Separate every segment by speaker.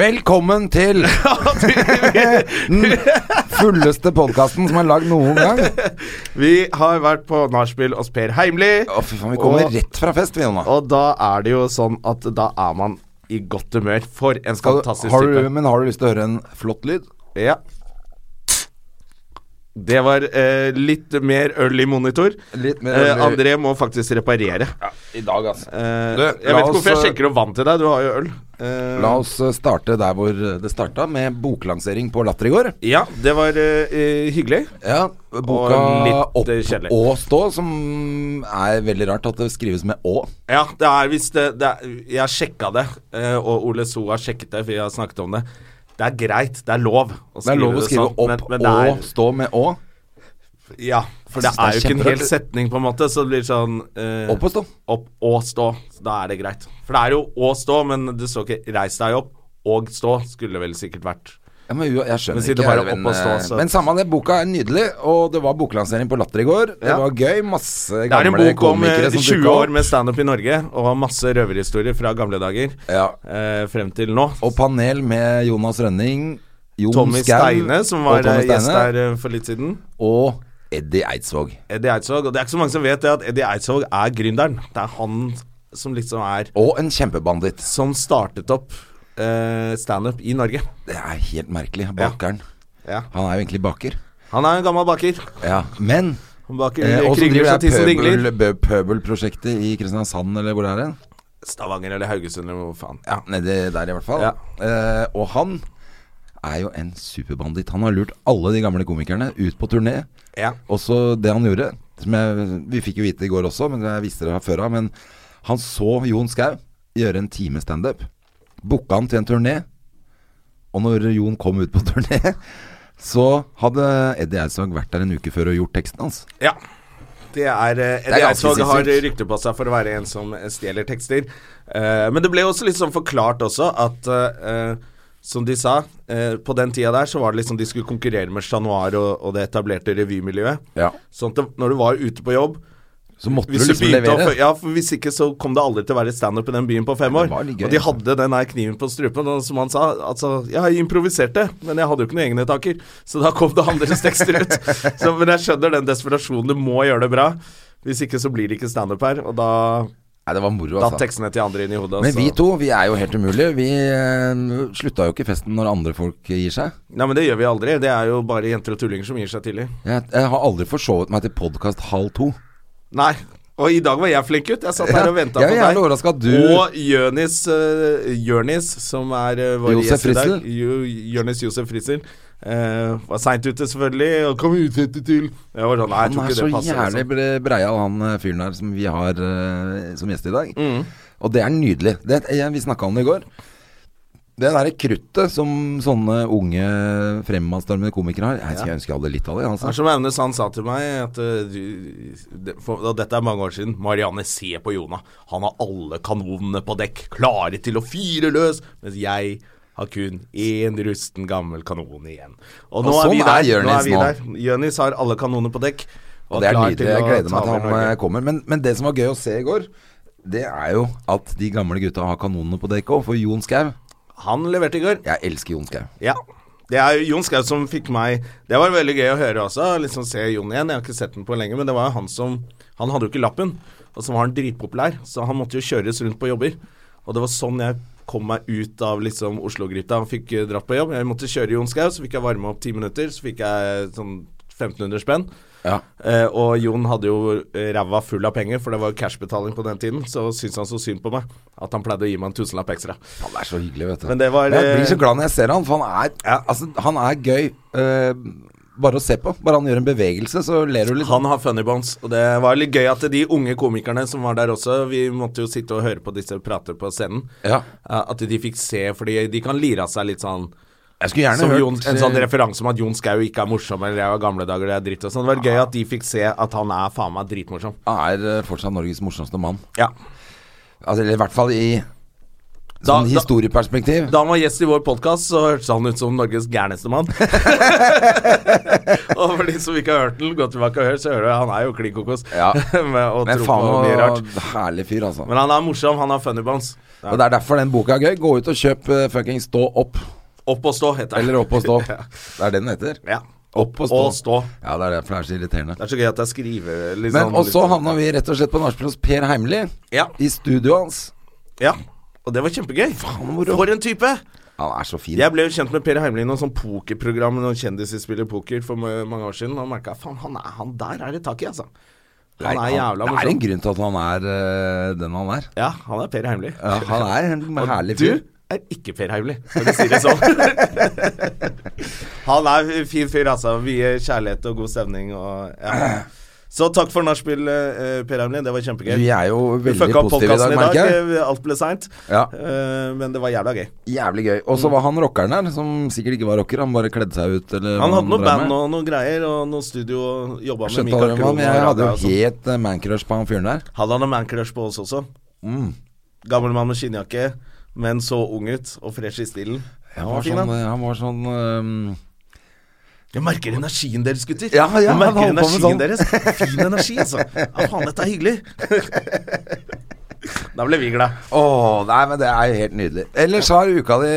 Speaker 1: Velkommen til den fulleste podkasten som er lagd noen gang.
Speaker 2: Vi har vært på nachspiel hos Per Heimli,
Speaker 1: Å, fy faen, vi kommer
Speaker 2: Og-
Speaker 1: rett fra fest, vi, Jonna.
Speaker 2: og da er det jo sånn at da er man i godt humør. For en
Speaker 1: Skal du-
Speaker 2: fantastisk
Speaker 1: Har du,
Speaker 2: type.
Speaker 1: men har du lyst til å høre en flott lyd?
Speaker 2: Ja. Det var eh, litt mer øl i monitor.
Speaker 1: Litt mer
Speaker 2: eh,
Speaker 1: øl i-
Speaker 2: André må faktisk reparere.
Speaker 1: I dag, altså.
Speaker 2: Eh,
Speaker 1: Du, la
Speaker 2: jeg vet ikke hvorfor
Speaker 1: oss,
Speaker 2: jeg sjekker opp vann til deg, du har jo øl. Eh,
Speaker 1: La oss eh, starte der hvor eh, det starta, med boklansering på Latter i går.
Speaker 2: Ja, det var eh, hyggelig.
Speaker 1: Ja, boka
Speaker 2: litt,
Speaker 1: Opp
Speaker 2: eh, kjedelig.
Speaker 1: og stå, som er veldig rart at det skrives med å.
Speaker 2: Ja, det er visst det, det er, Jeg sjekka det, eh, og Ole So har sjekket det, for vi har snakket om det. Det er greit, det er lov å
Speaker 1: Det er lov å skrive
Speaker 2: sånn,
Speaker 1: opp
Speaker 2: men, men det
Speaker 1: og
Speaker 2: er,
Speaker 1: stå med å.
Speaker 2: Ja, for Altså, det
Speaker 1: Jeg synes det
Speaker 2: er jo
Speaker 1: er
Speaker 2: ikke en hel
Speaker 1: kjemperart.
Speaker 2: setning, på en måte, så det blir sånn eh,
Speaker 1: Opp og stå.
Speaker 2: Opp og stå. Så da er det greit. For det er jo å stå, men det står ikke 'reis deg opp' og 'stå', skulle vel sikkert vært
Speaker 1: Ja, men jo, jeg skjønner
Speaker 2: Men si det
Speaker 1: ikke
Speaker 2: bare
Speaker 1: Even,
Speaker 2: opp og stå,
Speaker 1: eh,
Speaker 2: så-
Speaker 1: Men samme det, boka er nydelig, og det var boklansering på Latter i går. Det
Speaker 2: Ja.
Speaker 1: var gøy. Masse
Speaker 2: Det er en
Speaker 1: gamle
Speaker 2: bok om eh,
Speaker 1: komikere som
Speaker 2: 20
Speaker 1: dukka
Speaker 2: år
Speaker 1: opp.
Speaker 2: med standup i Norge, og masse røverhistorier fra gamle dager
Speaker 1: Ja.
Speaker 2: eh, frem til nå.
Speaker 1: Og panel med Jonas Rønning, Jon
Speaker 2: Tommy
Speaker 1: Skau
Speaker 2: Steine, som var
Speaker 1: og Tommy
Speaker 2: eh, gjest
Speaker 1: Steine,
Speaker 2: der eh, for litt siden.
Speaker 1: og Eddie Eidsvåg.
Speaker 2: Eddie Eidsvåg. Og det er ikke så mange som vet det, at Eddie Eidsvåg er gründeren. Det er han som liksom er
Speaker 1: Og en kjempebanditt.
Speaker 2: Som startet opp eh, standup i Norge.
Speaker 1: Det er helt merkelig. Bakeren.
Speaker 2: Ja.
Speaker 1: Han er jo egentlig baker.
Speaker 2: Han er en gammel baker.
Speaker 1: Ja, men
Speaker 2: Han baker
Speaker 1: eh, Og så
Speaker 2: kringler
Speaker 1: driver
Speaker 2: så tissen
Speaker 1: jeg
Speaker 2: dingler.
Speaker 1: pøbel- bø- pøbelprosjektet i Kristiansand, eller hvor det er hen.
Speaker 2: Stavanger eller Haugesund eller hvor faen.
Speaker 1: Ja, nedi der i hvert fall.
Speaker 2: Ja.
Speaker 1: Eh, og han er jo en superbanditt. Han har lurt alle de gamle komikerne ut på turné.
Speaker 2: Ja.
Speaker 1: Og så det han gjorde som jeg, Vi fikk jo vite i går også, men jeg visste det fra før av. Men han så Jon Skau gjøre en time standup. Booka han til en turné. Og når Jon kom ut på turné, så hadde Eddie Eidsvåg vært der en uke før og gjort teksten hans.
Speaker 2: ja. Det er, eh,
Speaker 1: ganske
Speaker 2: Eddie Eidsvåg har
Speaker 1: sinnssykt.
Speaker 2: rykte på seg for å være en som eh, stjeler tekster. Eh, men det ble også litt sånn forklart også at eh, eh, som de sa, eh, på den tida der så var det liksom de skulle konkurrere med Chat Noir og, og det etablerte revymiljøet.
Speaker 1: Ja.
Speaker 2: Sånn at det, når du var ute på jobb
Speaker 1: Så måtte du
Speaker 2: Hvis du
Speaker 1: liksom
Speaker 2: begynte å
Speaker 1: levere.
Speaker 2: fø- Ja, for hvis ikke så kom det aldri til å være standup i den byen på fem
Speaker 1: Men
Speaker 2: år.
Speaker 1: det var litt gøy,
Speaker 2: og de hadde den der kniven på strupen, og som han sa Altså, jeg improviserte, men jeg hadde jo ikke noen egne taker. Så da kom det andres tekster ut. Så, men jeg skjønner den desperasjonen. Du må gjøre det bra. Hvis ikke så blir det ikke standup her. Og da
Speaker 1: Nei, det var moro,
Speaker 2: datt
Speaker 1: altså.
Speaker 2: tekstene til andre inn i hodet. altså.
Speaker 1: Men
Speaker 2: så-
Speaker 1: vi to, vi er jo helt umulige. Vi eh, slutta jo ikke festen når andre folk gir seg.
Speaker 2: Nei, men det gjør vi aldri. Det er jo bare jenter og tullinger som gir seg tidlig.
Speaker 1: Jeg, jeg har aldri forsovet meg til podkast halv to.
Speaker 2: Nei. Og i dag var jeg flink gutt. Jeg satt her og
Speaker 1: Ja,
Speaker 2: venta
Speaker 1: jeg er
Speaker 2: på deg.
Speaker 1: jævlig overraska at du
Speaker 2: Og Jørnis, eh, Jørnis som er eh, vår
Speaker 1: Josef
Speaker 2: gjest i dag.
Speaker 1: Fritzel.
Speaker 2: Jo, Jørnis Josef Frissel. var seint ute, selvfølgelig. Og kom utsette til Jeg var sånn, nei, jeg
Speaker 1: Han
Speaker 2: tror
Speaker 1: er
Speaker 2: ikke
Speaker 1: så
Speaker 2: det passer.
Speaker 1: jævlig
Speaker 2: liksom.
Speaker 1: bre- breial, han eh, fyren her som vi har eh, som gjest i dag. Og det er nydelig. Det, jeg, vi snakka om det i går. Det derre kruttet som sånne unge fremadstormende komikere har. Jeg, jeg ønsker jeg hadde litt av det.
Speaker 2: Det er
Speaker 1: Altså.
Speaker 2: som Aune Sand sa til meg, at, eh, du- det, for, og dette er mange år siden Marianne, se på Jonah. Han har alle kanonene på dekk, klare til å fyre løs. Mens jeg har kun én rusten, gammel kanon igjen. Og, nå
Speaker 1: Og
Speaker 2: er vi
Speaker 1: sånn
Speaker 2: der.
Speaker 1: er Jørnis
Speaker 2: vi
Speaker 1: nå.
Speaker 2: der. Jørnis har alle kanonene på dekk.
Speaker 1: Og det er
Speaker 2: klar til
Speaker 1: nydelig. Jeg
Speaker 2: å
Speaker 1: gleder
Speaker 2: ta
Speaker 1: meg til
Speaker 2: over
Speaker 1: han
Speaker 2: Norge.
Speaker 1: eh, kommer. Men, men det som var gøy å se i går, det er jo at de gamle gutta har kanonene på dekk òg. For Jon Skau
Speaker 2: Han leverte i går.
Speaker 1: Jeg elsker Jon Skau.
Speaker 2: Ja. Det er jo Jon Skau som fikk meg Det var veldig gøy å høre også. Liksom se Jon igjen. Jeg har ikke sett den på lenge, men det var jo han som Han hadde jo ikke lappen, og så var han dritpopulær, så han måtte jo kjøres rundt på jobber. Og det var sånn jeg kom meg ut av liksom Oslo-gryta og fikk eh, dratt på jobb. Jeg måtte kjøre Jon Skau, så fikk jeg varme opp ti minutter, så fikk jeg sånn 1500 spenn.
Speaker 1: Ja.
Speaker 2: Eh, og Jon hadde jo eh, ræva full av penger, for det var jo cashbetaling på den tiden. Så syntes han så synd på meg at han pleide å gi meg en tusenlapp ekstra.
Speaker 1: Han er så hyggelig, vet du.
Speaker 2: Men det var,
Speaker 1: jeg blir så
Speaker 2: eh,
Speaker 1: glad når jeg ser han, for han er, altså, han er gøy eh, bare å se på. Bare han gjør en bevegelse, så ler du litt.
Speaker 2: Han har funny bones, og det var litt gøy at de unge komikerne som var der også Vi måtte jo sitte og høre på disse prate på scenen.
Speaker 1: Ja.
Speaker 2: eh, At de fikk se, fordi de kan lire av seg litt sånn
Speaker 1: Jeg skulle gjerne
Speaker 2: som
Speaker 1: hørt
Speaker 2: Jon, En sånn
Speaker 1: eh,
Speaker 2: referanse om at Jon Skau ikke er morsom, eller jeg var gamle dager, det er dritt og sånn. Det var gøy at de fikk se at han er faen meg dritmorsom.
Speaker 1: Han er eh, fortsatt Norges morsomste mann.
Speaker 2: Ja.
Speaker 1: Altså, eller i hvert fall i Sånn
Speaker 2: da-
Speaker 1: historieperspektiv.
Speaker 2: Da han var gjest i vår podkast, så hørtes han ut som Norges gærneste mann. og for de som ikke har hørt den, gå tilbake og hør, så hører du han er jo klin kokos.
Speaker 1: Ja.
Speaker 2: med å
Speaker 1: Men
Speaker 2: tro
Speaker 1: faen,
Speaker 2: på mye rart.
Speaker 1: og herlig fyr, altså.
Speaker 2: Men han er morsom, han har funny bones.
Speaker 1: Og Det er derfor den boka er gøy. Gå ut og kjøp uh, fucking Stå opp.
Speaker 2: Opp og stå, heter han.
Speaker 1: Eller Opp og stå. Det er det den heter.
Speaker 2: Ja.
Speaker 1: Opp og stå.
Speaker 2: Og stå.
Speaker 1: Ja, det er derfor det er så irriterende.
Speaker 2: Det er så gøy at jeg skriver litt
Speaker 1: Men
Speaker 2: sånn
Speaker 1: og så
Speaker 2: litt-
Speaker 1: havna vi rett og slett på nachspiel hos Per Heimli.
Speaker 2: Ja.
Speaker 1: I studioet hans.
Speaker 2: ja. Og det var kjempegøy.
Speaker 1: moro.
Speaker 2: For en type!
Speaker 1: Han er så fin.
Speaker 2: Jeg ble jo kjent med Per Heimli i noe sånn pokerprogram med noen kjendiser spiller poker for ma- mange år siden, og merka faen, han, er- han der er det tak i, altså. Han
Speaker 1: Nei,
Speaker 2: er jævla
Speaker 1: Det er en
Speaker 2: morsom.
Speaker 1: grunn til at han er eh, den han er.
Speaker 2: Ja, han er Per Heimli.
Speaker 1: Ja, han er en
Speaker 2: Og
Speaker 1: herlig
Speaker 2: du
Speaker 1: fyr.
Speaker 2: er ikke Per Heimli, for å si det sånn. han er en fin fyr, altså. Mye kjærlighet og god stemning og ja. Så takk for nachspiel, eh, Per Heimli. Det var
Speaker 1: Du,
Speaker 2: kjempegøy.
Speaker 1: jeg er jo
Speaker 2: Vi
Speaker 1: veldig
Speaker 2: fucka opp
Speaker 1: positiv i dag,
Speaker 2: podkasten i
Speaker 1: merker
Speaker 2: dag.
Speaker 1: jeg.
Speaker 2: eh, Alt ble seint.
Speaker 1: Ja.
Speaker 2: Eh, men det var jævla gøy.
Speaker 1: Jævlig gøy. Og så
Speaker 2: Mm.
Speaker 1: var han rockeren der, som sikkert ikke var rocker. Han bare kledde seg ut, eller
Speaker 2: Han
Speaker 1: hva
Speaker 2: hadde noe
Speaker 1: drev
Speaker 2: band
Speaker 1: med.
Speaker 2: og noe greier, og noe studio og jobba med
Speaker 1: Skjønte aldri hvem
Speaker 2: Michael
Speaker 1: han
Speaker 2: Krohn.
Speaker 1: var, men jeg
Speaker 2: og
Speaker 1: hadde
Speaker 2: Raga og
Speaker 1: jo
Speaker 2: sånn.
Speaker 1: helt eh, mancrush på han fyren der.
Speaker 2: Hadde han en mancrush på oss også.
Speaker 1: Mm.
Speaker 2: Gammel mann med skinnjakke, men så ung ut og fresh i stilen.
Speaker 1: Han
Speaker 2: Han
Speaker 1: var
Speaker 2: var fin,
Speaker 1: sånn,
Speaker 2: han.
Speaker 1: eh, han var sånn ehm,
Speaker 2: Jeg merker energien deres, gutter.
Speaker 1: Ja, ja,
Speaker 2: jeg
Speaker 1: han
Speaker 2: merker
Speaker 1: holdt på
Speaker 2: energien
Speaker 1: med sånn.
Speaker 2: deres. Fin energi, altså. Ja, faen, dette er hyggelig. da ble vi glad.
Speaker 1: Åh, nei, men det er jo helt nydelig. Ellers har uka di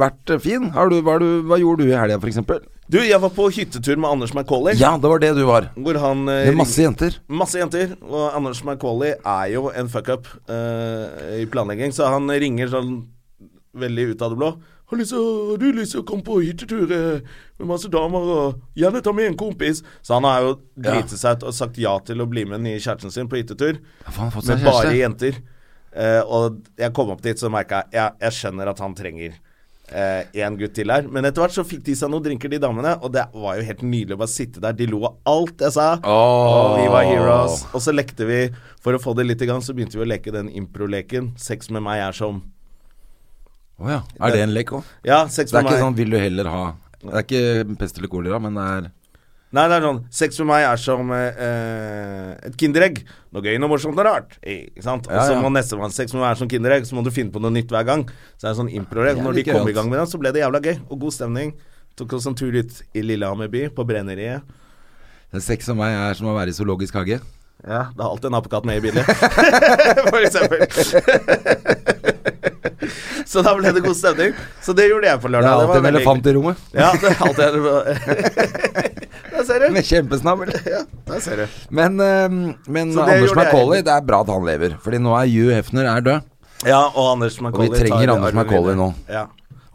Speaker 1: vært fin. Har du, hva, har du, hva gjorde du i helga, f.eks.?
Speaker 2: Du, jeg var på hyttetur med Anders McCauley,
Speaker 1: Ja, det var det du var.
Speaker 2: hvor han eh,
Speaker 1: Det er masse jenter.
Speaker 2: Masse jenter, og Anders McCauley er jo en fuckup eh, i planlegging, så han ringer sånn veldig ut av det blå. Har, lyst til å- har du lyst til å komme på hyttetur eh, med masse damer og gjerne ta med en kompis? Så han har jo driti seg ut og sagt ja til å bli med den nye kjæresten sin på hyttetur.
Speaker 1: Ja, faen, han har fått seg
Speaker 2: Med bare
Speaker 1: kjæreste.
Speaker 2: jenter. Eh, og jeg kom opp dit, så merka jeg ja, jeg skjønner at han trenger én gutt til her. Men etter hvert så fikk de seg noen drinker, de damene. Og det var jo helt nydelig å bare sitte der. De lo av alt jeg sa.
Speaker 1: Åh.
Speaker 2: Og vi var heroes. Og så lekte vi. For å få det litt i gang, så begynte vi å leke den improleken. Sex med meg er som
Speaker 1: Å ja. Er det en lek òg?
Speaker 2: Ja, sex
Speaker 1: Det er
Speaker 2: med
Speaker 1: ikke
Speaker 2: meg
Speaker 1: sånn 'vil du heller ha'. Det er ikke pest eller kolera, men det er
Speaker 2: Nei, det er sånn Sex med meg er som eh, et kinderegg. Noe gøy, noe morsomt, noe rart. Eh, Ikke sant? Og
Speaker 1: Ja,
Speaker 2: så
Speaker 1: ja.
Speaker 2: må nestemann Sex med meg er som kinderegg, så må du finne på noe nytt hver gang. Så det er en sånn improregg.
Speaker 1: Ja,
Speaker 2: Når de
Speaker 1: like
Speaker 2: kom
Speaker 1: godt.
Speaker 2: i gang med den, så ble det jævla gøy. Og god stemning. Tok oss en tur ut i Lillehammer by, på Brenneriet.
Speaker 1: det er Sex og meg er som å være i zoologisk hage.
Speaker 2: Ja, det er alltid en apekatt med i bildet. For eksempel. så da ble det god stemning. Så det gjorde jeg på
Speaker 1: Det er
Speaker 2: lørdag.
Speaker 1: alltid en
Speaker 2: veldig
Speaker 1: elefant i rommet.
Speaker 2: hyggelig. Ja, det er alltid en Der ser du.
Speaker 1: Med kjempesnabel.
Speaker 2: Ja, der ser du.
Speaker 1: Men, ehm, men
Speaker 2: Så det
Speaker 1: Anders
Speaker 2: gjorde jeg.
Speaker 1: McCauley, det er bra at han lever. Fordi nå er Hugh Hefner er død.
Speaker 2: Ja, og Anders McCauley.
Speaker 1: trenger
Speaker 2: tar
Speaker 1: Anders
Speaker 2: arven
Speaker 1: Macaulay nå.
Speaker 2: videre. Ja.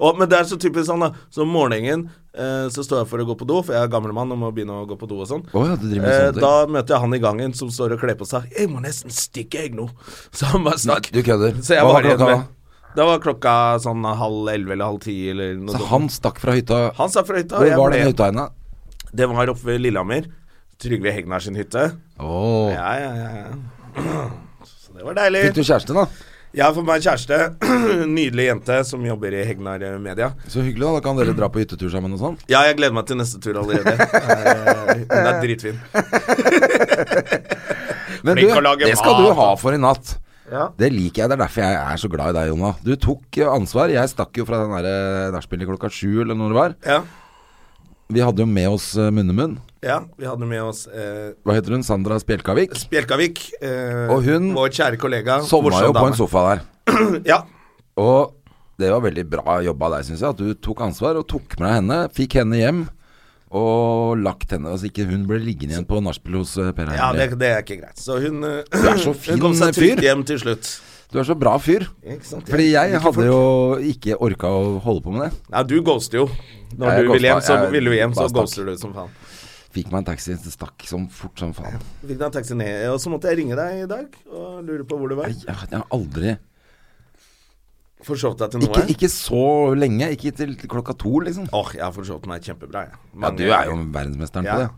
Speaker 2: Og, men det er så typisk sånn, da. Så om morgenen eh, så står jeg for å gå på do, for jeg er gammel mann og må begynne å gå på do og sånn.
Speaker 1: Å ja, du driver med
Speaker 2: Eh,
Speaker 1: sånne ting.
Speaker 2: da møter jeg han i gangen som står og kler på seg. 'Jeg må nesten stikke, jeg nå.' Så han bare stakk.
Speaker 1: Du kødder.
Speaker 2: Så jeg
Speaker 1: Hva
Speaker 2: var
Speaker 1: var klokka
Speaker 2: igjen
Speaker 1: da?
Speaker 2: med. Da var klokka sånn halv elleve eller halv ti eller noe
Speaker 1: Så
Speaker 2: sånt.
Speaker 1: han stakk fra hytta.
Speaker 2: Han sa fra hytta. og
Speaker 1: Hvor
Speaker 2: jeg
Speaker 1: var
Speaker 2: ble-
Speaker 1: den hytta henne?
Speaker 2: Det var oppe ved Lillehammer. Trygve Hegnar sin hytte.
Speaker 1: Åh.
Speaker 2: Ja, ja, ja. ja. Så det var deilig.
Speaker 1: Fikk du kjæreste, da?
Speaker 2: Jeg har fått meg en kjæreste. Nydelig jente som jobber i Hegnar Media.
Speaker 1: Så hyggelig, da. Da kan dere dra på hyttetur sammen og sånn.
Speaker 2: Ja, jeg gleder meg til neste tur allerede. Eh, Hun er dritfin.
Speaker 1: Men du,
Speaker 2: Flink å lage
Speaker 1: det skal
Speaker 2: mat,
Speaker 1: du
Speaker 2: da.
Speaker 1: ha for i natt.
Speaker 2: Ja.
Speaker 1: Det liker jeg. Det er derfor jeg er så glad i deg, Jonna. Du tok eh, ansvar. Jeg stakk jo fra den der eh, nachspielet klokka sju, eller når det var.
Speaker 2: Ja,
Speaker 1: Vi hadde jo med oss eh, Munnemunn.
Speaker 2: ja vi hadde med oss eh,
Speaker 1: Hva heter hun? Sandra Spjelkavik.
Speaker 2: Spjelkavik. Eh,
Speaker 1: Og hun
Speaker 2: vår kjære kollega.
Speaker 1: Sovna
Speaker 2: morsom
Speaker 1: jo på
Speaker 2: dame.
Speaker 1: en sofa der.
Speaker 2: Ja.
Speaker 1: Og det var veldig bra jobba av deg, syns jeg. At du tok ansvar og tok med deg henne. Fikk henne hjem. Og lagt henne Så ikke hun ble liggende igjen på nachspiel hos eh, Per
Speaker 2: ja,
Speaker 1: Heimli.
Speaker 2: det, det er ikke greit. Så hun, eh,
Speaker 1: er så fin
Speaker 2: hun kom seg trygt
Speaker 1: fyr.
Speaker 2: hjem til slutt.
Speaker 1: Du er så bra fyr.
Speaker 2: Ikke sant?
Speaker 1: Fordi jeg
Speaker 2: Like
Speaker 1: hadde
Speaker 2: fort.
Speaker 1: jo ikke orka å holde på med det.
Speaker 2: Nei, du ghoster jo. Når
Speaker 1: Ja, jeg
Speaker 2: du vil
Speaker 1: ghosta.
Speaker 2: hjem, så
Speaker 1: Jeg
Speaker 2: vil du hjem, så
Speaker 1: bare stakk.
Speaker 2: ghoster du som faen.
Speaker 1: Fikk meg en taxi, det stakk som fort som faen.
Speaker 2: Fikk deg en taxi ned, og så måtte jeg ringe deg i dag og lure på hvor du var.
Speaker 1: Jeg, jeg, jeg har aldri
Speaker 2: Forsov deg til
Speaker 1: ikke,
Speaker 2: noe?
Speaker 1: ikke så lenge. Ikke til klokka to, liksom.
Speaker 2: Åh, jeg har forsovt meg kjempebra, jeg.
Speaker 1: Ja,
Speaker 2: Mange-
Speaker 1: du er jo verdensmesteren
Speaker 2: Ja.
Speaker 1: på det.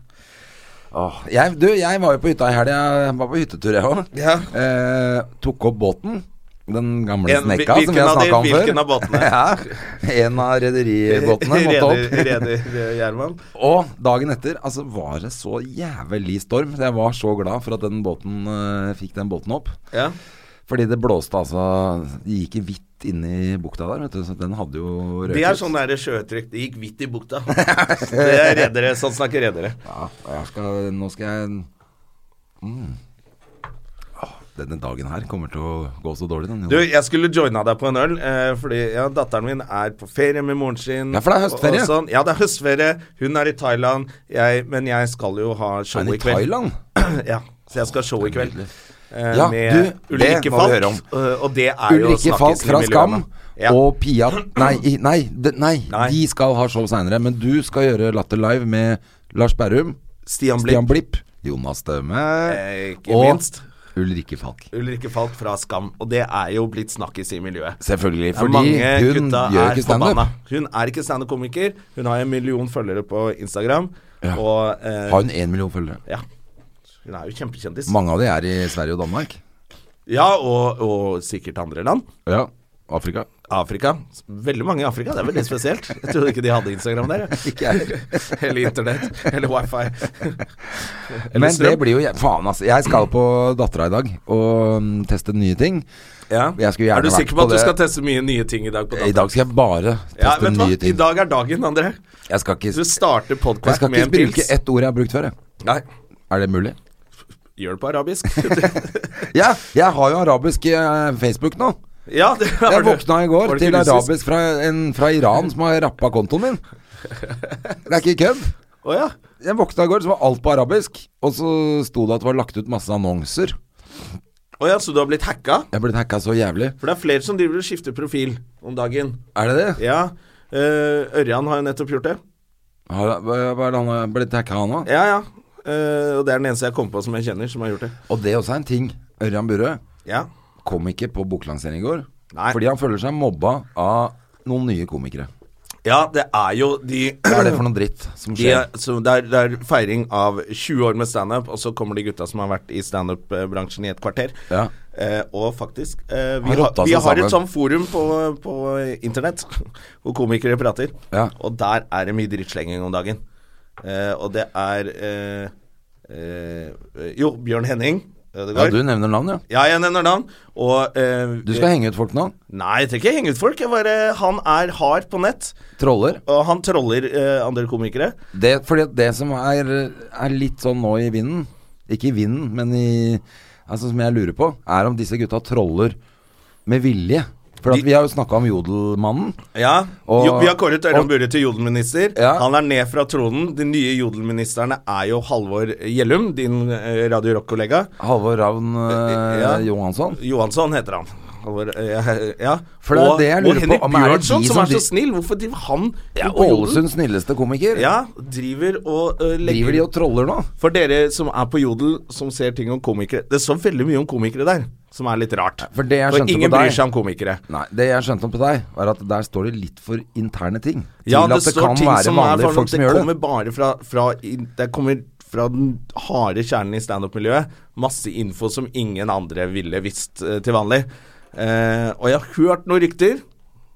Speaker 1: Åh, jeg, du, jeg var jo på hytta i helga. Jeg Var på hyttetur, jeg òg.
Speaker 2: Ja.
Speaker 1: Eh, tok opp båten. Den gamle
Speaker 2: En-
Speaker 1: snekka
Speaker 2: hvil-
Speaker 1: som vi har
Speaker 2: hvilken av de-
Speaker 1: snakka om før.
Speaker 2: hvilken av båtene?
Speaker 1: ja, en av rederibåtene måtte
Speaker 2: Reder,
Speaker 1: opp.
Speaker 2: Reder Gjerman.
Speaker 1: Og dagen etter altså var det så jævlig storm. Så jeg var så glad for at den båten eh, fikk den båten opp.
Speaker 2: Ja.
Speaker 1: Fordi det blåste altså Det gikk i hvitt midt inne i bukta der, vet du. Så den hadde jo røket.
Speaker 2: De er sånn der sjøtrykk. Det gikk hvitt i bukta. Det er redere. Sånn snakker redere.
Speaker 1: Ja, og jeg skal, nå skal jeg mm. Åh, Denne dagen her kommer til å gå så dårlig, den. Jon.
Speaker 2: Du, jeg skulle joina deg på en øl, eh, fordi ja, datteren min er på ferie med moren sin.
Speaker 1: Ja, for det er høstferie.
Speaker 2: og- og sånn. Ja, det er høstferie. Hun er i Thailand. Jeg, men jeg skal jo ha show
Speaker 1: Er den
Speaker 2: i
Speaker 1: i
Speaker 2: kveld.
Speaker 1: Thailand?
Speaker 2: Ja, så jeg skal ha show i kveld. Eh,
Speaker 1: Ja,
Speaker 2: med
Speaker 1: du, det
Speaker 2: Ulrikke
Speaker 1: må vi
Speaker 2: Falk.
Speaker 1: høre om.
Speaker 2: eh, Og det er jo
Speaker 1: Ulrikke Falk
Speaker 2: snakkisen i
Speaker 1: fra Skam
Speaker 2: miljøene. Ja.
Speaker 1: og Pia nei, i- nei, de, nei,
Speaker 2: Nei.
Speaker 1: de skal ha show seinere. Men du skal gjøre Latter Live med Lars Berrum,
Speaker 2: Stian Blipp.
Speaker 1: Stian Blipp, Jonas Staume
Speaker 2: Eh, ikke
Speaker 1: og
Speaker 2: minst.
Speaker 1: Ulrikke Falk.
Speaker 2: Ulrikke Falk fra Skam. Og det er jo blitt snakkis i miljøet.
Speaker 1: Selvfølgelig,
Speaker 2: Det er
Speaker 1: fordi
Speaker 2: mange
Speaker 1: hun
Speaker 2: gutta
Speaker 1: gjør
Speaker 2: er
Speaker 1: ikke standup.
Speaker 2: forbanna. Hun er ikke standup-komiker. Hun har en million følgere på Instagram.
Speaker 1: Ja.
Speaker 2: Og eh,
Speaker 1: Har hun én million følgere?
Speaker 2: Ja. Hun er jo kjempekjendis.
Speaker 1: Mange av de er i Sverige og Danmark.
Speaker 2: Ja, og, og sikkert andre land.
Speaker 1: Ja, Afrika.
Speaker 2: Afrika. Veldig mange i Afrika, det er veldig spesielt. Jeg trodde ikke de hadde Instagram der. jeg.
Speaker 1: Ikke jeg.
Speaker 2: Eller internett. Eller wifi. Eller
Speaker 1: Men det
Speaker 2: strøm.
Speaker 1: blir jo jæ- Faen, altså. Jeg skal på Dattera i dag og mm, teste nye ting.
Speaker 2: Ja.
Speaker 1: Jeg skulle gjerne
Speaker 2: er du
Speaker 1: vært
Speaker 2: sikker på
Speaker 1: på
Speaker 2: at du
Speaker 1: det.
Speaker 2: skal teste mye nye ting i dag? på
Speaker 1: I dag skal jeg bare
Speaker 2: ja,
Speaker 1: teste
Speaker 2: vet du hva?
Speaker 1: nye
Speaker 2: I
Speaker 1: ting.
Speaker 2: dag er dagen, André.
Speaker 1: Jeg skal ikke,
Speaker 2: Du starter
Speaker 1: jeg
Speaker 2: podkast
Speaker 1: skal
Speaker 2: med en
Speaker 1: ikke bruke
Speaker 2: pils.
Speaker 1: ett ord jeg har brukt før, jeg.
Speaker 2: Nei,
Speaker 1: Er det mulig?
Speaker 2: gjør det på arabisk.
Speaker 1: Ja, jeg har jo arabisk eh, Facebook nå.
Speaker 2: ja, det har
Speaker 1: Jeg
Speaker 2: du.
Speaker 1: våkna i går
Speaker 2: Var det
Speaker 1: til
Speaker 2: ikke russisk?
Speaker 1: arabisk fra, en fra Iran som har rappa kontoen min. Det er ikke kødd.
Speaker 2: Å ja.
Speaker 1: Jeg våkna i går, så var alt på arabisk. Og så sto det at det var lagt ut masse annonser.
Speaker 2: Å ja, så du har blitt hacka?
Speaker 1: Jeg ble hacka så jævlig.
Speaker 2: For det er flere som driver og skifter profil om dagen.
Speaker 1: Er det det?
Speaker 2: Ja. eh, Ørjan har jo nettopp gjort det.
Speaker 1: Har- Hva hva er det han har blitt hacka av nå?
Speaker 2: Ja, ja. Eh, og det er den eneste jeg kom på som jeg kjenner, som har gjort det.
Speaker 1: Og det også er en ting. Ørjan Burøe
Speaker 2: Ja.
Speaker 1: kom ikke på boklansering i går
Speaker 2: Nei.
Speaker 1: fordi han føler seg mobba av noen nye komikere.
Speaker 2: ja, det er jo de,
Speaker 1: Hva er det for noe dritt som
Speaker 2: de
Speaker 1: skjer?
Speaker 2: så det, er, det er feiring av 20 år med standup, og så kommer de gutta som har vært i standup-bransjen i et kvarter.
Speaker 1: Ja.
Speaker 2: Eh, og faktisk eh, Vi,
Speaker 1: Har
Speaker 2: har,
Speaker 1: rotta seg
Speaker 2: vi har et
Speaker 1: sammen.
Speaker 2: sånt forum på, på internett hvor komikere prater,
Speaker 1: Ja.
Speaker 2: og der er det mye drittslenging om dagen. Eh, og det er eh, eh, Jo, Bjørn Henning
Speaker 1: ja,
Speaker 2: Ødegaard.
Speaker 1: du nevner navn, ja.
Speaker 2: Ja, jeg nevner navn. Og eh,
Speaker 1: Du skal henge ut folk nå?
Speaker 2: Nei, jeg trenger ikke henge ut folk. Jeg bare, han er hard på nett,
Speaker 1: Troller?
Speaker 2: og han troller eh, andre komikere.
Speaker 1: Det, fordi at det som er, er litt sånn nå i vinden Ikke i vinden, men i Altså som jeg lurer på, er om disse gutta troller med vilje. For at
Speaker 2: De-
Speaker 1: vi har jo snakka om Jodelmannen.
Speaker 2: Ja,
Speaker 1: Og-
Speaker 2: jo, Vi har kåret Ørjan
Speaker 1: og-
Speaker 2: Burre til jodelminister.
Speaker 1: Ja.
Speaker 2: Han er ned fra tronen. De nye jodelministerne er jo Halvor Gjellum, din eh, Radio Rock-kollega.
Speaker 1: Halvor Ravn eh,
Speaker 2: Ja.
Speaker 1: Johansson.
Speaker 2: Johansson heter han. Halvor, eh, ja.
Speaker 1: For det er
Speaker 2: og,
Speaker 1: det jeg lurer
Speaker 2: og Henrik
Speaker 1: på, om er det
Speaker 2: Bjørnson,
Speaker 1: de
Speaker 2: som,
Speaker 1: som
Speaker 2: er så
Speaker 1: dri-
Speaker 2: snill. Hvorfor driver han
Speaker 1: Ja,
Speaker 2: på jodel?
Speaker 1: Ålesunds snilleste komiker.
Speaker 2: Ja, driver og eh, legger
Speaker 1: Driver de og troller nå?
Speaker 2: For dere som er på Jodel, som ser ting om komikere Det står veldig mye om komikere der, som er litt rart.
Speaker 1: for det jeg skjønte
Speaker 2: ingen
Speaker 1: på deg-
Speaker 2: bryr seg om komikere.
Speaker 1: Nei, Det jeg skjønte om på deg, var at der står det litt for interne ting. Til
Speaker 2: Ja, det,
Speaker 1: at det
Speaker 2: står
Speaker 1: kan
Speaker 2: ting
Speaker 1: være
Speaker 2: som er
Speaker 1: vanlige
Speaker 2: for
Speaker 1: folk som
Speaker 2: Det
Speaker 1: gjør det.
Speaker 2: kommer bare fra, fra i- Det kommer fra den harde kjernen i standup-miljøet. Masse info som ingen andre ville visst eh, til vanlig. Eh, og jeg har hørt noen rykter.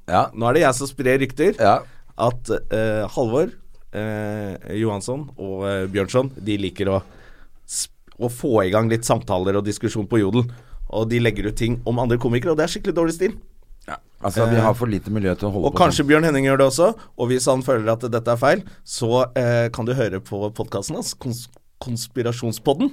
Speaker 1: Ja,
Speaker 2: Nå er det jeg som sprer rykter.
Speaker 1: ja.
Speaker 2: At eh, Halvor eh, Johansson og eh, Bjørnson De liker å, sp- å få i gang litt samtaler og diskusjon på Jodel. Og de legger ut ting om andre komikere, og det er skikkelig dårlig stil.
Speaker 1: Altså, vi har for lite miljø til å holde
Speaker 2: Eh, Og
Speaker 1: på sånn.
Speaker 2: kanskje Bjørn Henning gjør det også. Og hvis han føler at dette er feil, så eh, kan du høre på podkasten hans, kons Konspirasjonspodden.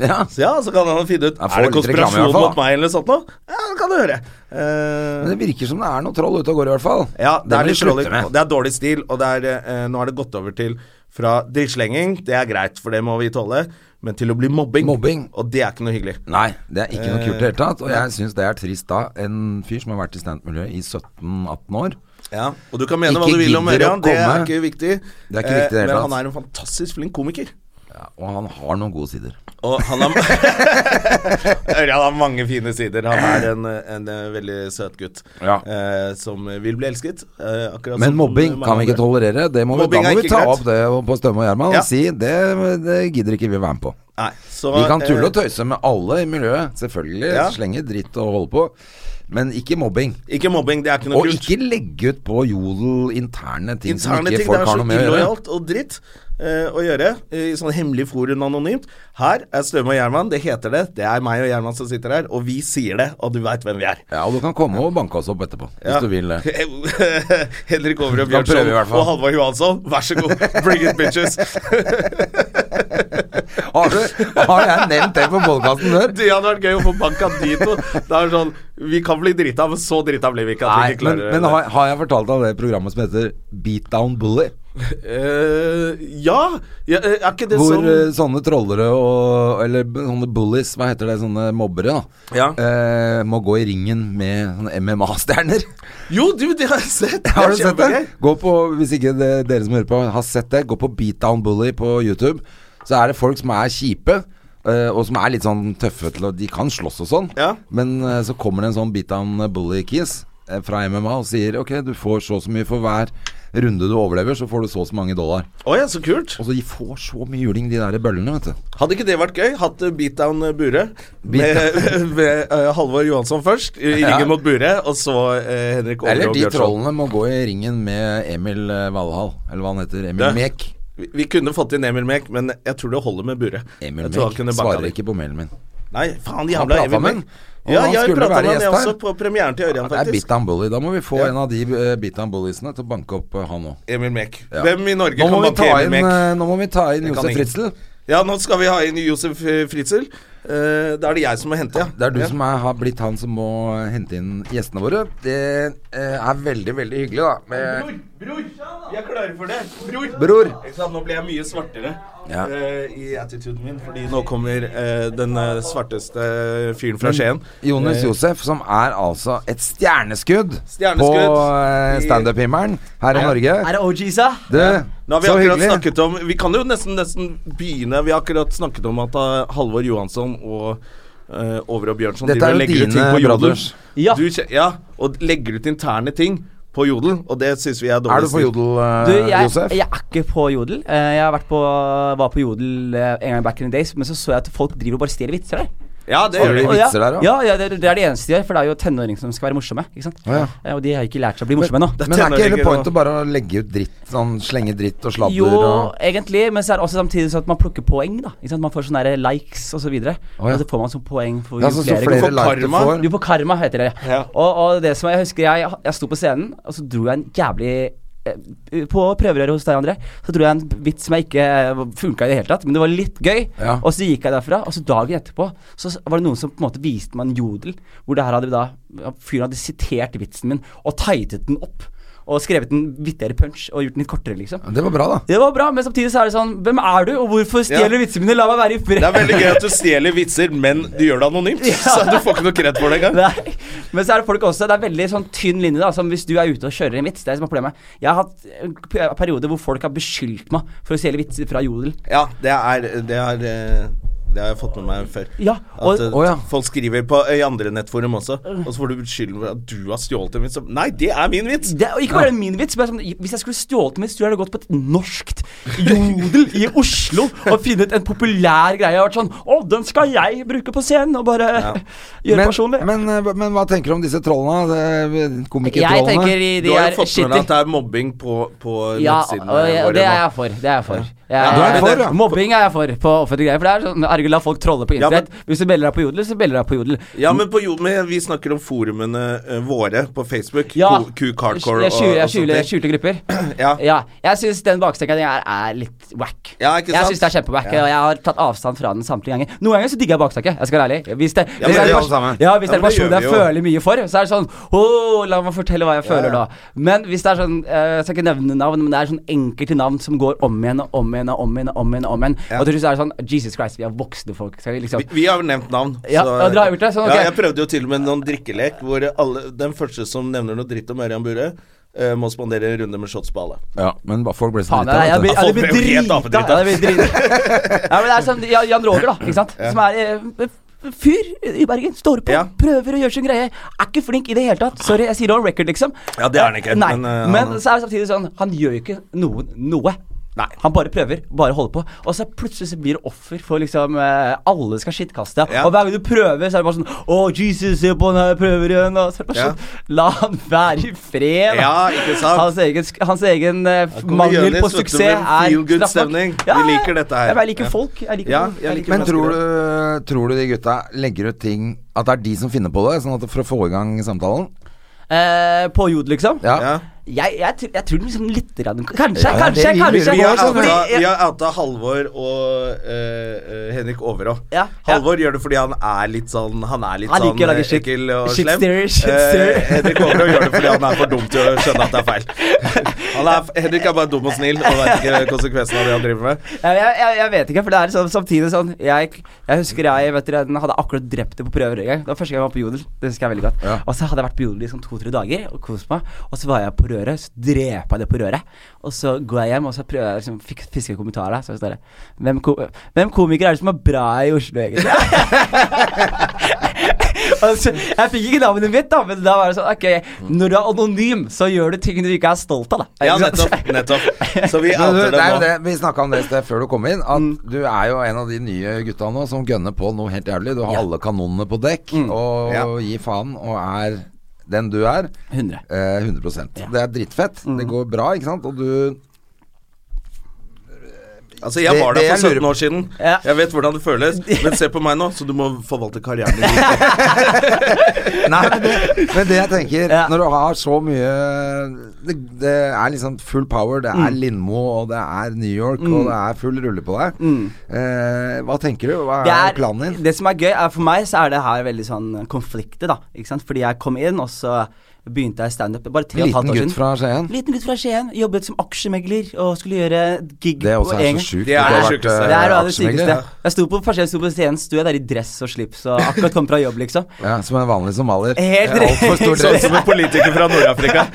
Speaker 1: Ja.
Speaker 2: Så ja, så kan han finne ut
Speaker 1: Ja, få
Speaker 2: Er det
Speaker 1: litt reklame i
Speaker 2: konspirasjon
Speaker 1: hvert fall,
Speaker 2: mot meg eller sånt noe. Ja, det kan du høre. Eh,
Speaker 1: Men det virker som det er noe troll ute og går, i hvert fall.
Speaker 2: Ja, det,
Speaker 1: må
Speaker 2: er
Speaker 1: vi
Speaker 2: litt
Speaker 1: slutte
Speaker 2: slålig,
Speaker 1: med.
Speaker 2: det er dårlig stil, og det er, eh, nå er det gått over til fra drittslenging, det er greit, for det må vi tåle, men til å bli mobbing.
Speaker 1: Mobbing.
Speaker 2: Og det er ikke noe hyggelig.
Speaker 1: Nei, det er ikke noe
Speaker 2: Eh,
Speaker 1: kult i det hele tatt. Og jeg syns det er trist da. En fyr som har vært i standup-miljøet i 17-18 år.
Speaker 2: Ja, og du kan mene
Speaker 1: Ikke
Speaker 2: hva du vil om
Speaker 1: gidder å
Speaker 2: Ørjan, det er
Speaker 1: komme.
Speaker 2: ikke viktig. Eh,
Speaker 1: Det er ikke viktig i det hele
Speaker 2: men
Speaker 1: tatt.
Speaker 2: han er en fantastisk flink komiker.
Speaker 1: Ja, og han har noen gode sider.
Speaker 2: Og han har Ørjan har mange fine sider. Han er en, en, eh, veldig søt gutt
Speaker 1: Ja.
Speaker 2: eh, som vil bli elsket. Eh, akkurat
Speaker 1: Men
Speaker 2: som
Speaker 1: mobbing
Speaker 2: mange
Speaker 1: kan vi ikke
Speaker 2: andre.
Speaker 1: tolerere. Det må vi, da
Speaker 2: Mobbing er
Speaker 1: må vi
Speaker 2: ikke
Speaker 1: ta
Speaker 2: greit.
Speaker 1: opp det på Stømme og Gjerman
Speaker 2: Ja.
Speaker 1: og si det, det gidder ikke vi være med på.
Speaker 2: Nei, så,
Speaker 1: Vi kan
Speaker 2: eh,
Speaker 1: tulle og tøyse med alle i miljøet, selvfølgelig.
Speaker 2: Ja.
Speaker 1: Slenge dritt og holde på. Men ikke mobbing.
Speaker 2: eh, Ikke mobbing, det er ikke noe
Speaker 1: Og
Speaker 2: kult.
Speaker 1: ikke legge ut på Jodel interne ting som
Speaker 2: Interne
Speaker 1: ikke
Speaker 2: ting, det
Speaker 1: folk
Speaker 2: er
Speaker 1: har
Speaker 2: så
Speaker 1: noe med å gjøre.
Speaker 2: illojalt og dritt eh, å gjøre. eh, I sånn hemmelig forum anonymt. Her er Støme og Gjerman, det heter det. Det er meg og Gjerman som sitter her, og vi sier det, og du veit hvem vi er.
Speaker 1: Ja, og du kan komme og banke oss opp etterpå, hvis du vil det.
Speaker 2: Henrik Overø
Speaker 1: kan prøve
Speaker 2: Bjørnson
Speaker 1: i hvert fall.
Speaker 2: og Halvard Johansson, vær så god, bring it bitches.
Speaker 1: Har, du, har jeg nevnt det på podkasten før?
Speaker 2: Det hadde vært gøy å få banka de to. Det er sånn, Vi kan bli drita, men så drita blir vi ikke at vi
Speaker 1: Nei,
Speaker 2: ikke
Speaker 1: men,
Speaker 2: klarer
Speaker 1: men har, har jeg fortalt deg det programmet som heter Beatdown Bully?
Speaker 2: Eh, ja, ja, eh, er ikke det
Speaker 1: Hvor
Speaker 2: sånn
Speaker 1: eh, sånne trollere og Eller b- sånne bullies, hva heter det, sånne mobbere, da.
Speaker 2: Ja.
Speaker 1: eh, må gå i ringen med sånne MMA-stjerner.
Speaker 2: Jo, du, det har jeg sett. Det
Speaker 1: Har
Speaker 2: er
Speaker 1: du sett det?
Speaker 2: kjempegøy.
Speaker 1: Gå på, Hvis ikke det, dere som hører på har sett det, gå på Beatdown Bully på YouTube. Så er det folk som er kjipe, eh, og som er litt sånn tøffe til å De kan slåss og sånn,
Speaker 2: Ja.
Speaker 1: men eh, så kommer det en sånn Beatdown Bully-kis eh, fra MMA og sier ok, du får så og så mye for hver runde du overlever, så får du så og så mange dollar.
Speaker 2: Å ja, så kult.
Speaker 1: Og så de får så mye juling, de der bøllene, vet du.
Speaker 2: Hadde ikke det vært gøy? Hatt eh, Beatdown eh, Bure med, med eh, Halvor Johansson først, i
Speaker 1: Ja.
Speaker 2: ringen mot Bure, og så eh, Henrik Overå
Speaker 1: Eller de
Speaker 2: Bjørnson.
Speaker 1: trollene må gå i ringen med Emil eh, Valhall, eller hva han heter. Emil
Speaker 2: Ja.
Speaker 1: Mek.
Speaker 2: Vi, vi kunne fått inn Emil Mek, men jeg tror det holder med Bure.
Speaker 1: Emil
Speaker 2: jeg tror han
Speaker 1: Mek
Speaker 2: kunne banka
Speaker 1: svarer
Speaker 2: det.
Speaker 1: ikke på mailen min.
Speaker 2: Nei, faen
Speaker 1: Han
Speaker 2: jævla
Speaker 1: pratet
Speaker 2: Emil
Speaker 1: med
Speaker 2: Mek.
Speaker 1: han, og
Speaker 2: Ja,
Speaker 1: han
Speaker 2: jeg
Speaker 1: skulle
Speaker 2: prata
Speaker 1: være
Speaker 2: med han jeg
Speaker 1: gjest her.
Speaker 2: også på premieren til Ørjan,
Speaker 1: Det er
Speaker 2: faktisk.
Speaker 1: Bitan Bully. Da må vi få
Speaker 2: Ja.
Speaker 1: en av de eh, Bitan Bulliesene til å banke opp eh, han òg.
Speaker 2: Emil Mek.
Speaker 1: Ja.
Speaker 2: Hvem i Norge
Speaker 1: Nå, må
Speaker 2: kan
Speaker 1: vi
Speaker 2: banke
Speaker 1: ta
Speaker 2: Emil
Speaker 1: inn,
Speaker 2: Mek?
Speaker 1: eh, nå må vi ta inn
Speaker 2: Det kan
Speaker 1: Josef
Speaker 2: ingen.
Speaker 1: Fritzel.
Speaker 2: Ja, nå skal vi ha inn Josef eh, Fritzel. Eh, da er det jeg som må hente, ja.
Speaker 1: Det er du
Speaker 2: ja.
Speaker 1: som er, har blitt han som må eh, hente inn gjestene våre. Det eh, er veldig, veldig hyggelig, da. Med
Speaker 2: Bror, bror, vi er klare for det. Bror.
Speaker 1: Bror.
Speaker 2: Ikke sant, Nå ble jeg mye svartere
Speaker 1: Ja.
Speaker 2: eh, i attituden min, fordi nå kommer eh, den eh, svarteste fyren fra Skien. Eh.
Speaker 1: Jonis Josef, som er altså et stjerneskudd, på
Speaker 2: Stjerneskudd
Speaker 1: eh,
Speaker 2: i-
Speaker 1: standup-himmelen her i Norge.
Speaker 3: Er det OGs, da?
Speaker 1: Du,
Speaker 2: Nå har vi
Speaker 1: så
Speaker 2: akkurat
Speaker 1: hyggelig.
Speaker 2: snakket om Vi kan jo nesten, nesten begynne Vi har akkurat snakket om at eh, Halvor Johansson og eh, Over og Bjørnson
Speaker 1: Dette
Speaker 2: driver
Speaker 1: er jo
Speaker 2: og legger ut ting
Speaker 1: dine
Speaker 2: på Jodel.
Speaker 1: brothers.
Speaker 3: Ja.
Speaker 2: Du kje- ja, og legger ut interne ting på Jodel, og det syns vi er dårlig.
Speaker 1: Er du på
Speaker 2: stil.
Speaker 1: Jodel, eh,
Speaker 3: Du, jeg,
Speaker 1: Josef?
Speaker 3: jeg er ikke på Jodel. Eh, Jeg har vært på, var på Jodel eh, en gang back in the days, men så så jeg at folk driver og bare stjeler vitser der.
Speaker 2: Ja, det
Speaker 1: Har
Speaker 2: gjør
Speaker 1: du
Speaker 2: vi.
Speaker 1: det?
Speaker 3: Og ja,
Speaker 1: vitser der, da?
Speaker 3: ja, ja det, det er det eneste de gjør, for det er jo tenåringer som skal være morsomme. Ikke sant?
Speaker 1: Ja, ja.
Speaker 3: Eh, Og de har ikke lært seg å bli morsomme ennå.
Speaker 1: Men er ikke hele
Speaker 2: tenåringer
Speaker 1: pointet
Speaker 2: og-
Speaker 1: bare å legge ut dritt? Sånn slenge dritt og sladder
Speaker 3: Jo,
Speaker 1: og
Speaker 3: egentlig, men så er det også samtidig sånn at man plukker poeng. da ikke sant? Man får sånne der likes og så videre.
Speaker 1: Å, ja.
Speaker 3: Og så får man sånn poeng for
Speaker 1: Ja,
Speaker 3: jo
Speaker 1: sånn som
Speaker 3: flere,
Speaker 1: flere
Speaker 2: får
Speaker 1: likes du
Speaker 2: karma.
Speaker 1: får.
Speaker 3: Du får karma, heter det.
Speaker 2: Ja.
Speaker 3: Og, og det som jeg husker jeg, jeg sto på scenen, og så dro jeg en jævlig eh, på prøverøret hos deg, André, så dro jeg en vits som jeg ikke funka i det hele tatt. Men det var litt gøy.
Speaker 1: Ja.
Speaker 3: Og så gikk jeg derfra, og så dagen etterpå så s- var det noen som på en måte viste meg en jodel, hvor det her hadde vi da ja, Fyren hadde sitert vitsen min og tightet den opp. Og skrevet en vittigere punch og gjort den litt kortere, liksom.
Speaker 1: Det var bra, da.
Speaker 3: Det var bra, men samtidig så er det sånn Hvem er du, og hvorfor
Speaker 2: Ja.
Speaker 3: stjeler du vitsene mine? La meg være i fred.
Speaker 2: Det er veldig gøy at du stjeler vitser, men du gjør det anonymt. Så du får ikke noe kred for det engang.
Speaker 3: Nei. Men så er det folk også Det er veldig sånn tynn linje. da Som Hvis du er ute og kjører en vits Det er det som er problemet. Jeg har hatt en p- perioder hvor folk har beskyldt meg for å stjele vitser fra Jodel.
Speaker 2: Ja, det er Det, er, eh, det har jeg fått med meg før.
Speaker 3: Ja, og- Øh.
Speaker 2: at eh,
Speaker 1: Å, ja.
Speaker 2: folk skriver på eh, i andre nettforum også, og så får du beskylden for at du har stjålet en vits. Så, Nei, det er min vits!
Speaker 3: Det, og ikke bare min vits, men sånn, hvis jeg skulle stjålet min, så hadde jeg gått på et norskt jodel i Oslo og funnet en populær greie og vært sånn Å, den skal jeg bruke på scenen! Og bare gjøre
Speaker 1: Men,
Speaker 3: personlig.
Speaker 1: men, eh, men hva tenker du om disse trollene? eh,
Speaker 3: jeg
Speaker 1: Komikertrollene?
Speaker 3: tenker i
Speaker 2: du
Speaker 3: de
Speaker 2: har
Speaker 3: er
Speaker 2: jo fått med deg
Speaker 3: shitter.
Speaker 2: at det er mobbing på, på
Speaker 3: Ja, og,
Speaker 2: nettsidene
Speaker 3: jeg- og
Speaker 2: våre
Speaker 3: det er
Speaker 2: nå.
Speaker 3: jeg for. Det er jeg for. Jeg,
Speaker 2: Ja,
Speaker 1: du er for, ja.
Speaker 3: Mobbing er jeg for på offentlige greier. For det er sånn Herregud, la folk trolle på
Speaker 2: Ja, men-
Speaker 3: internett. Hvis du melder deg på Jodel, så melder du deg på Jodel.
Speaker 2: Ja, men, på, jo- men vi snakker om forumene eh, våre på Facebook.
Speaker 3: Ja.
Speaker 2: Ku- Kuk Hardcore
Speaker 3: Jeg
Speaker 2: og,
Speaker 3: skjuler,
Speaker 2: og
Speaker 3: jeg skjuler,
Speaker 2: sånt.
Speaker 3: skjulte grupper.
Speaker 2: Ja.
Speaker 3: Ja. Jeg syns den bakstenka di er, er litt wack.
Speaker 2: Ja, ikke
Speaker 3: Jeg
Speaker 2: sant?
Speaker 3: syns det er kjempewack,
Speaker 2: Ja.
Speaker 3: og jeg har tatt avstand fra den samtlige ganger. Noen ganger så digger jeg bakstanke. Jeg skal være ærlig. Hvis
Speaker 2: Ja,
Speaker 3: det,
Speaker 2: men
Speaker 3: hvis det
Speaker 2: det
Speaker 3: er
Speaker 2: er
Speaker 3: en
Speaker 2: alle sammen.
Speaker 3: person, ja, hvis
Speaker 2: Ja,
Speaker 3: det er en
Speaker 2: men det
Speaker 3: person
Speaker 2: gjør
Speaker 3: jeg
Speaker 2: vi jo.
Speaker 3: føler mye for, så er det sånn Å, la meg fortelle hva jeg føler
Speaker 2: ja.
Speaker 3: da. Men hvis det er sånn eh, Jeg skal ikke nevne navn, men det er sånn enkelte navn som går om igjen og om igjen og om igjen. Og om igjen, og om igjen. Og til slutt så er det sånn Jesus Christ, vi er voksne folk. Skal vi liksom
Speaker 2: Vi, vi har jo nevnt navn.
Speaker 3: Ja, ja, dere har gjort det, sånn, ok.
Speaker 2: ja, jeg prøvde jo til og med noen drikkelek hvor alle, den første som nevner noe dritt om Ørjan Bure, eh, må spandere en runde med shots på alle.
Speaker 1: Ja, men ba- folk ble så
Speaker 3: Faen, jeg, jeg,
Speaker 1: drita.
Speaker 3: blir-
Speaker 2: Ja,
Speaker 3: jeg
Speaker 2: folk
Speaker 3: blir
Speaker 2: ble jo helt
Speaker 3: drita.
Speaker 2: apedrita.
Speaker 3: Ja, jeg blir drita. ja, men det er sånn Jan- Jan Roger, da. Ikke sant? Som er eh, f- fyr i Bergen. Står på,
Speaker 2: Ja.
Speaker 3: prøver å gjøre sin greie. Er ikke flink i det hele tatt. Sorry, jeg sier det on record, liksom.
Speaker 2: Ja, det er han ikke,
Speaker 3: Nei,
Speaker 2: men,
Speaker 3: men,
Speaker 2: eh, han-
Speaker 3: så er det samtidig sånn Han gjør jo ikke noen noe.
Speaker 2: Nei.
Speaker 3: Han bare prøver, bare holder på. Og så plutselig så blir det offer for liksom eh, Alle skal skittkaste.
Speaker 2: Ja.
Speaker 3: Og hver gang du prøver, så er det bare sånn Å, Jesus, se på han her, prøver igjen. Og så er det bare
Speaker 2: Ja.
Speaker 3: sånn La han være i fred. da.
Speaker 2: Ja, ikke sant?
Speaker 3: Hans egen, sk- hans egen eh, f-
Speaker 2: kommer
Speaker 3: Altså, mangel
Speaker 2: Jonis,
Speaker 3: på
Speaker 2: vet du,
Speaker 3: suksess
Speaker 2: med
Speaker 3: er
Speaker 2: feel good
Speaker 3: straff nok.
Speaker 2: stemning. Vi liker dette her.
Speaker 3: Jeg bare liker
Speaker 2: Ja.
Speaker 3: folk. Jeg liker
Speaker 2: Ja,
Speaker 3: folk.
Speaker 2: jeg liker
Speaker 1: Men
Speaker 2: mennesker
Speaker 1: tror du, tror du de gutta legger ut ting At det er de som finner på det, sånn at for å få i gang samtalen?
Speaker 3: Eh, På jod, liksom?
Speaker 1: Ja.
Speaker 2: Ja.
Speaker 3: Jeg, jeg, tr- jeg tror liksom litt grann. Kanskje,
Speaker 1: Ja, det
Speaker 3: kanskje,
Speaker 1: lurer
Speaker 3: kanskje.
Speaker 1: vi
Speaker 2: Vi har
Speaker 1: også,
Speaker 2: outa,
Speaker 3: Fordi-
Speaker 2: vi har outa Halvor og eh, eh, Henrik Overå.
Speaker 3: Ja,
Speaker 2: Halvor gjør det fordi han er litt sånn Han er litt
Speaker 3: Han
Speaker 2: sånn
Speaker 3: liker å lage
Speaker 2: eh,
Speaker 3: shit-
Speaker 2: ekkel og
Speaker 3: shit
Speaker 2: slem.
Speaker 3: stirrer, shit stirrer.
Speaker 2: Eh, Henrik Overå gjør det fordi han er for dum til å skjønne at det er feil. Han er, Henrik er bare dum og snill og veit ikke konsekvensen av det han driver med.
Speaker 3: Ja, jeg, jeg, jeg vet ikke, for det er sånn, samtidig sånn jeg, jeg husker jeg vet dere, den hadde akkurat drept det på prøver en gang. Det var første gang jeg var på Jodel. Det husker jeg veldig godt.
Speaker 1: Ja.
Speaker 3: Og så hadde jeg vært på Jodel i sånn to-tre dager og kost meg. Og så var jeg på røret, så drepa jeg det på røret. Og så går jeg hjem og så prøver jeg liksom, fik- fiske kommentarer. Så er det sånn der, hvem, ko hvem komiker er det som er bra i Oslo, egentlig? altså, jeg fikk ikke navnet mitt, da, men da var det sånn Ok, når du er anonym, så gjør du ting du ikke er stolt av, da.
Speaker 2: Ja,
Speaker 3: Ikke sant?
Speaker 2: nettopp. nettopp. Så vi
Speaker 1: Men du,
Speaker 2: outer
Speaker 1: det er jo
Speaker 2: det
Speaker 1: det,
Speaker 2: nå.
Speaker 1: vi snakka om det et sted før du kom inn, at du er jo en av de nye gutta nå som gønner på noe helt jævlig. Du har alle kanonene på dekk og
Speaker 2: Ja.
Speaker 1: gir faen og er den du er.
Speaker 3: 100.
Speaker 1: Eh, 100
Speaker 3: Ja.
Speaker 1: Det er drittfett. Det går bra, ikke sant? Og du
Speaker 2: Altså, jeg var
Speaker 1: Det-
Speaker 2: der
Speaker 1: det
Speaker 2: for
Speaker 1: jeg lurer
Speaker 2: 17 år siden.
Speaker 3: Ja.
Speaker 2: Jeg vet hvordan det føles. Men se på meg nå, så du må forvalte karrieren din.
Speaker 1: Nei, men det, men det jeg tenker
Speaker 3: Ja.
Speaker 1: Når du har så mye det, det er liksom full power. Det
Speaker 3: Mm.
Speaker 1: er Lindmo, og det er New York, og det er full rulle på deg. Eh, hva tenker du? Hva er, planen din?
Speaker 3: Mm. Det som er gøy, er for meg så er det her veldig sånn konflikter, da. Ikke sant? Fordi jeg kom inn, og så begynte jeg standup bare tre og et
Speaker 1: Liten
Speaker 3: halvt år
Speaker 1: gutt
Speaker 3: siden.
Speaker 1: fra Skien.
Speaker 3: Liten gutt fra Skien. Jobbet som aksjemegler og skulle gjøre gig
Speaker 1: Det også
Speaker 3: på
Speaker 1: er så
Speaker 3: en gang.
Speaker 1: sjukt.
Speaker 2: Det er
Speaker 1: at du har
Speaker 2: det
Speaker 1: vært,
Speaker 2: sjukeste.
Speaker 1: eh,
Speaker 3: Det er noe av det
Speaker 1: aksjemegler.
Speaker 3: sykeste. Jeg sto på, første gang jeg sto på scenen, sto jeg der i dress og slips og akkurat kom fra jobb, liksom.
Speaker 1: Ja, som en vanlig somalier.
Speaker 3: Helt
Speaker 1: Eh, Altfor stor
Speaker 2: Sånn
Speaker 1: dress.
Speaker 2: som en politiker fra Nord-Afrika.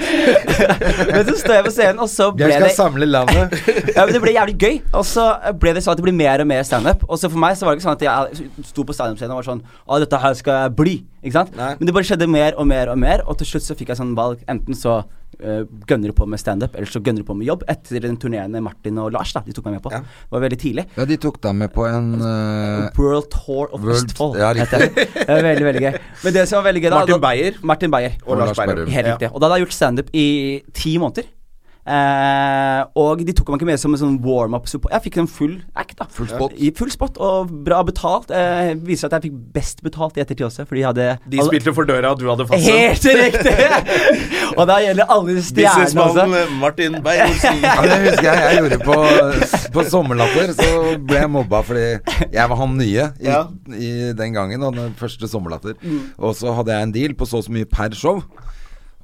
Speaker 3: Men så står jeg på scenen, og så ble
Speaker 1: Jeg skal
Speaker 3: det
Speaker 1: samle landet.
Speaker 3: ja, men Det ble jævlig gøy. Og så ble det sånn at det ble mer og mer standup. Og så for meg så var det ikke sånn at jeg sto på standup-scenen og var sånn Å, dette her skal jeg bli. Ikke sant?
Speaker 2: Nei.
Speaker 3: Men det bare skjedde mer og mer og mer, og til slutt så fikk jeg sånn valg. Enten så eh, gønner du på med standup, eller så gønner du på med jobb. Etter den turneen med Martin og Lars, da. De tok meg med på.
Speaker 2: Ja.
Speaker 3: Det var veldig tidlig.
Speaker 1: Ja, de tok deg med på en eh,
Speaker 3: World Tour of
Speaker 1: World-
Speaker 3: Østfold.
Speaker 1: ja,
Speaker 3: heter det. det var veldig, veldig gøy. Men det som var veldig gøy da
Speaker 2: Martin
Speaker 3: da-
Speaker 2: Beyer.
Speaker 3: Martin Beyer.
Speaker 2: Og Lars Berrum.
Speaker 3: Helt
Speaker 2: Ja.
Speaker 3: riktig. Og da hadde jeg gjort standup i ti måneder. Eh, og de tok meg ikke med som en sånn warm-up. support. Jeg fikk en full act, da.
Speaker 1: Full spot.
Speaker 3: I full spot og bra betalt. Eh, viser at jeg fikk best betalt i ettertid også, fordi jeg hadde
Speaker 2: De spilte for døra, og du hadde fast en.
Speaker 3: Helt riktig! og da gjelder alle stjernene også.
Speaker 2: Businessmann Martin Beyer-Olsen.
Speaker 1: Ja, det husker jeg jeg gjorde på, på Sommerlatter. Så ble jeg mobba fordi jeg var han nye i,
Speaker 2: Ja. Mm.
Speaker 1: i den gangen. Og den første Sommerlatter. Og så hadde jeg en deal på så og så mye per show.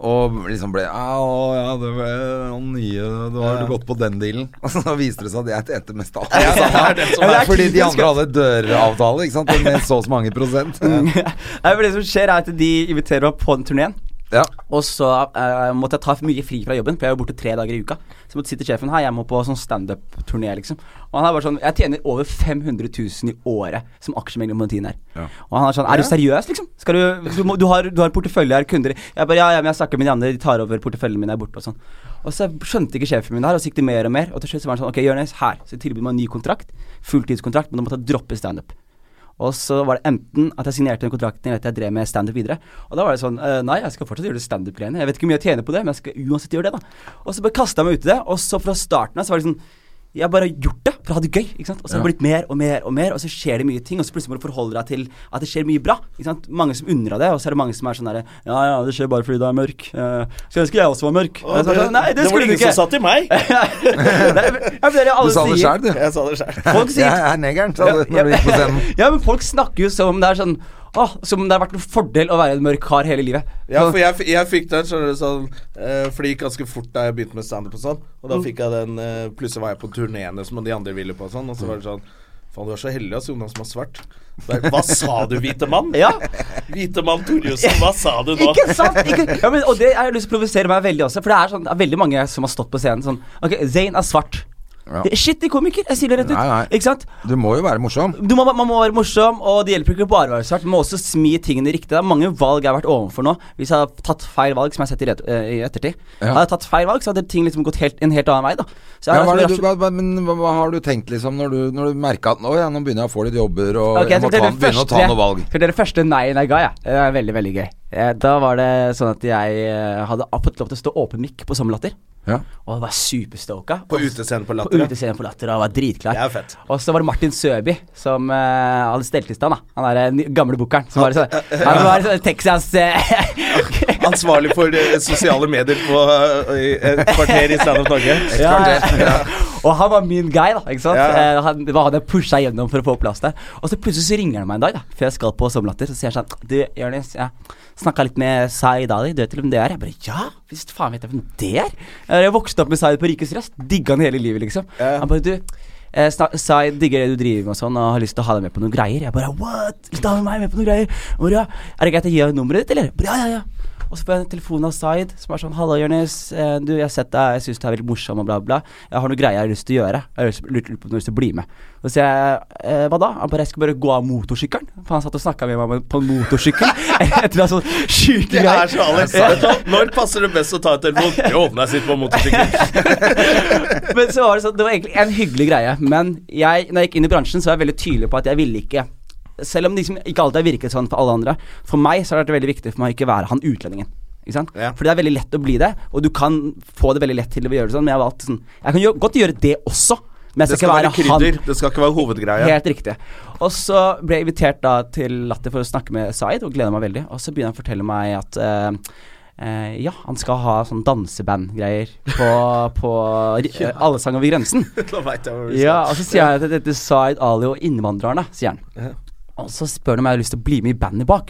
Speaker 1: Og liksom ble «Ja, Å ja, det var han nye Da har du gått på den dealen. Og så viste det seg at jeg tjente mest av alle
Speaker 2: Ja, det er det som
Speaker 1: sammen.
Speaker 2: er
Speaker 1: Fordi de
Speaker 3: typisk,
Speaker 1: andre hadde døravtale, ikke sant. Med så og så mange prosent.
Speaker 2: Mm.
Speaker 3: Nei, for det som skjer, er at de inviterer meg på den turneen.
Speaker 1: Ja.
Speaker 3: Og så eh, måtte jeg ta mye fri fra jobben, for jeg var borte tre dager i uka. Så måtte sitte sjefen her, jeg må på sånn standup-turné, liksom. Og han er bare sånn Jeg tjener over 500 000 i året som aksjemegler på den tiden her.
Speaker 1: Ja.
Speaker 3: Og han er sånn Er du seriøs, liksom? Skal du Du, må, du, har, du har portefølje her, kunder Jeg bare ja, ja, men jeg snakker med de andre, de tar over porteføljen min, jeg er borte og sånn. Og så skjønte ikke sjefen min det her, og så gikk det mer og mer. Og til slutt så var han sånn Ok, Jonis, her. Så tilbød meg en ny kontrakt. Fulltidskontrakt, men da måtte jeg droppe standup. Og så var det enten at jeg signerte den kontrakten eller at jeg drev med standup videre. Og da var det sånn eh, Nei, jeg skal fortsatt gjøre det standup-greiene. Jeg vet ikke hvor mye jeg tjener på det, men jeg skal uansett gjøre det, da. Og så bare kasta jeg meg ut i det. Og så fra starten av så var det sånn jeg har bare gjort det for å ha det gøy. ikke sant? Og så har det blitt mer og mer, og mer, og så skjer det mye ting. Og så plutselig må du forholde deg til at det skjer mye bra. ikke sant? Mange som unner deg det, og så er det mange som er sånn derre Ja, ja, det skjer bare fordi du er mørk. Eh, Skulle ønske jeg også var mørk. Og så er det sånn, nei, det, skulle du ikke.
Speaker 2: til meg.
Speaker 3: Nei, men- ja, men det er det
Speaker 1: Du
Speaker 3: alle
Speaker 1: sa det
Speaker 3: sier.
Speaker 1: sjøl, du.
Speaker 2: Jeg sa det sjøl.
Speaker 3: Folk sier
Speaker 1: Jeg er negeren, sa du når du gikk på scenen.
Speaker 3: ja, men folk snakker jo som om det er sånn Åh, som om det har vært en fordel å være en mørk kar hele livet.
Speaker 2: Ja, for jeg, f- jeg fikk den, skjønner du, sånn eh, For det gikk ganske fort da jeg begynte med standup og sånn. Og da
Speaker 3: Mm.
Speaker 2: fikk jeg den eh, Plutselig var jeg på turneene som de andre ville på og
Speaker 3: Mm.
Speaker 2: sånn, og så var det sånn Faen, du er så heldig, ass, Jonas, som har svart. Bare, Hva sa du, hvite mann?
Speaker 3: Ja.
Speaker 2: Hvite mann Torjussen, hva sa du nå?
Speaker 3: Ikke sant? Ikke, ja, men, og det jeg har lyst til å provosere meg veldig også, for det er sånn det er veldig mange som har stått på scenen sånn Ok, Zain er svart.
Speaker 1: Ja.
Speaker 3: Shit, de komiker! Jeg sier det rett ut.
Speaker 1: Nei, nei.
Speaker 3: Ikke sant?
Speaker 1: Du må jo være morsom.
Speaker 3: du må, man må være morsom, og det hjelper ikke bare å være svart. Man må også smi tingene riktig. Det er mange valg jeg har vært overfor nå. Hvis jeg hadde tatt feil valg, som jeg har sett i, ret- eh, i ettertid
Speaker 1: Ja.
Speaker 3: Hadde jeg tatt feil valg, så hadde ting liksom gått helt, en helt annen vei, da. Så jeg
Speaker 1: Ja,
Speaker 3: er
Speaker 1: hva, er det
Speaker 3: liksom
Speaker 1: du,
Speaker 3: rasjonell.
Speaker 1: hva, hva, men hva, hva har du tenkt liksom når du, når du merka at nå, ja, nå begynner jeg å få litt jobber og
Speaker 3: Ok,
Speaker 1: jeg må ta,
Speaker 3: skal dere
Speaker 1: begynne å ta
Speaker 3: første-
Speaker 1: noen valg?
Speaker 3: Skal dere første nei-en jeg ga, jeg. Det er veldig, veldig gøy. Eh, Da var det sånn at jeg eh, hadde fått lov til å stå åpen mikk på sommerlatter.
Speaker 1: Ja.
Speaker 3: Og var superstoka.
Speaker 2: På utescenen på
Speaker 3: På
Speaker 2: Latter. ja.
Speaker 3: utescenen på Latter og var dritklar.
Speaker 2: Det er fett.
Speaker 3: Og så var det Martin Søby som eh, hadde stelt i stand. da. Han er den gamle bookeren. Som var sånn, han var sånn Texas eh,
Speaker 2: Ansvarlig for eh, sosiale medier på eh, i et kvarter i Stand Up Norge.
Speaker 3: ja, ja. Og han var min guy, da. ikke sant?
Speaker 2: Ja, ja.
Speaker 3: Eh, Han, det var han jeg pusha gjennom for å få plass der. Og så plutselig så ringer han meg en dag, da, før jeg skal på sommerlatter. Så sier han sånn Du, Jonis, jeg snakka litt med Zaid Ali. Du vet hvem det er? Jeg bare Ja, hvis faen vet jeg hvem det er? Jeg har vokst opp med Zaid på Rikets Røst. Digga han hele livet, liksom.
Speaker 2: Ja.
Speaker 3: Han bare Du, eh, sna- Zaid digger det du driver med og sånn, og har lyst til å ha deg med på noen greier. Jeg bare What? Lyst til å ha meg med på noen greier? Jeg Bare, ja. Er det greit å gi deg nummeret ditt, eller? Jeg Bare, ja, ja, ja. Og så får jeg en telefon av Zaid som er sånn Halla, Jonis. Eh, du, jeg har sett deg, jeg syns du er veldig morsom og bla, bla. Jeg har noe greier jeg har lyst til å gjøre. Jeg har lyst- lurt lurt på om du har lyst til å bli med. Og så sier jeg eh, hva da? Han bare jeg skal bare gå av motorsykkelen. For han satt og snakka med meg på en motorsykkel etter å ha sånn sjuke
Speaker 2: Det er så Alex.
Speaker 3: Ja.
Speaker 2: Når passer det best å ta en telefon? Jo, når jeg sitter på motorsykkel.
Speaker 3: Men så var det sånn, det var egentlig en hyggelig greie. Men jeg, når jeg gikk inn i bransjen, så var jeg veldig tydelig på at jeg ville ikke Selv om det liksom ikke alltid har virket sånn for alle andre. For meg så har det vært veldig viktig for meg å ikke være han utlendingen. Ikke sant?
Speaker 2: Ja.
Speaker 3: For det er veldig lett å bli det, og du kan få det veldig lett til å gjøre det sånn, men jeg valgte sånn Jeg kan jo godt gjøre det også, men jeg
Speaker 2: Det
Speaker 3: skal ikke
Speaker 2: skal
Speaker 3: være
Speaker 2: være
Speaker 3: han.
Speaker 2: krydder, det skal ikke være hovedgreia.
Speaker 3: Helt riktig. Og så ble jeg invitert da til Latter for å snakke med Zaid, og gleder meg veldig. Og så begynner han å fortelle meg at eh, eh, ja, han skal ha sånn dansebandgreier på, på eh, Alle sang over grensen.
Speaker 2: Da vet jeg hva vi skal.
Speaker 3: Ja, og så sier jeg at dette er Zaid Ali og innvandrerne, sier han. Og så spør han om jeg har lyst til å bli med i bandet bak.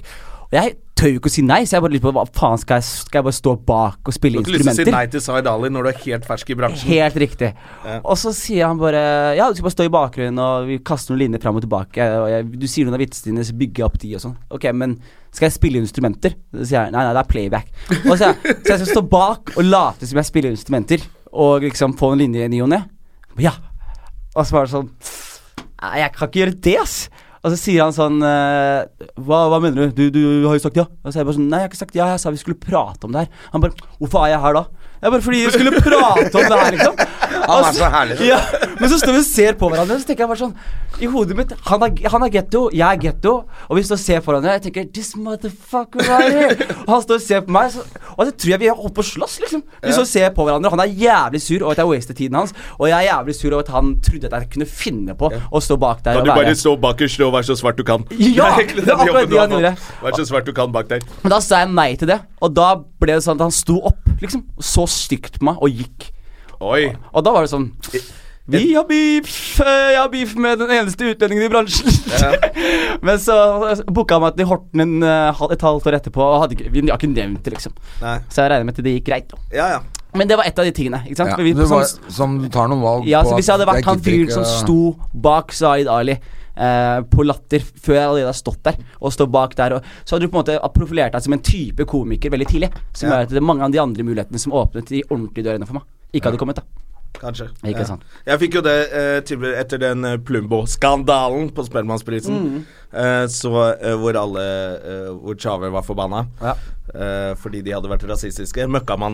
Speaker 3: Og jeg tør jo ikke å si nei, så jeg bare lurer på hva faen skal jeg, skal jeg bare stå bak og
Speaker 2: Du har
Speaker 3: spille
Speaker 2: ikke lyst til å si
Speaker 3: instrumenter?
Speaker 2: nei til Zaid Ali når du er helt fersk i bransjen.
Speaker 3: Helt riktig. Og så sier han bare Ja, du skal bare stå i bakgrunnen, og vi kaster noen linjer fram og tilbake, og jeg, du sier noen av vitsene dine, så bygger jeg opp de og sånn. Ok, men skal jeg spille instrumenter? Så sier jeg nei, nei, det er playback. Og så, sier jeg- så jeg skal stå bak og late som jeg spiller instrumenter, og liksom få en linje i ny og ne? Ja. Og så var det sånn Nei, jeg kan ikke gjøre det, ass. Og så sier han sånn eh, hva, hva mener du? du? Du har jo sagt ja. Og så er jeg bare sånn Nei, jeg har ikke sagt ja. Jeg sa vi skulle prate om det her. Han bare Hvorfor er jeg her da? Det er bare fordi vi skulle prate om det her, liksom.
Speaker 1: Han er
Speaker 3: Og
Speaker 1: så herlig, sånn.
Speaker 3: Ja, men så står vi og ser på hverandre, så tenker jeg bare sånn I hodet mitt Han er, han er getto, jeg er getto, og vi står og ser på hverandre. Jeg tenker This motherfucker right here. Og han står og ser på meg, så, og så tror jeg vi har holdt på å slåss, liksom. Vi står og ser på hverandre, og han er jævlig sur over at jeg wastet tiden hans, og jeg er jævlig sur over at han trodde at jeg kunne finne på å stå bak
Speaker 2: Kan
Speaker 3: der og
Speaker 2: du bare
Speaker 3: være
Speaker 2: stå bakerst og være så svart du kan?
Speaker 3: Ja, det var akkurat det han gjorde.
Speaker 2: Vær så svart du kan bak der.
Speaker 3: Men da sa jeg nei til det, og da ble det sånn at han sto opp, liksom, og så stygt på meg og gikk.
Speaker 2: Oi.
Speaker 3: Og da var det sånn Vi har beef! eh, Jeg har beef med den eneste utlendingen i bransjen. Men så booka han meg til Horten en, eh, hal- et halvt år etterpå, og hadde ikke, vi har ikke nevnt det, liksom.
Speaker 2: Nei.
Speaker 3: Så jeg regner med at det gikk greit. da.
Speaker 2: Ja, ja.
Speaker 3: Men det var et av de tingene. ikke sant?
Speaker 1: Ja.
Speaker 3: For vi,
Speaker 1: Du
Speaker 3: sånn-
Speaker 1: var, som du tar noen valg
Speaker 3: ja, så
Speaker 1: på
Speaker 3: Hvis jeg hadde
Speaker 1: at
Speaker 3: vært han
Speaker 1: gidder
Speaker 3: fyren
Speaker 1: ikke eh,
Speaker 3: som
Speaker 1: å-
Speaker 3: sto bak Zaid Ali eh, på Latter før jeg allerede har stått der, og står bak der, og, så hadde du på en måte profilert deg som en type komiker veldig tidlig. Som
Speaker 2: Ja.
Speaker 3: gjør at det er mange av de andre mulighetene som åpnet de ordentlige dørene for meg, ikke hadde kommet. da
Speaker 2: Kanskje.
Speaker 3: Ikke
Speaker 2: ja.
Speaker 3: sant.
Speaker 2: Jeg fikk jo det eh, tilbudet etter den eh, Plumbo-skandalen på Spellemannsprisen.
Speaker 3: Mm.
Speaker 2: Eh, så eh, hvor alle eh, Hvor Tjave var forbanna.
Speaker 3: Ja.
Speaker 2: Eh, fordi de hadde vært rasistiske.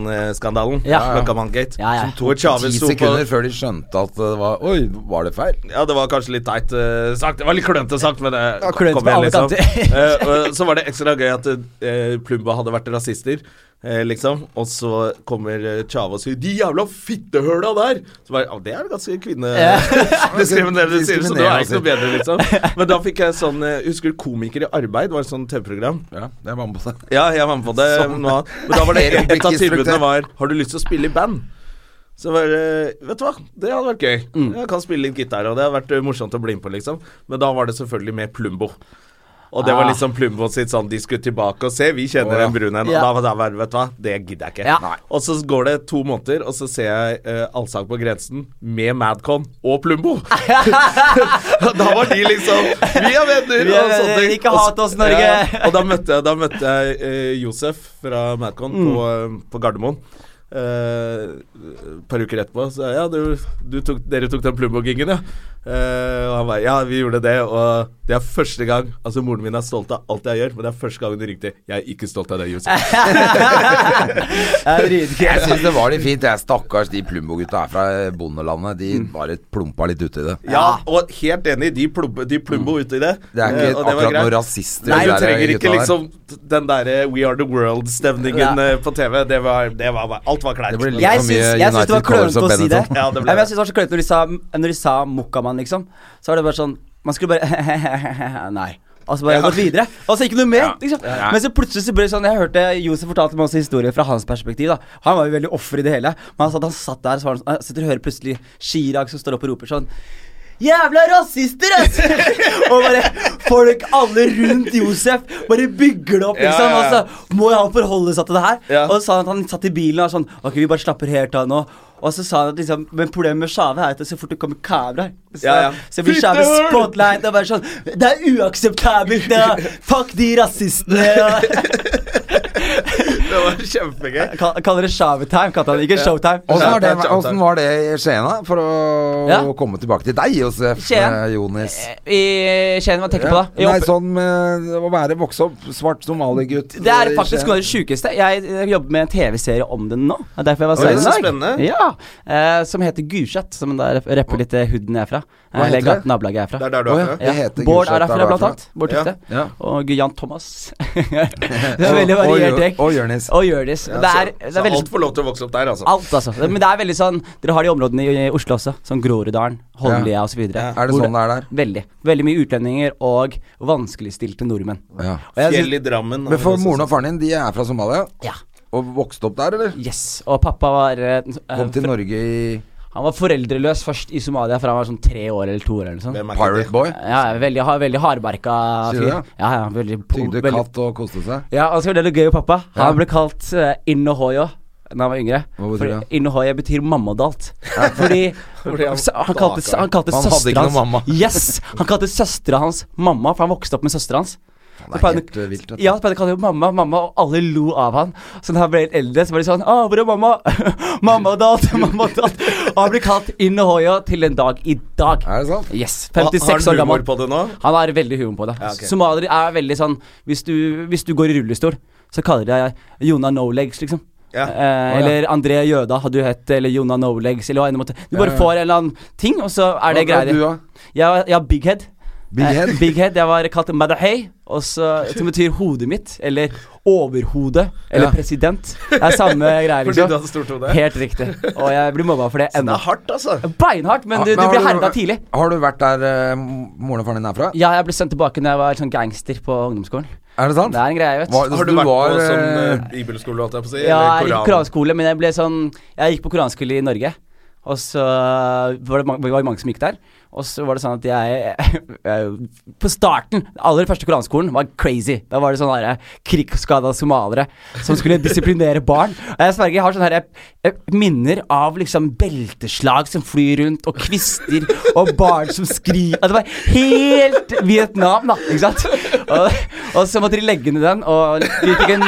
Speaker 2: Møkkamann-skandalen.
Speaker 3: Ja.
Speaker 2: Møkkamanngate.
Speaker 3: Ja, ja. Som
Speaker 2: Hvor Tjave
Speaker 1: Ti
Speaker 2: sto på
Speaker 1: sekunder før de skjønte at det var Oi, var det feil?
Speaker 2: ja, det var kanskje litt teit eh, sagt. Det var litt klønete sagt, men eh, det
Speaker 3: Ja, klønete på alle kanter.
Speaker 2: Eh, og så var det ekstra gøy at eh, Plumba hadde vært rasister, eh, liksom. Og så kommer eh, Tjave og sier 'de jævla fittehøla der'! Så bare, «Ja, Det er ganske
Speaker 3: Ja. altså.
Speaker 2: kvinnediskriminerende, sier du, så det er ikke
Speaker 1: Diskriminerende.
Speaker 2: noe bedre, liksom. Men da fikk jeg sånn eh, Husker du Komiker i arbeid? var et sånt TV-program.
Speaker 1: Ja, jeg var med på det.
Speaker 2: Ja, jeg var med på det.
Speaker 1: Sånn.
Speaker 2: nå. Men da var det et av
Speaker 1: Øyeblikkstruktur.
Speaker 2: tilbudene var Har du lyst til å spille i band? Så var det Vet du hva, det hadde vært gøy.
Speaker 3: Mm.
Speaker 2: Jeg kan spille litt gitar, og det hadde vært eh, morsomt å bli med på, liksom. Men da var det selvfølgelig med Plumbo. Og det var
Speaker 3: Ah.
Speaker 2: liksom Plumbo sitt sånn De skulle tilbake og se, vi kjenner
Speaker 1: Å, ja.
Speaker 2: en brun en. Og
Speaker 3: Ja.
Speaker 2: da var det bare, Vet du hva, det gidder jeg ikke.
Speaker 3: Ja. Nei.
Speaker 2: Og så går det to måneder, og så ser jeg eh, Allsang på grensen med Madcon og Plumbo. da var de liksom Vi er venner!
Speaker 3: Vi er
Speaker 2: og sånne
Speaker 3: venner,
Speaker 2: ting.
Speaker 3: ikke
Speaker 2: Og så-
Speaker 3: hat oss, Norge. Mm.
Speaker 2: Ja, og da møtte jeg, da møtte jeg eh, Josef fra Madcon på, eh, på Gardermoen. Eh, et par uker etterpå så ja, du, du tok, dere tok den plumboggingen, ja. Eh, og han bare ja, vi gjorde det, og det er første gang Altså, moren min er stolt av alt jeg gjør, men det er første gangen du ringte. Jeg er ikke stolt av deg,
Speaker 3: Eh,
Speaker 2: Josef.
Speaker 4: Jeg er
Speaker 1: Jeg
Speaker 4: dritgøy.
Speaker 1: syns det var litt fint. Jeg, stakkars de Plumbo-gutta her fra eh, bondelandet. De
Speaker 3: Mm.
Speaker 1: bare plumpa litt uti det.
Speaker 2: Ja, og helt enig, de, plumbo- de
Speaker 3: Mm.
Speaker 2: plumbo uti det.
Speaker 1: Det er
Speaker 2: eh,
Speaker 1: ikke
Speaker 2: og det var
Speaker 1: akkurat
Speaker 2: greit.
Speaker 1: noen rasister.
Speaker 2: Nei,
Speaker 1: de
Speaker 2: du
Speaker 1: der
Speaker 2: trenger
Speaker 1: gutta
Speaker 2: ikke
Speaker 1: der.
Speaker 2: liksom den derre We are the world-stemningen
Speaker 4: Nei.
Speaker 2: eh, på TV. Det var, det var Alt var kleint.
Speaker 1: Det ble litt
Speaker 4: Jeg
Speaker 1: for
Speaker 4: syns, jeg syns
Speaker 1: mye
Speaker 4: det var
Speaker 1: United Colors
Speaker 4: klønete
Speaker 1: og
Speaker 4: å si det.
Speaker 1: Benetton.
Speaker 2: Ja, det ble
Speaker 4: Nei, men
Speaker 2: det.
Speaker 4: jeg syns det var så klønete når de sa Når de sa Mokkamann, liksom. Så var det bare sånn Man skulle bare Nei. Altså bare gått videre. Altså ikke noe mer. Liksom.
Speaker 1: Ja.
Speaker 4: Men så plutselig så ble det sånn Jeg hørte Josef fortalte meg også historier fra hans perspektiv. da Han var jo veldig offer i det hele. Men han satt, han satt der så var han, sånn- han sitter og hører plutselig Chirag som står opp og roper sånn Jævla rasister, ass! og bare folk alle rundt Josef bare bygger det opp,
Speaker 2: Ja,
Speaker 4: liksom.
Speaker 2: ja, ja.
Speaker 4: Og så må jo han forholde seg til det her.
Speaker 2: Ja.
Speaker 4: Og så sa han at han satt i bilen og var sånn Ok, vi bare slapper helt av nå. Og så sa han at liksom Men problemet med Shave er at så fort det kommer kameraer så,
Speaker 2: Ja, ja.
Speaker 4: så blir Shave
Speaker 2: Fittehøl!
Speaker 4: spotlight og bare sånn Det er uakseptabelt! Det er, fuck de rasistene! og-
Speaker 2: Det var kjempegøy.
Speaker 4: Kall- Kaller det Shave-time, kalte han det, ikke Showtime.
Speaker 1: Åssen var, det-
Speaker 2: Shout out, shout out.
Speaker 1: hvordan var det i Skien, da? For å
Speaker 4: Ja.
Speaker 1: komme tilbake til deg, Josef
Speaker 3: Skien?
Speaker 1: eh, Jonis.
Speaker 3: I Skien, hva tenker du på da? I
Speaker 1: Nei,
Speaker 3: opp-
Speaker 1: sånn med å være vokse opp svart somaliegutt
Speaker 3: det er
Speaker 1: i
Speaker 3: faktisk
Speaker 1: Skien.
Speaker 3: noe av det sjukeste. Jeg eh, jobber med en TV-serie om den nå. Det er derfor jeg var
Speaker 2: Oi,
Speaker 3: sein i
Speaker 2: så
Speaker 3: dag.
Speaker 2: spennende.
Speaker 3: Ja, eh, som heter Gulset. Som da rapper litt eh, hooden jeg er fra. Eh,
Speaker 1: Hva heter
Speaker 3: Eller
Speaker 1: det?
Speaker 3: gat- nabolaget jeg er
Speaker 2: Det
Speaker 3: fra.
Speaker 2: er der du
Speaker 1: Å,
Speaker 2: er
Speaker 1: ja.
Speaker 2: fra.
Speaker 1: Det heter
Speaker 3: Bård
Speaker 1: Gulset,
Speaker 3: er
Speaker 1: der
Speaker 3: derfra,
Speaker 1: du er
Speaker 3: blant annet. Bård
Speaker 2: Ja.
Speaker 3: Tufte.
Speaker 1: Ja.
Speaker 3: Og Jan Thomas. det
Speaker 1: Og-
Speaker 3: er veldig
Speaker 1: og
Speaker 3: variert
Speaker 1: Jør-
Speaker 3: gjeng.
Speaker 1: Og Jonis.
Speaker 3: Og Jonis.
Speaker 2: Ja,
Speaker 3: det
Speaker 2: så-
Speaker 3: er, det
Speaker 2: så
Speaker 3: er veldig
Speaker 2: alt får lov til å vokse opp der, altså.
Speaker 3: Alt, altså. Det- Men det er veldig sånn Dere har de områdene i i Oslo også, som Groruddalen, Holmlia osv.
Speaker 2: Ja.
Speaker 1: Er det sånn det er der?
Speaker 3: Veldig. Veldig mye utlendinger og vanskeligstilte nordmenn.
Speaker 1: Ja.
Speaker 3: Og jeg
Speaker 2: Fjell
Speaker 3: synes,
Speaker 2: i Drammen.
Speaker 1: Men for moren og faren din, de er fra Somalia
Speaker 3: ja.
Speaker 1: og vokste opp der, eller?
Speaker 3: Yes. Og pappa var eh,
Speaker 1: Kom til
Speaker 3: eh,
Speaker 1: Norge i
Speaker 3: Han var foreldreløs først i Somalia fra han var sånn tre år eller to år eller noe sånt.
Speaker 2: Hvem er ikke
Speaker 1: Pirate
Speaker 2: det?
Speaker 1: Boy.
Speaker 3: Ja, veldig, ha- veldig hardbarka
Speaker 1: Sier du
Speaker 3: fyr.
Speaker 1: det?
Speaker 3: Ja, ja, veldig,
Speaker 1: Tygde
Speaker 3: veldig-
Speaker 1: katt og koste seg.
Speaker 3: Ja, altså, han skal fortelle noe gøy om pappa. Han
Speaker 1: Ja.
Speaker 3: ble kalt uh, Innohoyo da han var yngre.
Speaker 1: Hva betyr det?
Speaker 3: Innohoyo betyr mamma og dalt. Fordi
Speaker 2: Fordi han
Speaker 3: så han kalte,
Speaker 2: staka.
Speaker 3: han kalte
Speaker 1: Han hadde ikke
Speaker 3: søstera hans
Speaker 1: noen mamma.
Speaker 3: Yes! Han kalte søstera hans mamma, for han vokste opp med søstera hans.
Speaker 1: Det
Speaker 3: Så
Speaker 1: er
Speaker 3: pleide-
Speaker 1: helt eh, vilt. vet du.
Speaker 3: Ja, så pleide han å kalle henne mamma, mamma, og alle lo av han. Så da han ble litt eldre, så var de sånn Å, hvor er mamma? mamma og dalt, mamma og dalt. Og han blir kalt Innohoyo til en dag i dag.
Speaker 1: Er det sant?
Speaker 3: Yes.
Speaker 2: Har
Speaker 3: 56
Speaker 2: han
Speaker 3: år
Speaker 2: humor
Speaker 3: gammel.
Speaker 2: på det nå?
Speaker 3: Han har veldig humor på det.
Speaker 2: Ja, ok.
Speaker 3: Somaliere er veldig sånn hvis du, hvis du går i rullestol, så kaller de deg Jonah No Legs, liksom.
Speaker 2: Ja.
Speaker 3: Eh, Eller André Jøda hadde du hett, eller Jonah No Legs, eller hva enn det måtte Du bare
Speaker 1: Ja, ja.
Speaker 3: får en eller annen ting, og så er det
Speaker 1: Hva er
Speaker 3: greier.
Speaker 1: du, da?
Speaker 3: Jeg, jeg har Big Head.
Speaker 1: Big
Speaker 3: Eh,
Speaker 1: Head?
Speaker 3: Big Head, Jeg var kalt Madahei, og så- som betyr hodet mitt, eller overhode, eller
Speaker 1: Ja.
Speaker 3: president. Det er samme greie,
Speaker 2: Fordi du
Speaker 3: liksom.
Speaker 2: hadde stort hode?
Speaker 3: Helt riktig. Og jeg blir mobba for det
Speaker 2: Det
Speaker 3: ennå.
Speaker 2: er hardt, altså.
Speaker 3: Beinhardt, men du,
Speaker 1: Ja,
Speaker 3: du
Speaker 1: har
Speaker 3: blir herda tidlig.
Speaker 1: Har du vært der eh, moren og faren din er fra?
Speaker 3: Ja, jeg ble sendt tilbake når jeg var sånn gangster på ungdomsskolen.
Speaker 1: Er det sant?
Speaker 3: Det er en greie, vet
Speaker 1: Var-
Speaker 3: du.
Speaker 1: så
Speaker 2: Har du,
Speaker 1: du
Speaker 2: vært
Speaker 1: var,
Speaker 2: på sånn
Speaker 1: eh,
Speaker 2: eh, bibelskole, holdt jeg på å si?
Speaker 3: Ja,
Speaker 2: eller
Speaker 3: jeg gikk på
Speaker 2: Koran?
Speaker 3: koranskole, men jeg ble sånn Jeg gikk på koranskole i Norge, og så var det, mange, var det mange som gikk der. Og så var det sånn at jeg På starten, den aller første koranskolen, var crazy. Da var det sånne derre krigsskada somaliere som skulle disiplinere barn. Og jeg sverger, jeg har sånne her, eh, minner av liksom belteslag som flyr rundt, og kvister, og barn som skriker Det var helt Vietnam, da, ikke sant? Og, og så måtte de legge ned den, og vi fikk en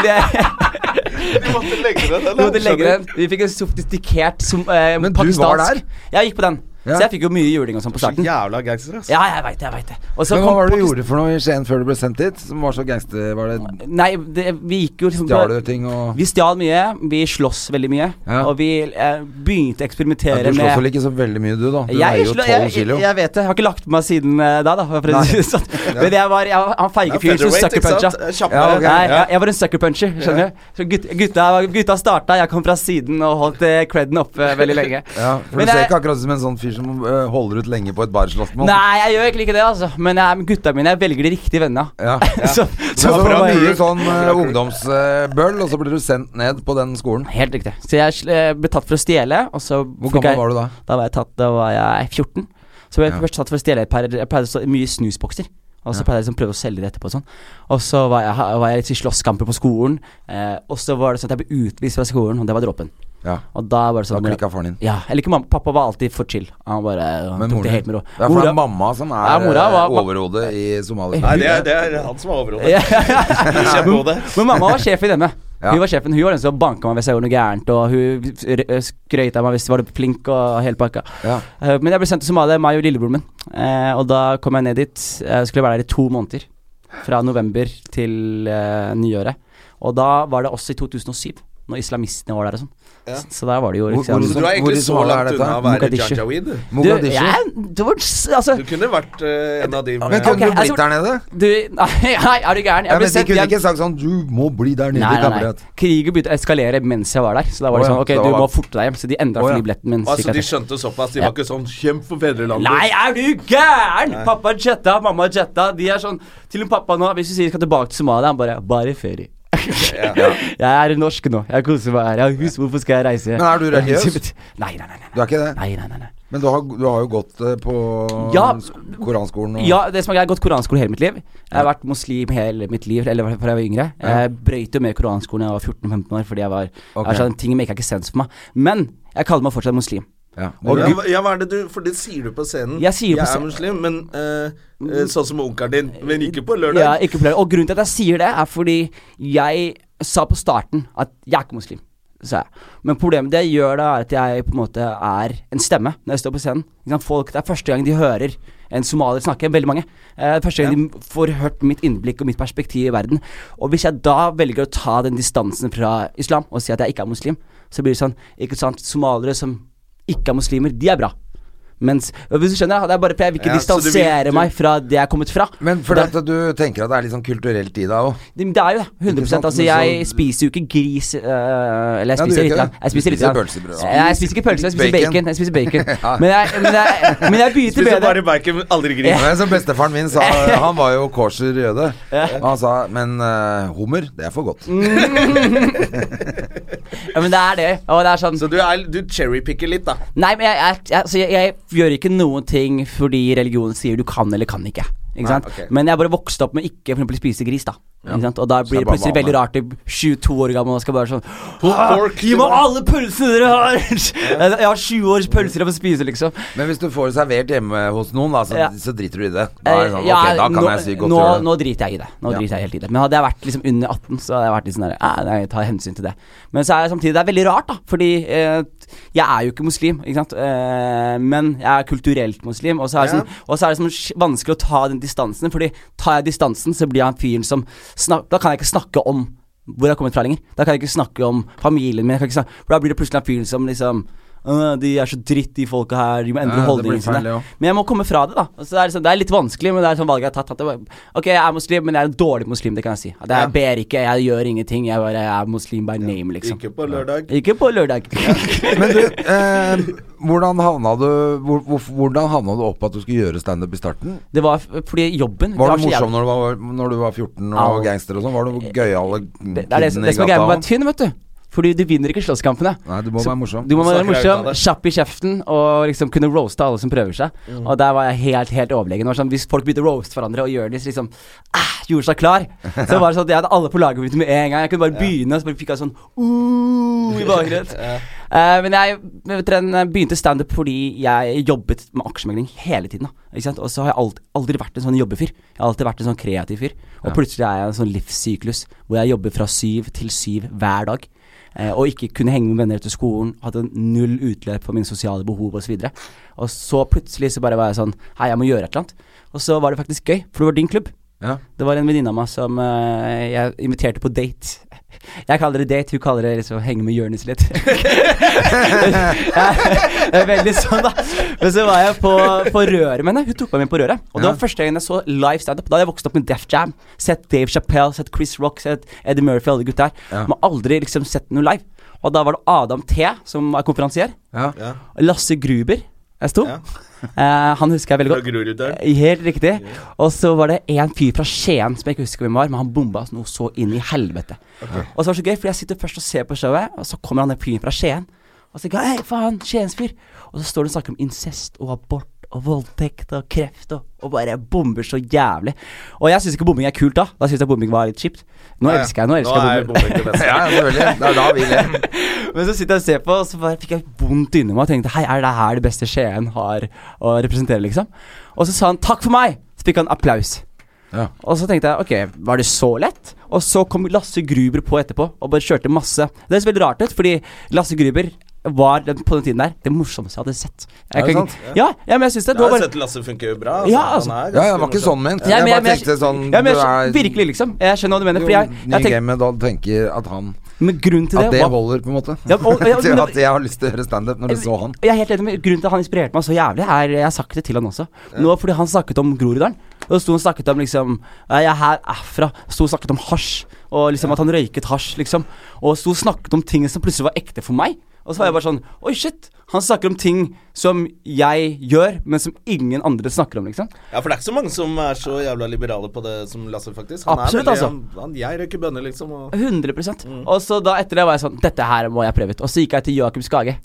Speaker 2: Du måtte legge den, eller?
Speaker 3: Du måtte legge den. Vi fikk en sofistikert som, eh,
Speaker 1: Men du
Speaker 3: pakistansk
Speaker 1: var der?
Speaker 3: Jeg gikk på den.
Speaker 1: Ja.
Speaker 3: Så jeg fikk jo mye juling og sånn på
Speaker 2: Så
Speaker 3: starten.
Speaker 2: jævla gangster, ass.
Speaker 3: Ja, jeg veit det, jeg vet det. Og så
Speaker 1: Men hva
Speaker 3: kom
Speaker 1: var det du
Speaker 3: Pakistan-
Speaker 1: gjorde for noe i Skien før du ble sendt dit? Som var så gangster... Var det
Speaker 3: Nei, det, vi gikk jo liksom på-
Speaker 1: Stjal du ting og
Speaker 3: Vi stjal mye, vi sloss veldig mye,
Speaker 1: Ja.
Speaker 3: og vi eh, begynte
Speaker 1: ja,
Speaker 3: å eksperimentere
Speaker 1: Du slåss vel
Speaker 3: med
Speaker 1: ikke så veldig mye, du, da? Du
Speaker 3: jeg,
Speaker 1: veier jo
Speaker 3: slå-
Speaker 1: 12
Speaker 3: jeg, jeg,
Speaker 1: kilo.
Speaker 3: jeg vet det. Jeg har ikke lagt på meg siden eh, da, da. for å si det sånn. Men jeg var, jeg var han
Speaker 2: Ja,
Speaker 3: feige fyren som
Speaker 2: featherweight,
Speaker 3: sucker
Speaker 2: ikke sant?
Speaker 3: puncha.
Speaker 2: Kjappere.
Speaker 1: Ja, ok.
Speaker 3: Nei,
Speaker 2: Ja.
Speaker 3: jeg, jeg var en sucker puncher, skjønner du. Så gut, gutta, gutta starta, jeg kom fra siden og holdt eh, creden oppe veldig lenge.
Speaker 1: Ja, for
Speaker 3: Men
Speaker 1: Du ser
Speaker 3: jeg-
Speaker 1: ikke akkurat ut som en sånn fyr som eh, holder ut lenge på et barslåssmål.
Speaker 3: Nei, jeg gjør egentlig ikke det, altså. Men jeg, gutta mine, jeg velger de riktige vennene.
Speaker 1: Ja.
Speaker 3: Så,
Speaker 1: Så
Speaker 3: så,
Speaker 1: det var
Speaker 2: bra
Speaker 1: mye
Speaker 2: crew.
Speaker 1: sånn
Speaker 2: Bra crew.
Speaker 1: ungdomsbøll, og så ble du sendt ned på den skolen.
Speaker 3: Helt riktig. Så jeg sl- eh, ble tatt for å stjele, og så
Speaker 1: Hvor gammel var du da?
Speaker 3: Da var jeg, tatt, da var jeg 14. Så ble jeg
Speaker 1: Ja.
Speaker 3: først tatt for å stjele et par Jeg pleide å stå mye snusbokser. Og så
Speaker 1: Ja.
Speaker 3: pleide jeg liksom å prøve å selge det etterpå og sånn. Og så var jeg, var jeg litt i slåsskamper på skolen. Eh, og så var det sånn at jeg ble utvist fra skolen, og det var dråpen.
Speaker 1: Ja,
Speaker 3: Og da var det
Speaker 1: Da
Speaker 3: sånn
Speaker 1: klikka faren din.
Speaker 3: Ja, eller ikke mamma. Pappa var alltid for chill. Han bare han
Speaker 1: Men
Speaker 3: tok
Speaker 1: moren
Speaker 3: det
Speaker 1: din?
Speaker 3: helt med ro.
Speaker 1: Det er for det
Speaker 3: Mora-
Speaker 1: er mamma som er
Speaker 3: Ja, mora
Speaker 1: eh,
Speaker 3: var-
Speaker 1: overhodet i Somalia.
Speaker 2: Nei, det er, det er han som er overhodet.
Speaker 3: Ja.
Speaker 2: Kjempehodet.
Speaker 3: Men mamma var sjef i hjemme.
Speaker 1: Ja.
Speaker 3: Hun var sjefen, hun var den som banka meg hvis jeg gjorde noe gærent, og hun r- skrøyta av meg hvis jeg var flink og hele pakka.
Speaker 1: Ja.
Speaker 3: Eh, Men jeg ble sendt til Somalia, meg og lillebroren min. Eh, og da kom jeg ned dit. Jeg skulle være der i to måneder. Fra november til eh, nyåret. Og da var det også i 2007, når islamistene var der og sånn.
Speaker 2: Ja.
Speaker 3: Så der var det jo
Speaker 1: Hvor-
Speaker 3: liksom
Speaker 1: hvor-
Speaker 2: Så du er
Speaker 1: Hvor i
Speaker 2: egentlig så
Speaker 1: Somalia er
Speaker 2: langt
Speaker 1: dette?
Speaker 2: unna å være
Speaker 3: Mogadishu.
Speaker 2: jajaweed. du.
Speaker 3: du,
Speaker 1: Mogadishu?
Speaker 3: jeg, det var, s- altså,
Speaker 2: Du kunne vært eh, en av de
Speaker 1: Men
Speaker 2: med
Speaker 1: kunne
Speaker 3: Ok,
Speaker 1: du blitt
Speaker 3: altså-
Speaker 1: der nede?
Speaker 3: du Nei, nei, er du gæren? Jeg
Speaker 1: Ja, men
Speaker 3: ble
Speaker 1: de
Speaker 3: sendt
Speaker 1: kunne
Speaker 3: hjem-
Speaker 1: ikke sagt sånn Du må bli der nede,
Speaker 3: Nei, nei, nei.
Speaker 1: kamerat.
Speaker 3: Krigen begynte å eskalere mens jeg var der. Så da var det
Speaker 1: Å ja,
Speaker 3: sånn Ok,
Speaker 1: det var
Speaker 3: du må
Speaker 1: bare-
Speaker 3: forte deg hjem. Så de endra
Speaker 1: Å ja.
Speaker 3: flybilletten min.
Speaker 2: Altså, de
Speaker 3: cirka til-
Speaker 2: skjønte såpass. De
Speaker 3: Ja.
Speaker 2: var ikke sånn 'kjemp for fedrelandet'.
Speaker 3: Nei, er du gæren?! Pappa Jetta, mamma Jetta. De er sånn Til og med pappa nå, hvis du sier vi skal tilbake til Somalia, han bare Bare i ferie. Jeg er norsk nå. Jeg koser meg her. Jeg har hus, hvorfor skal jeg reise?
Speaker 1: Men er du religiøs?
Speaker 3: Nei, nei, nei. nei.
Speaker 1: Du er ikke det?
Speaker 3: Nei, nei, nei, nei.
Speaker 1: Men du har, du har jo gått eh, på
Speaker 3: Ja.
Speaker 1: sk- koranskolen og
Speaker 3: Ja, det som er greit, jeg har gått koranskole hele mitt liv. Jeg har vært muslim hele mitt liv, eller i hvert fall fra jeg var yngre. Jeg brøyt jo med koranskolen da jeg var 14-15 år, fordi jeg var
Speaker 1: Ok.
Speaker 3: jeg var sånn, Ting make ikke sens for meg. Men jeg kaller meg fortsatt muslim.
Speaker 1: Ja.
Speaker 2: Og
Speaker 1: Du-
Speaker 2: ja, hva- ja, hva er det du For det sier du på scenen.
Speaker 3: Jeg sier det på
Speaker 2: er
Speaker 3: scenen.
Speaker 2: muslim, men eh, eh, sånn som onkelen din. Men ikke på lørdag.
Speaker 3: Ja, ikke problem. Og grunnen til at jeg sier det, er fordi jeg sa på starten at jeg er ikke muslim. Sa jeg. Men problemet det jeg gjør da, er at jeg på en måte er en stemme når jeg står på scenen. Ikke sant? Folk, det er første gang de hører en somalier snakke, veldig mange. Eh, første gang de får hørt mitt innblikk og mitt perspektiv i verden. Og hvis jeg da velger å ta den distansen fra islam og si at jeg ikke er muslim, så blir det sånn Ikke sant, somaliere som ikke er muslimer, de er bra. Mens, hvis du skjønner, det er bare for jeg vil ikke
Speaker 2: Ja, så du vil-
Speaker 3: distansere
Speaker 2: du-
Speaker 3: meg fra det jeg er kommet fra.
Speaker 1: Men
Speaker 3: Og
Speaker 1: fordi
Speaker 3: det-
Speaker 1: at du tenker at det er litt sånn kulturelt i deg òg.
Speaker 3: det, det er jo det. 100
Speaker 1: Ikke sant?
Speaker 3: Altså,
Speaker 1: Men
Speaker 3: jeg
Speaker 1: så-
Speaker 3: spiser jo ikke gris øh, Eller jeg
Speaker 1: Ja, du gjør
Speaker 3: spiser litt.
Speaker 1: ikke
Speaker 3: grann.
Speaker 1: det. Du
Speaker 3: Jeg spiser litt.
Speaker 1: spiser
Speaker 3: grann.
Speaker 1: pølsebrød, da.
Speaker 3: Jeg, jeg spiser ikke pølse, jeg spiser
Speaker 1: Bacon.
Speaker 3: bacon. Jeg spiser bacon.
Speaker 1: Ja.
Speaker 3: Men jeg, men jeg, men jeg begynte
Speaker 2: Spiser
Speaker 3: bedre.
Speaker 2: bare bacon, men aldri gris.
Speaker 1: Men som bestefaren min sa Han var jo kosher jøde. Og han sa Men eh, hummer, det er for godt.
Speaker 3: Mm. Ja, men det er det. Og det er sånn
Speaker 2: Så du, er, du cherrypicker litt, da.
Speaker 3: Nei, men jeg, jeg, jeg, altså, jeg, jeg gjør ikke noen ting fordi religionen sier du kan eller kan ikke. Ikke sant?
Speaker 1: ok.
Speaker 3: Men jeg bare vokste opp med ikke for eksempel spise gris, da. Ikke sant? Og da
Speaker 1: det
Speaker 3: blir
Speaker 1: er
Speaker 3: det
Speaker 1: bare
Speaker 3: plutselig
Speaker 1: vane.
Speaker 3: veldig rart til 22 år gammel og skal bare sånn
Speaker 2: Pulled
Speaker 3: «Ah,
Speaker 2: pork,
Speaker 3: Gi
Speaker 2: det var-
Speaker 3: meg alle pølsene dere har! jeg har 20 års pølser jeg får spise, liksom.
Speaker 1: Men hvis du får det servert hjemme hos noen, da, så,
Speaker 3: Ja.
Speaker 1: så driter du i det. Da, er det sånn,
Speaker 3: Eh, ja,
Speaker 1: ok, da kan
Speaker 3: nå,
Speaker 1: jeg si godt
Speaker 3: nå,
Speaker 1: gjøre det.
Speaker 3: nå driter jeg i det. Nå
Speaker 1: Ja.
Speaker 3: driter jeg helt i det Men hadde jeg vært liksom under 18, så hadde jeg vært litt sånn der eh, Nei, jeg tar hensyn til det. Men så er det samtidig Det er veldig rart, da. Fordi eh, jeg er jo ikke muslim, ikke sant. Eh, men jeg er kulturelt muslim. Og så er det,
Speaker 2: Ja.
Speaker 3: sånn, og så er det sånn sk- vanskelig å ta den distansen. Fordi tar jeg distansen, så blir jeg han fyren som snak, Da kan jeg ikke snakke om hvor jeg har kommet fra lenger. Da kan jeg ikke snakke om familien min. Jeg kan ikke snakke, for da blir det plutselig han fyren som liksom «Åh, de er så dritt, de folka her. De må endre
Speaker 1: Ja, det blir
Speaker 3: holdningene
Speaker 1: feil,
Speaker 3: sine.
Speaker 1: det også.
Speaker 3: Men jeg må komme fra det, da. Altså, det, er liksom, det er litt vanskelig, men det er sånn valget jeg har tatt. At det var, ok, jeg er muslim, men jeg er en dårlig muslim, det kan jeg si. At jeg
Speaker 1: Ja.
Speaker 3: ber ikke, jeg gjør ingenting. Jeg bare er muslim by name, liksom.
Speaker 2: Ikke på lørdag.
Speaker 3: Ikke på lørdag.
Speaker 1: Men du, eh, hvordan, havna du hvor, hvor, hvordan havna du opp at du skulle gjøre standup i starten?
Speaker 3: det var f- fordi jobben
Speaker 1: Var
Speaker 3: det
Speaker 1: du
Speaker 3: så jævlig-
Speaker 1: morsom når du var, når du var 14 og
Speaker 3: Au. Eh,
Speaker 1: gangster og sånn? Var du gøyal og
Speaker 3: Det, det er det, som- det som er greia med å være tynn, vet du. Fordi du vinner ikke slåsskampene.
Speaker 1: Nei, du må være morsom.
Speaker 3: Du må
Speaker 2: Snakker deg
Speaker 3: være
Speaker 2: ut av
Speaker 3: morsom,
Speaker 2: det.
Speaker 3: kjapp i kjeften og liksom kunne roaste alle som prøver seg.
Speaker 2: Mm.
Speaker 3: Og der var jeg helt helt overlegen. Det var Sånn, hvis folk begynte å roaste hverandre, og Jonis liksom ah, gjorde seg klar, så var det sånn at jeg hadde alle på laget mitt med en gang. Jeg kunne bare begynne, og så bare fikk jeg sånn uh, i bakgrunnen. Eh, men jeg vet dere, jeg begynte standup fordi jeg jobbet med aksjemegling hele tiden. Da, ikke sant? Og så har jeg aldri, aldri vært en sånn jobbefyr. Jeg har alltid vært en sånn kreativ fyr. Og plutselig er jeg i en sånn livssyklus hvor jeg jobber fra syv til syv hver dag. Eh, og ikke kunne henge med venner etter skolen, hadde null utløp for mine sosiale behov osv. Og, så og så plutselig så bare var jeg sånn Hei, jeg må gjøre et eller annet. Og så var det faktisk gøy, for det var din klubb.
Speaker 1: Ja.
Speaker 3: Det var en venninne av meg som eh, jeg inviterte på date. Jeg kaller det date, hun kaller det liksom henge med Jonis litt. jeg er veldig sånn, da. Men så var jeg på, på røret med henne. Hun tok meg med på røret. Og det
Speaker 1: Ja.
Speaker 3: var første gangen jeg så live standup. Da hadde jeg vokst opp med Def Jam, sett Dave Chappelle, sett Chris Rock, sett Eddie Murphy, alle de gutta her.
Speaker 1: Ja.
Speaker 3: Men aldri liksom sett noe live. Og da var det Adam T som er konferansier.
Speaker 1: Ja.
Speaker 2: Ja.
Speaker 3: Lasse Gruber. Jeg sto.
Speaker 2: Ja.
Speaker 3: Eh, han husker jeg veldig
Speaker 2: Fra
Speaker 3: godt.
Speaker 2: Groruddalen.
Speaker 3: Eh, Helt riktig. Og så var det en fyr fra Skien som jeg ikke husker hvem var, men han bomba oss noe så inn i helvete. Og så var det så gøy, for jeg sitter først og ser på showet, og så kommer han den fyren fra Skien. Og så tenker jeg, hei, faen, Skiensfyr. Og så står han og snakker om incest og abort og voldtekt og kreft og, og bare bomber så jævlig. Og jeg syns ikke bombing er kult da. Da syns jeg bombing var litt kjipt. Nå elsker jeg nå elsker
Speaker 2: Nå
Speaker 3: jeg
Speaker 2: er
Speaker 3: bombing.
Speaker 2: bombing det beste.
Speaker 1: ja, selvfølgelig. Det er da vi ler.
Speaker 3: Men så sitter jeg og ser på, og så bare fikk jeg vondt inni meg og tenkte Hei, er det her det beste Skien har å representere, liksom? Og så sa han takk for meg! Så fikk han applaus.
Speaker 1: Ja.
Speaker 3: Og så tenkte jeg ok, var det så lett? Og så kom Lasse Gruber på etterpå og bare kjørte masse. Det høres veldig rart ut, fordi Lasse Gruber var den, på den tiden der det morsomste jeg hadde sett. Jeg
Speaker 1: Er det
Speaker 3: kan-
Speaker 1: sant?
Speaker 3: Ja, ja, men jeg syns det.
Speaker 2: Jeg
Speaker 3: det var
Speaker 2: har
Speaker 3: bare,
Speaker 2: sett Lasse funker bra.
Speaker 3: Ja, altså.
Speaker 2: Han er
Speaker 1: Ja,
Speaker 2: ganske
Speaker 1: det var ikke
Speaker 2: morsom.
Speaker 1: sånn ment.
Speaker 3: Ja, men
Speaker 1: jeg bare
Speaker 3: jeg-
Speaker 1: tenkte sånn
Speaker 3: ja, men jeg,
Speaker 1: du
Speaker 3: skjønner-
Speaker 1: er-
Speaker 3: virkelig, liksom. Jeg skjønner hva du mener.
Speaker 1: Jo,
Speaker 3: Fordi jeg,
Speaker 1: New
Speaker 3: jeg tenker,
Speaker 1: Game Dahl tenker at han
Speaker 3: men grunnen til
Speaker 1: At
Speaker 3: det
Speaker 1: det
Speaker 3: var
Speaker 1: holder, på en måte.
Speaker 3: Ja, og- ja,
Speaker 1: Til
Speaker 3: men-
Speaker 1: at jeg har lyst til å gjøre standup når du så han.
Speaker 3: Jeg er helt enig med Grunnen til at han inspirerte meg så jævlig, er Jeg har sagt det til han også. Nå fordi han snakket om Groruddalen. Og sto og snakket om liksom «Nei, Jeg er her herfra. Sto og snakket om hasj. Og liksom at han røyket hasj, liksom. Og sto og snakket om ting som plutselig var ekte for meg. Og så var jeg bare sånn Oi, shit. Han snakker om ting som jeg gjør, men som ingen andre snakker om, liksom.
Speaker 2: Ja, for det er ikke så mange som er så jævla liberale på det som Lasse, faktisk. Han
Speaker 3: Absolutt,
Speaker 2: er
Speaker 3: altså.
Speaker 2: han, han, Jeg røyker bønner, liksom. Og
Speaker 3: 100
Speaker 1: Mm.
Speaker 3: Og så da etter det var jeg sånn Dette her må jeg prøve ut. Og så gikk jeg til Joakim Skage.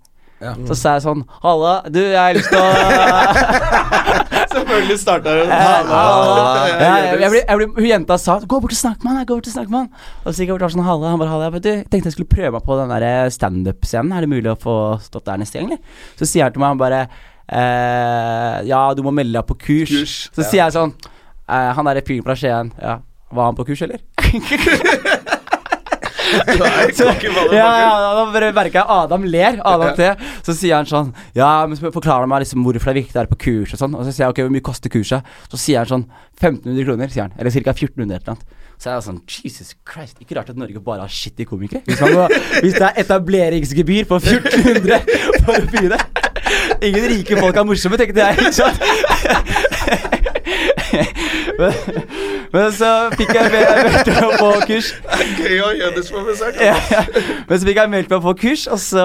Speaker 1: Ja.
Speaker 3: Så sa jeg sånn Halla, du, jeg har lyst til å
Speaker 2: selvfølgelig starta
Speaker 1: Eh,
Speaker 2: det.
Speaker 1: ah,
Speaker 3: Halla.
Speaker 2: Ja,
Speaker 3: Ja, jeg, jeg,
Speaker 2: Jørgens.
Speaker 3: ble- jeg ble, hun jenta sa 'gå bort og snakk med han', jeg, gå bort og snakk med han. Og så gikk jeg bort og var sånn 'halla', han bare 'halla'. Jeg bare, du, jeg tenkte jeg skulle prøve meg på den der eh, standup-scenen. Er det mulig å få stått der neste gang, eller? Så sier han til meg, han bare eh, 'ja, du må melde deg på kurs'.
Speaker 2: Kurs,
Speaker 3: så
Speaker 2: ja.
Speaker 3: sier jeg sånn eh, 'han derre fyren fra Skien, ja, var han på kurs, eller?'
Speaker 2: Nei, jeg kan ikke hva det
Speaker 3: ja,
Speaker 2: var.
Speaker 3: ja, da bare merker jeg Adam ler. Adam T. Så sier han sånn Ja, men så forklarer han meg liksom hvorfor det er viktig å være på kurs og sånn. Og så sier jeg ok, hvor mye koster kurset? Så sier han sånn 1500 kroner, sier han. Eller ca. 1400 eller noe. Så er jeg sånn Jesus Christ, ikke rart at Norge bare har shitty komikere. Hvis, man må, hvis det er etableringsgebyr på 1400 for å begynne. Ingen rike folk er morsomme, tenkte jeg. Ikke sant? Men, men så fikk jeg meldt meg på kurs.
Speaker 2: Gøy å ha Jøders på besøk.
Speaker 3: Ja, ja. Men så fikk jeg meldt meg på kurs, og så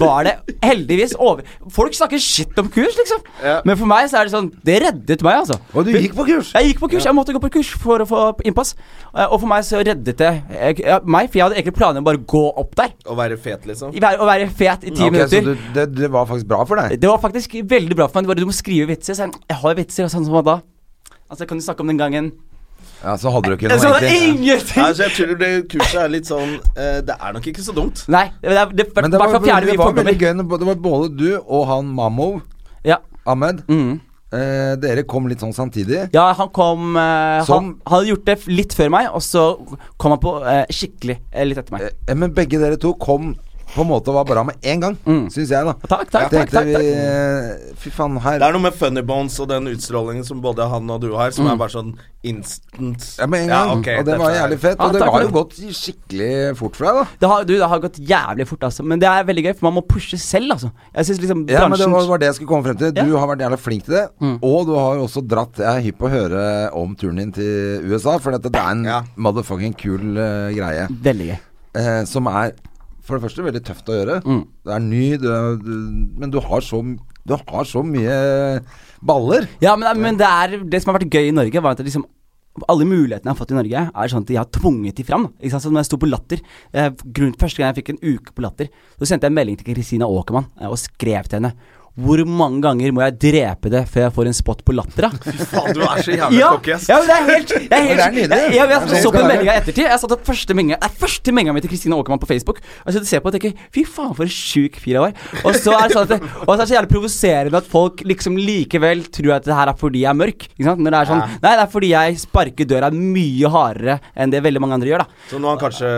Speaker 3: var det heldigvis over. Folk snakker shit om kurs, liksom.
Speaker 2: Ja.
Speaker 3: Men for meg så er det sånn Det reddet meg, altså.
Speaker 1: Og du gikk på kurs!
Speaker 3: Jeg gikk på kurs, jeg måtte gå på kurs for å få innpass. Eh, Og for meg så reddet det jeg, ja, meg, for jeg hadde egentlig planer om bare å gå opp der.
Speaker 2: Å være fet, liksom.
Speaker 3: I vær- Å være fet i ti
Speaker 1: Ok, så
Speaker 3: minutter.
Speaker 1: du, det, det var faktisk bra for deg?
Speaker 3: Det var faktisk veldig bra for meg. Det var, du må skrive vitser. Så jeg, jeg har vitser, og sånn som da. Altså, kan du snakke om den gangen?
Speaker 1: Ja, Så hadde du ikke
Speaker 3: Jeg
Speaker 1: noe,
Speaker 3: sa
Speaker 1: egentlig.
Speaker 3: ingenting!
Speaker 2: Nei, så Altså, jeg tror det kurset er litt sånn eh, Det er nok ikke så dumt.
Speaker 3: Nei, det, det, det,
Speaker 1: Men det var,
Speaker 3: hvertfall fjerner
Speaker 1: det
Speaker 3: vi
Speaker 1: var veldig
Speaker 3: fordommer.
Speaker 1: gøy. når- Det var både du og han Mammo,
Speaker 3: Ja.
Speaker 1: Ahmed.
Speaker 3: Mm.
Speaker 1: Eh, dere kom litt sånn samtidig.
Speaker 3: Ja, han kom eh, han,
Speaker 1: Som-
Speaker 3: han hadde gjort det f- litt før meg, og så kom han på eh, skikkelig eh, litt etter meg.
Speaker 1: Eh, men begge dere to kom på en måte og var bra med en gang,
Speaker 3: Mm.
Speaker 1: syns jeg, da.
Speaker 3: Takk, takk, takk,
Speaker 1: Tenkte
Speaker 3: takk,
Speaker 1: vi
Speaker 3: takk.
Speaker 1: eh, Fy faen, her
Speaker 2: Det er noe med funny bones og den utstrålingen som både han og du har, som er bare sånn instant
Speaker 1: Mm. ja, med en gang.
Speaker 2: Ja, ok,
Speaker 1: og det
Speaker 2: dette
Speaker 1: var
Speaker 2: er-
Speaker 1: jævlig fett.
Speaker 3: Ja,
Speaker 1: og det
Speaker 3: takk for
Speaker 1: var jo
Speaker 3: det.
Speaker 1: gått skikkelig fort for deg, da.
Speaker 3: Det har, du, det har gått jævlig fort, altså. Men det er veldig gøy, for man må pushe selv, altså. Jeg synes liksom
Speaker 1: Ja, men
Speaker 3: bransjen
Speaker 1: det var, var det jeg skulle komme frem til. Du
Speaker 3: Ja. Mm.
Speaker 1: har vært jævla flink til det. Og du har jo også dratt Jeg er hypp på å høre om turen din til USA, for dette det er en
Speaker 2: Ja.
Speaker 1: motherfucking kul eh, greie.
Speaker 3: Veldig gøy.
Speaker 1: eh, som er for det første veldig tøft å gjøre.
Speaker 3: Mm.
Speaker 1: Det er ny, du, er- du, men du har så Du har så mye baller.
Speaker 3: Ja, men, eh, men det, er, det som har vært gøy i Norge, var at det liksom alle mulighetene jeg har fått i Norge, er sånn at jeg har tvunget de fram. Ikke sant? Så når jeg sto på Latter eh, grunnen, Første gang jeg fikk en uke på Latter, så sendte jeg en melding til Kristina Aakermann eh, og skrev til henne Hvor mange ganger må jeg drepe det før jeg får en spot på Latter, da?
Speaker 2: Faen, du er så jævlig
Speaker 3: ja,
Speaker 2: cocky, ass.
Speaker 3: ja, men det er helt, det er helt
Speaker 1: det er nydelig.
Speaker 3: Jeg, jeg, jeg,
Speaker 1: Det er
Speaker 3: så på
Speaker 1: sånn det skal
Speaker 3: meldinga i ettertid. Jeg satt opp første meldinga Nei, første meldinga mi til Kristine Aakermann på Facebook. Og jeg sitter og ser på og tenker Fy faen, for en sjuk fyr jeg var. Og så er det sånn at det, Og så er det så jævlig provoserende at folk liksom likevel tror at det her er fordi jeg er mørk. Ikke sant? Når det er sånn Nei, det er fordi jeg sparker døra mye hardere enn det veldig mange andre gjør, da.
Speaker 2: Så nå har han kanskje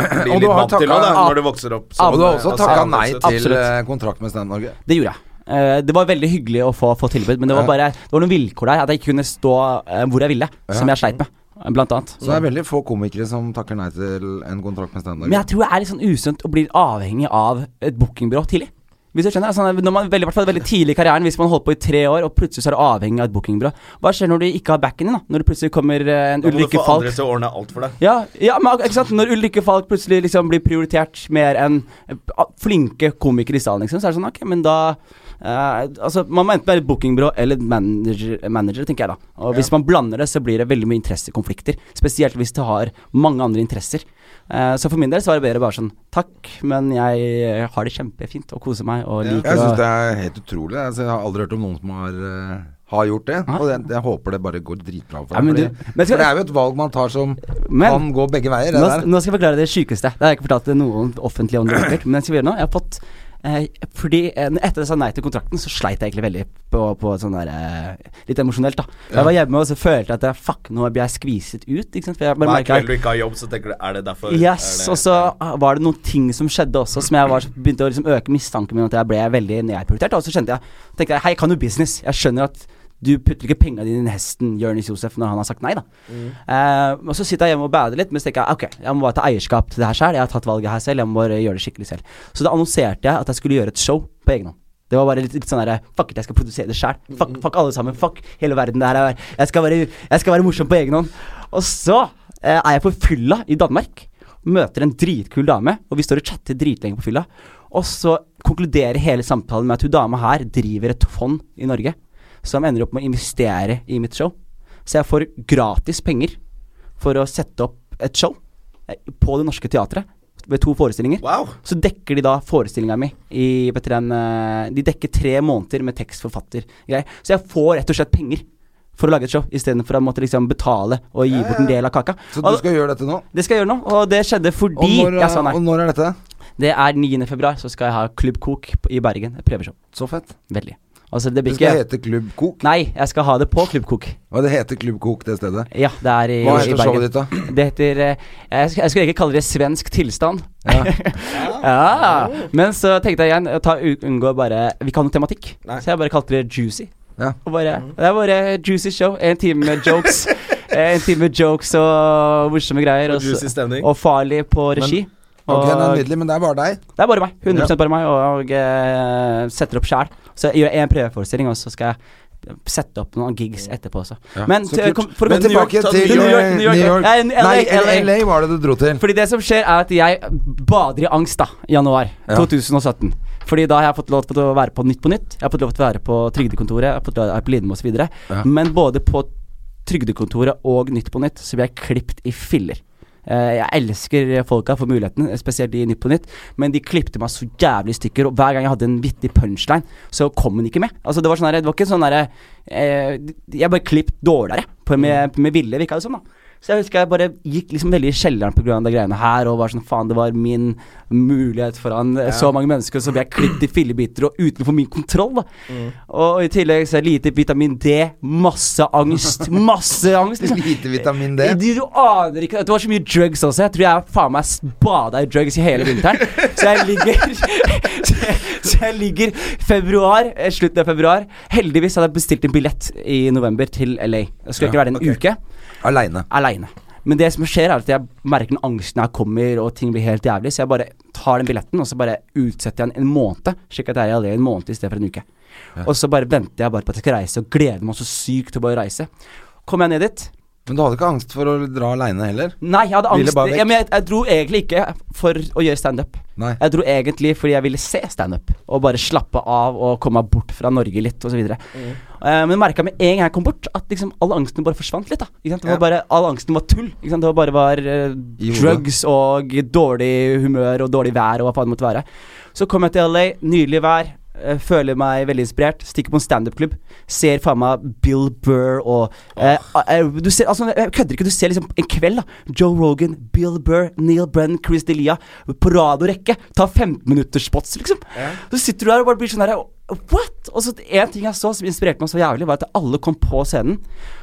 Speaker 2: blir
Speaker 1: Og du
Speaker 2: litt
Speaker 1: har
Speaker 2: vant til
Speaker 1: takka-
Speaker 2: det
Speaker 1: ja.
Speaker 2: når du vokser opp. eh, altså,
Speaker 1: Og du har
Speaker 3: altså,
Speaker 1: også takka nei til
Speaker 3: Absolutt.
Speaker 1: eh, kontrakt med Stand Norge.
Speaker 3: Det gjorde jeg. Eh, det var veldig hyggelig å få, få tilbud, men det var
Speaker 1: Ja.
Speaker 3: bare Det var noen vilkår der. At jeg ikke kunne stå eh, hvor jeg ville, som jeg sleit med, blant annet.
Speaker 1: Så det er veldig få komikere som takker nei til en kontrakt med Stand
Speaker 3: Mm. Men
Speaker 1: Norge.
Speaker 3: jeg tror det er litt sånn usunt å bli avhengig av et bookingbyrå tidlig. Hvis du skjønner, altså når man veldig, i hvert fall veldig tidlig i karrieren, hvis man holder på i tre år, og plutselig så er du avhengig av et bookingbyrå. Hva skjer når du ikke har backen din, da? Når det plutselig kommer eh, en
Speaker 2: Da må du
Speaker 3: Ulrikke
Speaker 2: få andre
Speaker 3: Falk?
Speaker 2: til å ordne alt for deg.
Speaker 3: Ja, ja, men ak- ikke sant? Når Ulrikke Falk plutselig liksom blir prioritert mer enn eh, flinke komikere i salen, liksom, så er det sånn, ok, men da eh, altså, Man må enten være et bookingbyrå eller et manager, manager, tenker jeg da. Og hvis man blander det, så blir det veldig mye interessekonflikter. Spesielt hvis du har mange andre interesser. Eh, Så for min del så var det bedre bare sånn Takk, men jeg eh, har det kjempefint og koser meg og liker
Speaker 1: Jeg syns
Speaker 3: å
Speaker 1: det er helt utrolig. Altså, jeg har aldri hørt om noen som har eh, har gjort det, og det, jeg håper det bare går dritbra for deg.
Speaker 3: Ja, men
Speaker 1: fordi-
Speaker 3: du- men skal-
Speaker 1: for det er jo et valg man tar som
Speaker 3: Men-
Speaker 1: kan gå begge veier. Det
Speaker 3: nå,
Speaker 1: der.
Speaker 3: nå skal jeg forklare det sykeste. Det har jeg ikke fortalt til noen offentlig om det, sikkert, men jeg skal gjøre nå. Jeg har fått Eh, fordi eh, etter jeg sa nei til kontrakten, så sleit jeg egentlig veldig på, på sånn der eh, Litt emosjonelt, da. Jeg var hjemme og så følte jeg at jeg, fuck, nå blir jeg skviset ut. Ikke sant? For jeg bare
Speaker 2: Hver
Speaker 3: merket-
Speaker 2: kveld du ikke har jobb, så tenker du Er det derfor?
Speaker 3: Yes, og så var det noen ting som skjedde også, som jeg var, begynte å liksom øke mistanken min at jeg ble veldig nedprioritert. Og så skjønte jeg, tenkte jeg hei, jeg kan jo business. Jeg skjønner at du putter ikke penga dine i hesten Jonis Josef når han har sagt nei, da. Eh, og så sitter jeg hjemme og bader litt, men så tenker jeg ok, jeg må bare ta eierskap til det her selv. Jeg har tatt valget her selv, jeg må bare gjøre det skikkelig selv. Så da annonserte jeg at jeg skulle gjøre et show på egen hånd. Det var bare litt, litt sånn derre Fuck it, jeg skal produsere det sjæl. Fuck, fuck alle sammen. Fuck hele verden. Det her er, jeg, skal være, jeg skal være morsom på egen hånd. Og så eh, er jeg på fylla i Danmark. Møter en dritkul dame, og vi står og chatter dritlenge på fylla. Og så konkluderer hele samtalen med at hun dama her driver et fond i Norge som ender opp med å investere i mitt show. Så jeg får gratis penger for å sette opp et show eh, på Det Norske Teatret ved to forestillinger.
Speaker 2: Wow.
Speaker 3: Så dekker de da forestillinga mi i vet dere, en, eh, De dekker tre måneder med tekstforfatter. greier. Så jeg får rett og slett penger for å lage et show, istedenfor å måtte liksom betale og gi bort en del av kaka.
Speaker 1: Så du
Speaker 3: Og
Speaker 1: skal gjøre dette nå?
Speaker 3: det skal jeg gjøre nå, og det skjedde
Speaker 1: Og
Speaker 3: fordi
Speaker 1: når, eh,
Speaker 3: jeg sa nei.
Speaker 1: og når er dette?
Speaker 3: Det er 9. februar, så skal jeg ha Klubb Kok p- i Bergen. Et prøveshow.
Speaker 1: Så fett.
Speaker 3: Veldig. Altså, det
Speaker 1: Det
Speaker 3: blir
Speaker 1: skal
Speaker 3: ikke
Speaker 1: hete Klubb Kok.
Speaker 3: Nei, jeg skal ha det på Klubb Kok.
Speaker 1: Og det heter Klubb Kok, det stedet.
Speaker 3: Ja, det er i,
Speaker 1: Hva
Speaker 3: i
Speaker 1: heter showet
Speaker 3: Bergen.
Speaker 1: ditt, da?
Speaker 3: Det heter eh, Jeg sk- jeg skulle egentlig kalle det svensk tilstand.
Speaker 1: Ja.
Speaker 3: Ja. Men så tenkte jeg igjen ta, unngå bare Vi kan jo tematikk.
Speaker 2: Nei.
Speaker 3: Så jeg bare kalte det Juicy.
Speaker 1: Ja.
Speaker 3: Og bare, det er bare juicy show. En time med jokes. eh, en time med jokes og morsomme greier. Og,
Speaker 2: Juicy
Speaker 3: så-
Speaker 2: stemning.
Speaker 3: og farlig på regi.
Speaker 1: Ok, det er
Speaker 3: og
Speaker 1: nydelig, men det er bare deg.
Speaker 3: det er bare meg. 100 bare meg. Og, eh, setter opp sjæl. Så jeg gjør en prøveforestilling, og så skal jeg sette opp noen gigs etterpå også. Men
Speaker 1: så kult.
Speaker 3: til- kom, for å
Speaker 1: Men
Speaker 3: gå til
Speaker 1: tilbake
Speaker 2: ta
Speaker 1: til
Speaker 2: New York,
Speaker 1: eh,
Speaker 3: New York. Ja, en- LA,
Speaker 1: Nei,
Speaker 3: LA.
Speaker 1: LA var det du dro til.
Speaker 3: Fordi det som skjer er at jeg bader i angst da i januar
Speaker 1: Ja.
Speaker 3: 2017. Fordi da har jeg fått lov til å være på Nytt på Nytt, jeg har fått lov til å være på Trygdekontoret, jeg har fått lov til å være på Lindmo osv.
Speaker 1: Ja.
Speaker 3: Men både på Trygdekontoret og Nytt på Nytt så blir jeg klippet i filler. Eh, Jeg elsker folka for muligheten, spesielt i Nytt på Nytt, men de klippte meg så jævlig i stykker, og hver gang jeg hadde en vittig punchline, så kom den ikke med. Altså Det var sånn her, det var ikke sånn derre eh, Jeg ble klippet dårligere, på,
Speaker 1: Mm.
Speaker 3: med, med vilje, virka det som, da. Så jeg husker jeg bare gikk liksom veldig i kjelleren pga. de greiene her, og var sånn faen, det var min mulighet foran eh, så mange mennesker, så ble jeg klippet i fillebiter og utenfor min kontroll, da. Og i tillegg så er lite vitamin D, masse angst, masse angst. liksom.
Speaker 1: Lite vitamin D.
Speaker 3: Du, du aner ikke Det var så mye drugs også. Jeg tror jeg faen meg bada i drugs i hele vinteren. Så jeg ligger Så jeg, så jeg ligger februar, eh, slutten av februar. Heldigvis hadde jeg bestilt en billett i november til LA. Jeg skulle ikke være der en uke
Speaker 1: Aleine.
Speaker 3: aleine. Men det som skjer, er at jeg merker den angsten her kommer, og ting blir helt jævlig, så jeg bare tar den billetten, og så bare utsetter jeg den en måned, slik at jeg er i LA en måned i stedet for en uke. Og så bare venter jeg bare på at jeg skal reise, og gleder meg så sykt til å bare reise. Kom jeg ned dit?
Speaker 1: Men du hadde ikke angst for å dra aleine heller?
Speaker 3: Nei, jeg hadde
Speaker 1: Ville
Speaker 3: angst.
Speaker 1: bare vekk.
Speaker 3: Ja, men jeg, jeg dro egentlig ikke for å gjøre standup.
Speaker 1: Nei.
Speaker 3: Jeg dro egentlig fordi jeg ville se standup, og bare slappe av og komme meg bort fra Norge litt, osv. Mm. Uh, men merka med en gang jeg kom bort, at liksom all angsten bare forsvant litt. da ikke sant? Det var bare, All angsten var tull. Ikke sant? Det var bare var, eh,
Speaker 1: I hodet.
Speaker 3: drugs og dårlig humør og dårlig vær og hva faen det måtte være. Så kom jeg til LA, nydelig vær. eh, Føler meg veldig inspirert. Stikker på en standup-klubb. Ser faen meg Bill Burr og eh, eh, du ser, altså, Jeg kødder ikke. Du ser liksom en kveld. da Joe Rogan, Bill Burr, Neil Brennan, Chris Delia på rad og rekke. Ta 15-minutterspots, liksom. Så sitter du der og bare blir sånn her What?! Og så En ting jeg så som inspirerte meg så jævlig, var at alle kom på scenen,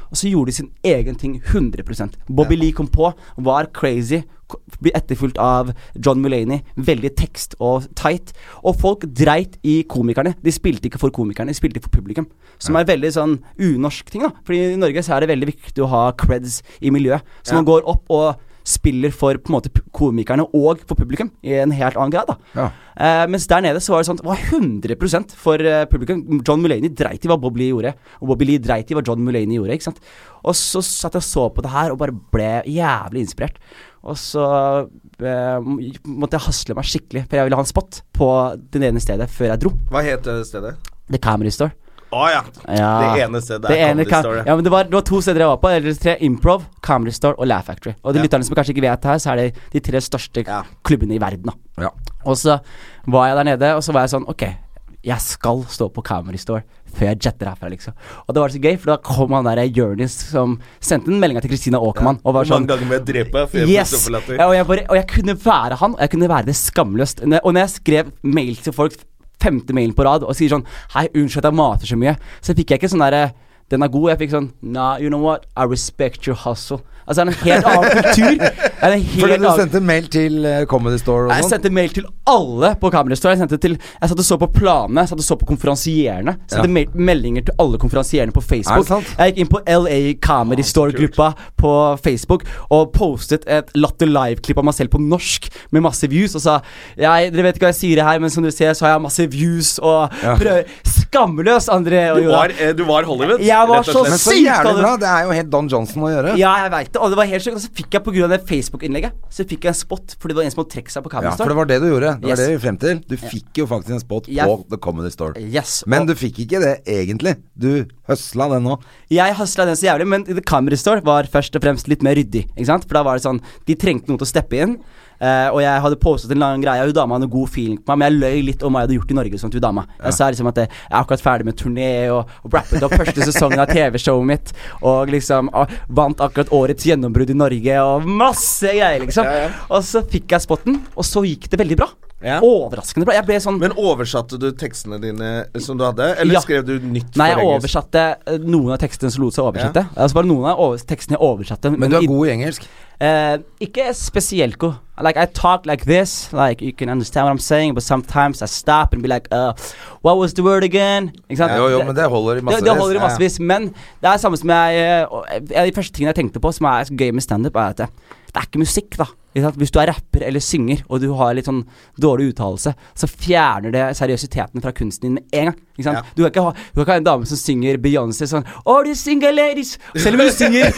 Speaker 3: og så gjorde de sin egen ting 100 Bobby Lee kom på, var crazy, k- ble etterfulgt av John Mulaney, veldig tekst og tight. Og folk dreit i komikerne. De spilte ikke for komikerne, de spilte for publikum. Som er veldig sånn unorsk ting, da. Fordi i Norge så er det veldig viktig å ha creds i miljøet. Så man går opp og spiller for på en måte pu- komikerne og for publikum i en helt annen grad. da
Speaker 1: Ja.
Speaker 3: Eh, mens der nede så var det sånn Det var 100 for eh, publikum. John Mulaney dreit i hva Bob Lee gjorde, og Bobby Lee dreit i hva John Mulaney gjorde. Ikke sant? Og så satt jeg og så på det her og bare ble jævlig inspirert. Og så eh, måtte jeg hasle meg skikkelig, for jeg ville ha en spot på det ene stedet før jeg dro.
Speaker 2: Hva het det stedet?
Speaker 3: The Camry Store.
Speaker 2: Å ja.
Speaker 3: Ja.
Speaker 2: Det ene stedet
Speaker 3: Det
Speaker 2: er
Speaker 3: ene
Speaker 2: Comedy
Speaker 3: kan-
Speaker 2: Store.
Speaker 3: Ja, men det var, det var to steder jeg var på. Eller tre Improv, Comedy Store og Laugh Factory. Og de
Speaker 2: Ja.
Speaker 3: lytterne som kanskje ikke vet det her, så er det de tre største
Speaker 2: Ja.
Speaker 3: klubbene i verden. da
Speaker 1: Ja.
Speaker 3: og så var jeg der nede, og så var jeg sånn Ok, Jeg skal stå på Camry Store før jeg jetter herfra, liksom. Og det var så gøy, for da kom han der Jonis som sendte en melding til Christina Aakermann og var
Speaker 2: Hvor
Speaker 3: sånn
Speaker 2: mange ganger må jeg drepe deg før jeg blir
Speaker 3: Yes!
Speaker 2: stoppelatter?
Speaker 3: Ja, og, jeg bare, og jeg kunne være han, og jeg kunne være det skamløst. Når- Og når jeg skrev mail til folk, femte mailen på rad, og sier sånn Hei, unnskyld at jeg mater så mye, så fikk jeg ikke sånn derre den er god. Jeg fikk sånn Nah, you know what? I respect your hustle. Altså, det er en helt annen kultur. Det er en helt
Speaker 1: Fordi du
Speaker 3: annen
Speaker 1: sendte mail til eh, Comedy Store og
Speaker 3: jeg
Speaker 1: sånn?
Speaker 3: sendte mail til alle på Kamerastore. Jeg, sendte til, jeg satt og så på planene, jeg satt og så på konferansierene. Jeg
Speaker 1: Ja.
Speaker 3: Sendte mail- meldinger til alle konferansierene på
Speaker 1: Er det
Speaker 3: Facebook.
Speaker 1: sant?
Speaker 3: Jeg gikk inn på LA Comedy Store-gruppa på Facebook og postet et Latter Live-klipp av meg selv på norsk med masse views og sa jeg, Dere vet ikke hva jeg sier her, men som dere ser, så har jeg masse views og prøver Skamløs, André og
Speaker 2: Du
Speaker 3: Joda.
Speaker 2: var, eh, du var Hollywood?
Speaker 3: Jeg var
Speaker 2: rett og
Speaker 3: så
Speaker 2: slett.
Speaker 1: Men så
Speaker 3: Sykt,
Speaker 1: jævlig
Speaker 3: Adam.
Speaker 1: bra! Det er jo helt Don Johnson å gjøre.
Speaker 3: Ja, jeg vet det. Og det var helt sjukt. Og så fikk jeg på grunn av det Facebook-innlegget Så fikk jeg en spot fordi det var en som hadde trukket seg på
Speaker 1: Ja,
Speaker 3: Comedy
Speaker 1: for
Speaker 3: Store.
Speaker 1: det var det du gjorde. Det var
Speaker 3: Yes.
Speaker 1: det vi frem til. Du fikk jo faktisk en spot
Speaker 3: Jeg-
Speaker 1: på The Comedy Store.
Speaker 3: Yes, og-
Speaker 1: Men du fikk ikke det egentlig. Du høsla den nå.
Speaker 3: Jeg hasla den så jævlig, men The Camera Store var først og fremst litt mer ryddig. Ikke sant? For da var det sånn De trengte noen til å steppe inn. eh, og jeg hadde postet en lang greie, og hun dama hadde god feeling på meg, men jeg løy litt om hva jeg hadde gjort i Norge. Sånn til hun dama Jeg sa liksom at eh, jeg er akkurat ferdig med turné, og, og rappet opp første sesongen av TV-showet mitt, og liksom ah, vant akkurat årets gjennombrudd i Norge, og masse greier, liksom.
Speaker 2: Ja, ja.
Speaker 3: Og så fikk jeg spotten, og så gikk det veldig bra.
Speaker 2: Ja.
Speaker 3: Overraskende bra. Jeg ble sånn
Speaker 2: Men oversatte du tekstene dine som du hadde, eller
Speaker 3: Ja.
Speaker 2: skrev du nytt
Speaker 3: Nei, jeg
Speaker 2: for engelsk?
Speaker 3: oversatte eh, noen av tekstene som lot seg oversette. Altså bare noen av over tekstene jeg oversatte.
Speaker 1: Men du
Speaker 3: i-
Speaker 1: er god i engelsk.
Speaker 3: Eh, ikke spesielt god. Like I talk like this, like you can understand what I'm saying, but sometimes I stop and be like, uh, what was the word again? Ikke sant?
Speaker 1: Jo, jo, men det holder i
Speaker 3: det,
Speaker 1: massevis.
Speaker 3: det holder i
Speaker 1: Ja, ja.
Speaker 3: massevis. Men det er samme som jeg eh, og- En av de første tingene jeg tenkte på som er så gøy med standup, er at det, det er ikke musikk, da. Ikke sant? Hvis du er rapper eller synger og du har litt sånn dårlig uttalelse, så fjerner det seriøsiteten fra kunsten din med en gang. Ikke sant?
Speaker 2: Ja.
Speaker 3: Du, kan ikke ha, du kan ikke ha en dame som synger Beyoncé sånn Oh, the single ladies Selv om hun synger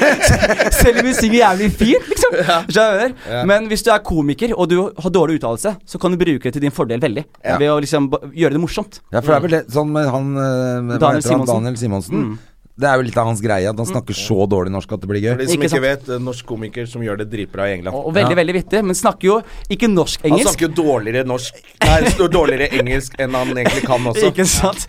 Speaker 3: Selv om hun synger jævlig fint, liksom. Skjønner du? Men hvis du er komiker og du har dårlig uttalelse, så kan du bruke det til din fordel veldig.
Speaker 1: Ja.
Speaker 3: Ved å liksom ba- gjøre det morsomt.
Speaker 1: Ja, for det er vel det, sånn med han, eh, hva
Speaker 3: Mm. Daniel
Speaker 1: heter han
Speaker 3: Simonsen. Mm.
Speaker 1: Daniel Simonsen. Det er jo litt av hans greie at han snakker så dårlig norsk at det blir
Speaker 2: For
Speaker 1: gøy.
Speaker 2: de som
Speaker 3: Ikke
Speaker 2: ikke,
Speaker 3: sant?
Speaker 2: vet, eh, norsk komiker som gjør det dritbra i England.
Speaker 3: Og, og veldig,
Speaker 1: Ja.
Speaker 3: veldig vittig. Men snakker jo ikke
Speaker 2: Han
Speaker 3: norsk-engelsk.
Speaker 2: snakker jo dårligere norsk Nei, han står dårligere engelsk enn han egentlig kan også.
Speaker 3: Ikke sant?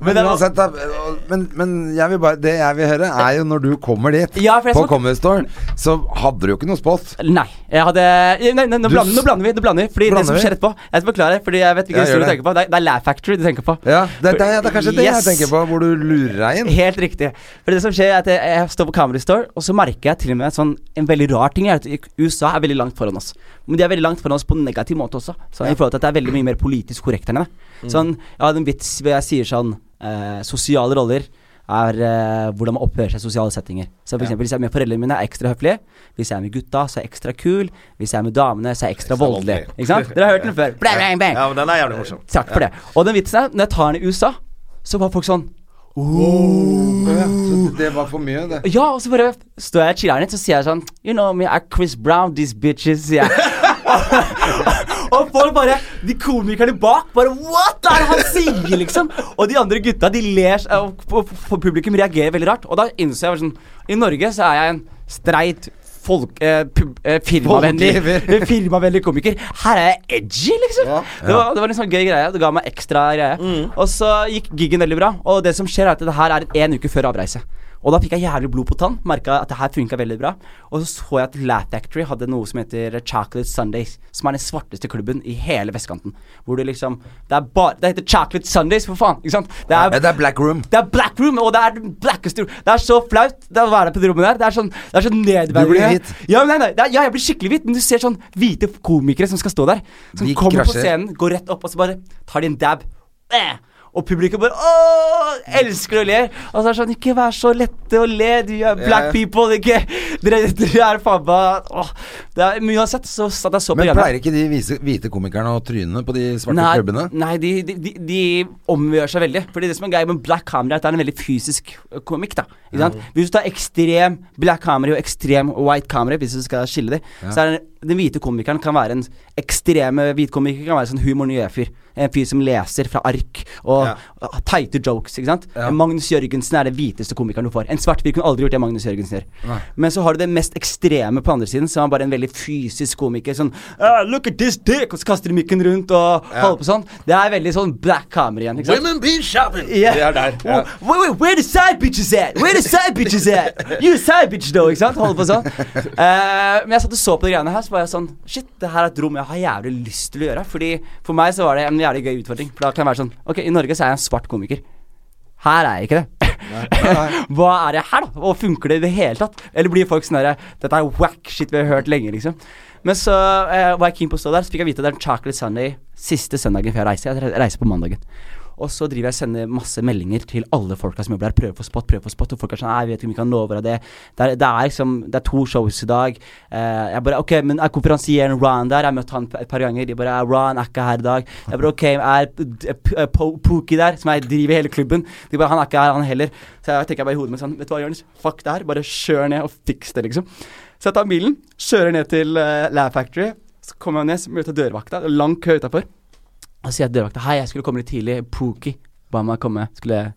Speaker 1: Men,
Speaker 3: det er-
Speaker 1: uansett, da, og- men, men jeg vil bare, det jeg vil høre, er jo når du kommer dit
Speaker 3: Ja, for jeg
Speaker 1: på
Speaker 3: skal-
Speaker 1: Comedy Store, så hadde du jo ikke noe spot.
Speaker 3: Nei. Jeg hadde Nei, nei, nå,
Speaker 1: Du
Speaker 3: blander, nå
Speaker 1: s-
Speaker 3: blander vi. Nå blander vi Fordi
Speaker 1: Blander
Speaker 3: det som
Speaker 1: vi?
Speaker 3: skjer etterpå Jeg skal forklare, fordi jeg
Speaker 1: Ja,
Speaker 3: vet hvilken historie du
Speaker 1: gjør det.
Speaker 3: tenker på. Det er, det er Laugh Factory du tenker på.
Speaker 1: Ja, det, det, er- det er kanskje det
Speaker 3: Yes.
Speaker 1: jeg tenker på, hvor du lurer deg inn.
Speaker 3: Helt riktig. For det som skjer er at jeg, jeg står på Comedy Store, og så merker jeg til og med sånn, en veldig rar ting. Er at USA er veldig langt foran oss. Men de er veldig langt foran oss på en negativ måte også. Sånn, I forhold til at det er veldig mye mer politisk korrekt enn det. Sånn, jeg hadde en vits hvor jeg sier sånn eh, Sosiale roller er eh, hvordan man oppfører seg i sosiale settinger. Så for eksempel, hvis jeg er med foreldrene mine, er jeg ekstra høflig. Hvis jeg er med gutta, så er jeg ekstra kul. Hvis jeg er med damene, så er jeg ekstra voldelig.
Speaker 2: voldelig.
Speaker 3: Ikke sant? Dere har hørt den før. Bang, bang, bang.
Speaker 2: Ja, men den er jævlig morsom.
Speaker 3: Takk for det. Og den vitsen her, når jeg tar den i USA, så var folk sånn
Speaker 1: Ja, så det var for mye, det.
Speaker 3: Ja, og så bare står jeg og chiller'n litt, så sier jeg sånn You know me, I'm Chris Brown, these bitches, sier jeg. og folk bare De komikerne bak bare What er det han sier, liksom? Og de andre gutta, de ler og, og, og publikum reagerer veldig rart. Og da innså jeg bare sånn I Norge så er jeg en streit Folk, eh, pub, eh, firmavennlig,
Speaker 1: Folkegiver.
Speaker 3: firmavennlig komiker. Her er jeg edgy, liksom.
Speaker 1: Ja.
Speaker 3: Det, var, det var en sånn gøy greie. Det ga meg ekstra greie. Og så gikk giggen veldig bra. Og det som skjer, er at det her er en uke før avreise. Og da fikk jeg jævlig blod på tann. Merka at det her funka veldig bra. Og så så jeg at Laugh Factory hadde noe som heter Chocolate Sundays. Som er den svarteste klubben i hele vestkanten. Hvor du liksom Det er bare Det heter Chocolate Sundays, for faen. Ikke sant? Det
Speaker 1: Ja,
Speaker 3: er
Speaker 1: det er Black Room.
Speaker 3: det er black room, og det er den blackeste room. Det er så flaut det er å være på det rommet der. Det er sånn, det er sånn nedverdigende.
Speaker 1: Du blir hvit.
Speaker 3: Ja, men nei, nei, det er, ja, jeg blir skikkelig hvit, men du ser sånn hvite komikere som skal stå der. Som
Speaker 1: De
Speaker 3: kommer på
Speaker 1: krasjer.
Speaker 3: scenen, går rett opp, og så bare tar de en dab. Eh! Og publikum bare åh, elsker å le. Og så er det sånn Ikke vær så lette å le, du er black
Speaker 1: ja.
Speaker 3: people. Ikke, dere, dere er faen meg åh. Det er, Men uansett så satt jeg så på
Speaker 1: Men
Speaker 3: programmet.
Speaker 1: pleier ikke de vise, hvite komikerne å tryne på de svarte
Speaker 3: Nei,
Speaker 1: klubbene?
Speaker 3: nei de, de, de, de omgjør seg veldig. Fordi det som er greia med black comedy, er at det er en veldig fysisk ø, komikk. da ikke sant? Hvis du tar ekstrem black comedy og ekstrem white comedy, hvis du skal skille dem, så er det, den hvite komikeren kan være en ekstreme hvit komiker, kan være sånn humor nye fyr. En fyr som leser fra ark, og
Speaker 2: Ja.
Speaker 3: og teite jokes, ikke sant. Magnus Jørgensen er den hviteste komikeren du får. En svart fyr kunne aldri gjort det Magnus Jørgensen gjør. Men så har du det mest ekstreme på andre siden, som er bare en veldig fysisk komiker. Sånn ah, 'Look at this dick!' Og så kaster de mikken rundt og holder på sånn. Det er veldig sånn black camera igjen, ikke sant.
Speaker 2: Women be shopping!
Speaker 3: Yeah.
Speaker 2: Det er der. Ja.
Speaker 3: Wh- wh- where the side bitches at? Where the side bitches at? You a side bitch though, ikke sant? Holder på sånn. Eh, men jeg satt og så på de greiene her, så var jeg sånn Shit, det her er et rom jeg har jævlig lyst til å gjøre. Fordi For meg så var det en jævlig gøy utfordring. For da kan jeg være sånn Ok, i Norge så er jeg en svart komiker. Her er jeg ikke det. Hva er det her, da? Og funker det i det hele tatt? Eller blir folk sånn herre Dette er whack shit vi har hørt lenge, liksom. Men så eh, var jeg keen på å stå der, så fikk jeg vite at det er en Chocolate Sunday siste søndagen før jeg reiser. Jeg reiser på mandagen. Og så driver jeg og sender masse meldinger til alle folka som jobber der. Prøver å få spot, prøver å få spot. Og folk er sånn Nei, jeg vet ikke om vi kan love deg det. Det er, det er liksom Det er to shows i dag. Eh, jeg bare OK, men er konferansieren Ron der? Jeg har møtt han et par ganger. De bare Ron er ikke her i dag. Jeg bare OK, er P- P- Po- Pookie der, som jeg driver hele klubben? De bare Han er ikke her, han heller. Så jeg tenker bare i hodet mitt sånn Vet du hva, Jonis? Fuck det her. Bare kjør ned og fiks det, liksom. Så jeg tar bilen, kjører ned til uh, Lab Factory. Så kommer jeg ned, så møter jeg dørvakta. Det er lang kø utafor. Og sier jeg til dørvakta Hei, jeg skulle komme litt tidlig. Pookie ba meg komme. Skulle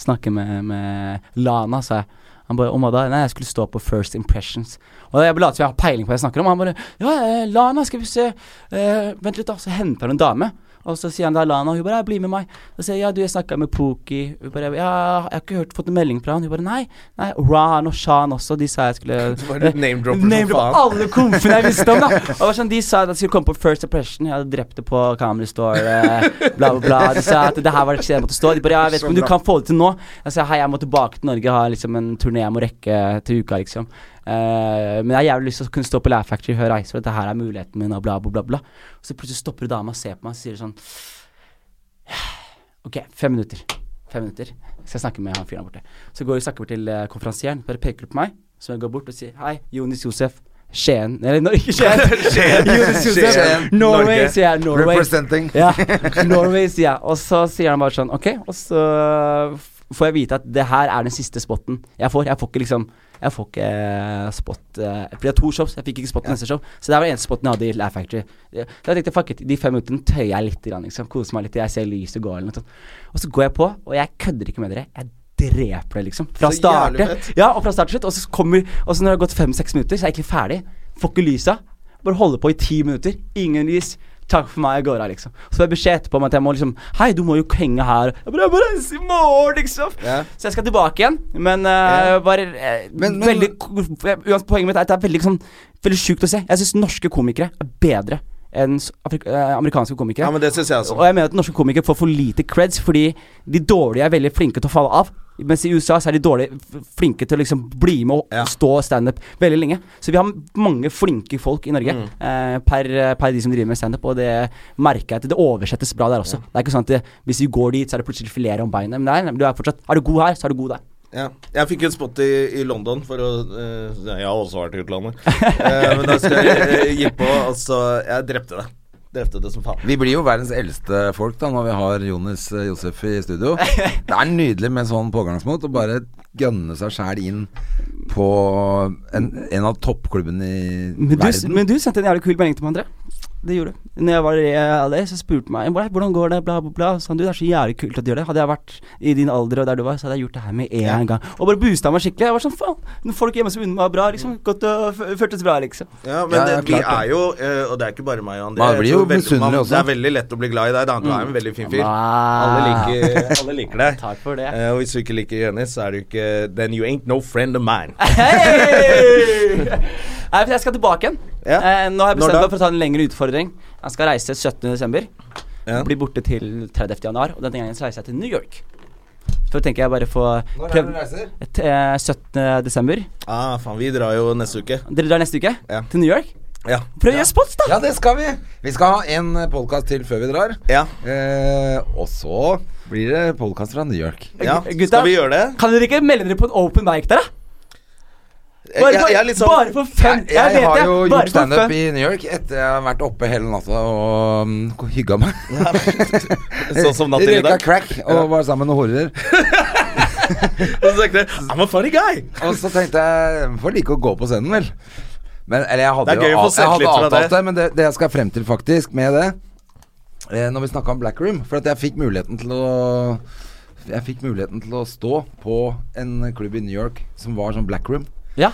Speaker 3: snakke med, med Lana, sa jeg. Han bare Om hva da? Nei, jeg skulle stå på First Impressions. Og jeg later som jeg har peiling på hva jeg snakker om. Og han bare Ja, eh, Lana, skal vi se eh, Vent litt, da. Så henter han en dame. Og så sier han det er Lana, og hun bare ja, 'bli med meg'. Og sier jeg, ja, du, jeg snakka med Pookie. Hun bare ja, jeg har ikke hørt, fått en melding fra han. Hun bare nei. nei Ran og Shan også, de sa jeg skulle
Speaker 2: Bare name-dropper som
Speaker 3: Name
Speaker 2: faen.
Speaker 3: alle komfene jeg visste om, da. Og det var sånn, De sa at jeg skulle komme på First Impression. Jeg hadde drept det på Camera Store, eh, bla, bla, bla. De sa at det her var et sted jeg måtte stå. De bare ja, jeg vet ikke om du kan få det til nå. Jeg sa hei, jeg må tilbake til Norge, jeg har liksom en turné jeg må rekke til uka, liksom. Eh, men jeg har jævlig lyst til å kunne stå på Laugh Factory før jeg reiser, for dette her er muligheten min, og bla, bla, bla. bla. Og så plutselig stopper hun dama og ser på meg og sier sånn Ok, fem minutter. Fem minutter. Så jeg snakker med han fyren der borte. Så går jeg og snakker bort til eh, konferansieren, bare peker på meg. Så jeg går bort og sier hei, Jonis Josef. Skien Eller no, ikke Skien. Jonis Josef.
Speaker 1: Skien,
Speaker 3: Norway,
Speaker 2: Norge.
Speaker 3: sier jeg. Norway.
Speaker 1: Representing.
Speaker 3: Ja. Norway, sier jeg. Og så sier han bare sånn OK. Og så f- får jeg vite at det her er den siste spotten jeg får. Jeg får ikke liksom Jeg får ikke eh, spot eh, Fordi det er to shows. Jeg fikk ikke spot til neste show. Så det her var den eneste spotten jeg hadde i Laugh Factory. Så jeg tenkte fuck it, de fem minuttene tøyer jeg litt, grann, liksom. Koser meg litt. Jeg ser lyset gå eller noe sånt. Og så går jeg på, og jeg kødder ikke med dere. Jeg dreper det, liksom. Fra
Speaker 2: Så
Speaker 3: start
Speaker 2: jævlig fett.
Speaker 3: Ja, og fra start til slutt. Og så kommer Og så når det har gått fem-seks minutter, så er jeg egentlig ferdig. Får ikke lysa. Bare holder på i ti minutter. Ingen lys. Takk for meg, jeg går av, liksom. Så får jeg beskjed etterpå om at jeg må liksom Hei, du må jo henge her. Jeg bare, jeg må reise i morgen, liksom.
Speaker 1: Ja.
Speaker 3: Så jeg skal tilbake igjen, men eh, bare eh,
Speaker 1: Men- men-
Speaker 3: veldig Uansett, poenget mitt er at det er veldig, sånn, veldig sjukt å se. Jeg syns norske komikere er bedre enn s- Afrik eh, amerikanske komikere.
Speaker 2: Ja, men det syns jeg også.
Speaker 3: Og jeg mener at norske komikere får for lite creds fordi de dårlige er veldig flinke til å falle av. Mens i USA så er de dårlige f- flinke til å liksom bli med og
Speaker 2: Ja.
Speaker 3: stå standup veldig lenge. Så vi har mange flinke folk i Norge eh, per, per de som driver med standup, og det merker jeg at det oversettes bra der også. Det er ikke sånn at det, hvis du går dit, så er det plutselig filet om beinet. Men nei, du er fortsatt Er du god her, så er du god der.
Speaker 2: Ja. Jeg fikk en spot i, i London for å eh, Jeg har også vært i utlandet. Eh, men da skal jeg eh, gi på, og så Jeg drepte det. Drepte det som faen.
Speaker 1: Vi blir jo verdens eldste folk da når vi har Jonis eh, Josef i studio. Det er nydelig med sånn pågangsmot å bare gønne seg sjæl inn på en, en av toppklubbene i
Speaker 3: Men du,
Speaker 1: verden.
Speaker 3: men du sendte en jævlig kul melding til meg, André. Det gjorde du. Når jeg var i LA, så spurte meg "Hvordan- hvordan går det, bla, bla, bla. Så sa han, du, det er så jævlig kult at du gjør det. Hadde jeg vært i din alder og der du var, så hadde jeg gjort det her med en gang. Og bare boosta meg skikkelig. Jeg var sånn, faen. Når folk hjemme som unner meg bra, liksom. Godt og f- føltes bra, liksom.
Speaker 2: Ja, men
Speaker 1: Ja, ja,
Speaker 2: det- vi
Speaker 1: klart det.
Speaker 2: er jo eh, Og det er ikke bare meg og André.
Speaker 1: Man blir
Speaker 2: jeg tror
Speaker 1: jo
Speaker 2: veldig-
Speaker 1: misunnelig
Speaker 2: man-
Speaker 1: også. Mm. Ah.
Speaker 2: Det er veldig lett å bli glad i deg, da. Du er en veldig fin fyr. Alle liker, alle liker deg.
Speaker 3: Takk for det.
Speaker 2: Eh, og hvis du ikke liker Jonis, så er du ikke Then you ain't no friend of mine.
Speaker 3: Hei! Nei, for jeg skal tilbake igjen.
Speaker 2: Ja.
Speaker 3: Eh, nå har jeg
Speaker 2: Når
Speaker 3: bestemt
Speaker 2: da?
Speaker 3: meg for å ta en lengre utfordring. Jeg skal reise 17.12.
Speaker 1: Eh.
Speaker 2: Ja.
Speaker 3: Bli borte til 30.1. Og denne gangen så reiser jeg til New York. Så tenker jeg bare få
Speaker 1: reiser?
Speaker 3: Et, eh, 17. desember.
Speaker 2: Ah, faen, vi drar jo neste uke.
Speaker 3: Dere drar neste uke
Speaker 2: Ja.
Speaker 3: til New York.
Speaker 2: Ja.
Speaker 3: Prøv å gjøre spots, da!
Speaker 1: Ja, det skal vi. Vi skal ha en podkast til før vi drar.
Speaker 2: Ja.
Speaker 1: Eh, og så blir det podkast fra New York.
Speaker 2: ja.
Speaker 3: Gutta?
Speaker 2: Skal vi gjøre det?
Speaker 3: Kan dere ikke melde dere på en open mic der, da? Bare,
Speaker 2: Jeg, jeg, er litt sånn-
Speaker 3: bare for fem
Speaker 1: Jeg, jeg,
Speaker 3: vet
Speaker 1: har
Speaker 3: det,
Speaker 1: jo
Speaker 3: bare for
Speaker 1: gjort standup
Speaker 3: fem.
Speaker 1: i New York etter jeg har vært oppe hele natta og um, hygga meg.
Speaker 2: sånn som natt til i
Speaker 1: Røyka
Speaker 2: dag.
Speaker 1: crack og var sammen med horer.
Speaker 2: Og så tenkte jeg I'm a funny guy.
Speaker 1: Og så tenkte jeg jeg Får like å gå på scenen, vel. Men, eller jeg hadde
Speaker 2: Det er gøy
Speaker 1: jo
Speaker 2: å få
Speaker 1: av- jeg hadde
Speaker 2: selvtillit fra
Speaker 1: avtalt
Speaker 2: det.
Speaker 1: det, men det, det jeg skal frem til faktisk med det, eh, når vi snakka om Black Room. For at jeg fikk muligheten til å Jeg fikk muligheten til å stå på en klubb i New York som var sånn Black Room.
Speaker 3: Ja.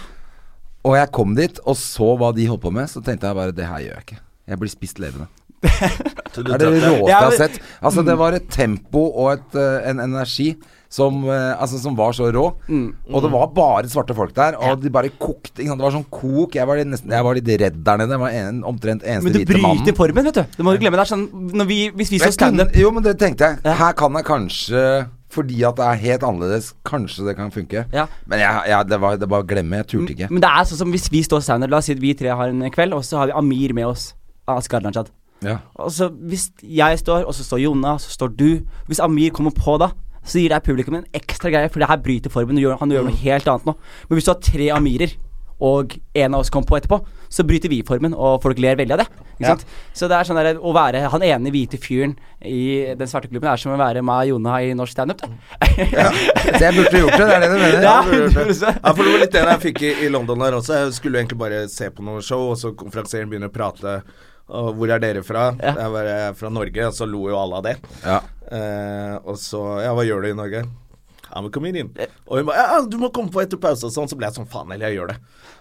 Speaker 1: Og jeg kom dit og så hva de holdt på med, så tenkte jeg bare det her gjør jeg ikke. Jeg blir spist levende. Det er det råeste jeg
Speaker 3: Ja,
Speaker 1: har
Speaker 3: men-
Speaker 1: sett. Altså Det var et tempo og et, eh, en energi som, eh, altså, som var så rå.
Speaker 3: Mm.
Speaker 1: Og det var bare svarte folk der, og de bare kokte. Ikke sant? Det var sånn kok. Jeg var, litt nesten, jeg var litt redd der nede. Jeg var en, omtrent eneste
Speaker 3: Men du
Speaker 1: hvite mannen.
Speaker 3: bryter formen, vet du. Du må ikke glemme det. er sånn, når vi, hvis vi så
Speaker 1: Jeg kunne-
Speaker 3: standup
Speaker 1: Jo, men det tenkte jeg. Her kan jeg kanskje fordi at det er helt annerledes, kanskje det kan funke.
Speaker 3: Ja.
Speaker 1: Men jeg, jeg, det var det bare å glemme. Jeg turte ikke.
Speaker 3: Men det er sånn som hvis vi står standup, la oss si at vi tre har en kveld, og så har vi Amir med oss. Askar Najad.
Speaker 1: Ja.
Speaker 3: Og så Altså, hvis jeg står, og så står Jonna, så står du Hvis Amir kommer på da, så gir det publikum en ekstra greie, for det her bryter formen. og Gjør, han gjør noe helt annet nå. Men hvis du har tre Amirer, og en av oss kommer på etterpå, så bryter vi formen, og folk ler veldig av det. Ikke
Speaker 1: Ja.
Speaker 3: sant? Så det er sånn der, å være han ene hvite fyren i den svarte klubben er som å være meg og Jonna i norsk standup. det.
Speaker 1: Så jeg burde gjort det. Det er det du mener.
Speaker 3: Ja.
Speaker 1: Jeg burde gjort det.
Speaker 2: Ja, for det var litt det jeg fikk i, i London der også. Jeg skulle jo egentlig bare se på noe show, og så konferansieren begynner å prate. Og hvor er dere fra?
Speaker 3: Ja.
Speaker 2: Jeg var eh, fra Norge, og så lo jo alle av det.
Speaker 1: Ja.
Speaker 2: Eh, og så Ja, hva gjør du i Norge? I'm a comedian.
Speaker 3: Eh.
Speaker 2: Og hun ba, ja, du må komme på etter pause og sånn. Så ble jeg sånn, faen heller, jeg gjør det.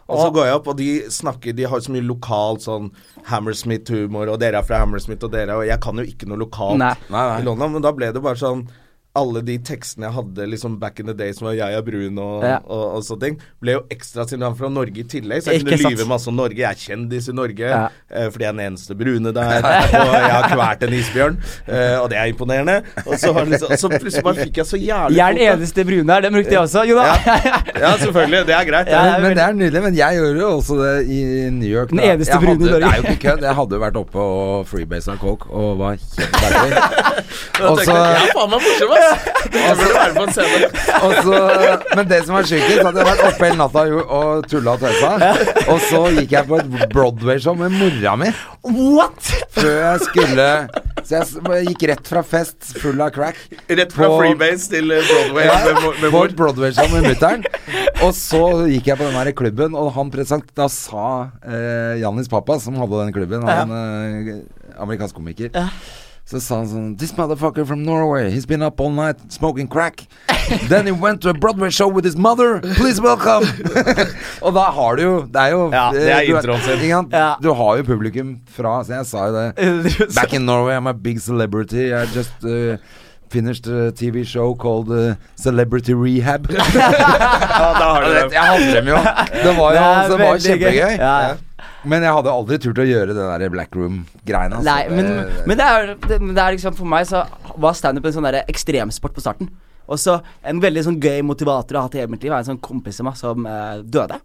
Speaker 2: Og så går jeg opp, og de snakker De har så mye lokal sånn Hammersmith-humor, og dere er fra Hammersmith, og dere Og jeg kan jo ikke noe lokalt
Speaker 3: Nei.
Speaker 1: Nei, nei.
Speaker 2: i London, men da ble det bare sånn alle de tekstene jeg hadde liksom back in the day, som var jeg er brun og,
Speaker 3: Ja.
Speaker 2: og, og sånne ting, ble jo ekstra siden han var fra Norge i tillegg. Så jeg
Speaker 3: Ikke
Speaker 2: kunne
Speaker 3: sant.
Speaker 2: lyve masse om Norge. Jeg er kjendis i Norge
Speaker 3: Ja.
Speaker 2: eh, fordi jeg er den eneste brune der. Og jeg har kvalt en isbjørn, eh, og det er imponerende. Og så, har liksom, og så plutselig bare fikk jeg så jævlig
Speaker 3: Jeg er
Speaker 2: fort,
Speaker 3: den
Speaker 2: da.
Speaker 3: eneste brune her, den brukte jeg også. Jonna.
Speaker 2: Ja, selvfølgelig. Det er greit.
Speaker 3: Ja,
Speaker 2: det.
Speaker 1: Men, men det er nydelig. Men jeg gjorde jo også det i New York.
Speaker 3: Den
Speaker 1: da.
Speaker 3: eneste
Speaker 1: Jeg
Speaker 3: brune i
Speaker 1: hadde- Det
Speaker 3: Norge.
Speaker 1: er jo ikke kødd. Jeg hadde jo vært oppe og freebasa coke og var helt bergvær. Og
Speaker 2: Jeg tenkte,
Speaker 1: så-
Speaker 2: jeg er faen meg morsom, ass! Jeg burde være på en scene.
Speaker 1: Og så- Men det som var sjukest, at jeg var oppe hele natta og- og tulla og tøysa. Og så gikk jeg på et Broadway-show med mora mi.
Speaker 3: What?!
Speaker 1: Før jeg skulle Så jeg s- gikk rett fra fest full av crack
Speaker 2: Rett fra
Speaker 1: På-
Speaker 2: Freebase til eh, Broadway
Speaker 1: Ja,
Speaker 2: med,
Speaker 1: på
Speaker 2: med mor.
Speaker 1: et Broadway-show med mutter'n. Og så gikk jeg på den her klubben, og han present, da sa eh, Jannis pappa, som hadde den klubben, han eh, amerikansk komiker Så sa han sånn This motherfucker from Norway, he's been up all night smoking crack. Then he went to a Broadway show with his mother. Please welcome! og da har du jo Det er jo
Speaker 2: Ja, det er
Speaker 1: eh, du-
Speaker 2: introen sin.
Speaker 1: ikke sant?
Speaker 3: Ja.
Speaker 1: Du har jo publikum fra Så jeg sa jo det. Back in Norway, I'm a big celebrity. I just uh, finished a TV show called uh, Celebrity Rehab.
Speaker 2: Ja, da har du
Speaker 1: jeg
Speaker 2: det.
Speaker 1: hadde dem jo. Det var
Speaker 3: Det
Speaker 1: jo
Speaker 3: er
Speaker 1: det var
Speaker 3: veldig gøy.
Speaker 1: kjempegøy.
Speaker 3: Ja, ja.
Speaker 1: Men jeg hadde aldri turt å gjøre den der Black Room-greiene. Altså.
Speaker 3: Nei, men,
Speaker 1: Det-
Speaker 3: men det er, det, men det er liksom For meg så var standup en sånn der ekstremsport på starten. Og så en veldig sånn gøy motivator jeg har hatt i hele mitt liv, er en sånn kompis av meg som eh, døde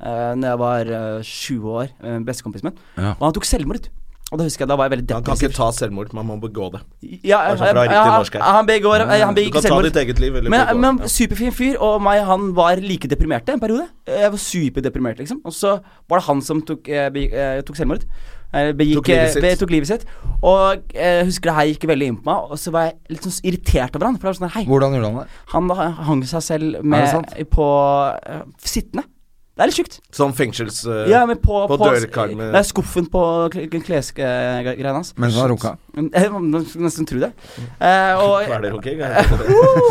Speaker 3: uh, Når jeg var eh, sju år. Uh, Bestekompisen min.
Speaker 1: Ja.
Speaker 3: Og han tok selvmord. Og da husker jeg, da var jeg veldig
Speaker 2: Man kan ikke
Speaker 3: depressiv.
Speaker 2: ta selvmord, man må begå det.
Speaker 3: Ja,
Speaker 2: Altså,
Speaker 3: ja,
Speaker 2: fra
Speaker 3: ja,
Speaker 2: riktig
Speaker 3: han-
Speaker 2: norsk her.
Speaker 3: han begår- eh, han
Speaker 2: Du
Speaker 3: begikk
Speaker 2: kan ta
Speaker 3: selvmord.
Speaker 2: ditt eget liv eller
Speaker 3: Men,
Speaker 2: begå det.
Speaker 3: men superfin fyr, og meg og han var like deprimerte en periode. Jeg var superdeprimert, liksom. Og så var det han som tok, eh, be, eh, tok selvmord. Eh, begikk,
Speaker 2: Tok livet
Speaker 3: eh,
Speaker 2: sitt.
Speaker 3: be, tok livet sitt. Og eh, jeg husker det her gikk veldig inn på meg, og så var jeg litt sånn irritert over han. For det var sånn her, hei,
Speaker 1: Hvordan gjorde han det?
Speaker 3: han ha- hang seg selv
Speaker 1: Er det
Speaker 3: med,
Speaker 1: sant?
Speaker 3: på eh, sittende. Det er litt sjukt.
Speaker 2: ja. Sånn fengsels... eh,
Speaker 3: Ja, men på,
Speaker 2: på dørkarmen.
Speaker 3: Det er skuffen på klesgreiene eh, hans.
Speaker 1: Mens han runka?
Speaker 3: Jeg må nesten tro det. Eh, og,
Speaker 2: Kvelerhooking?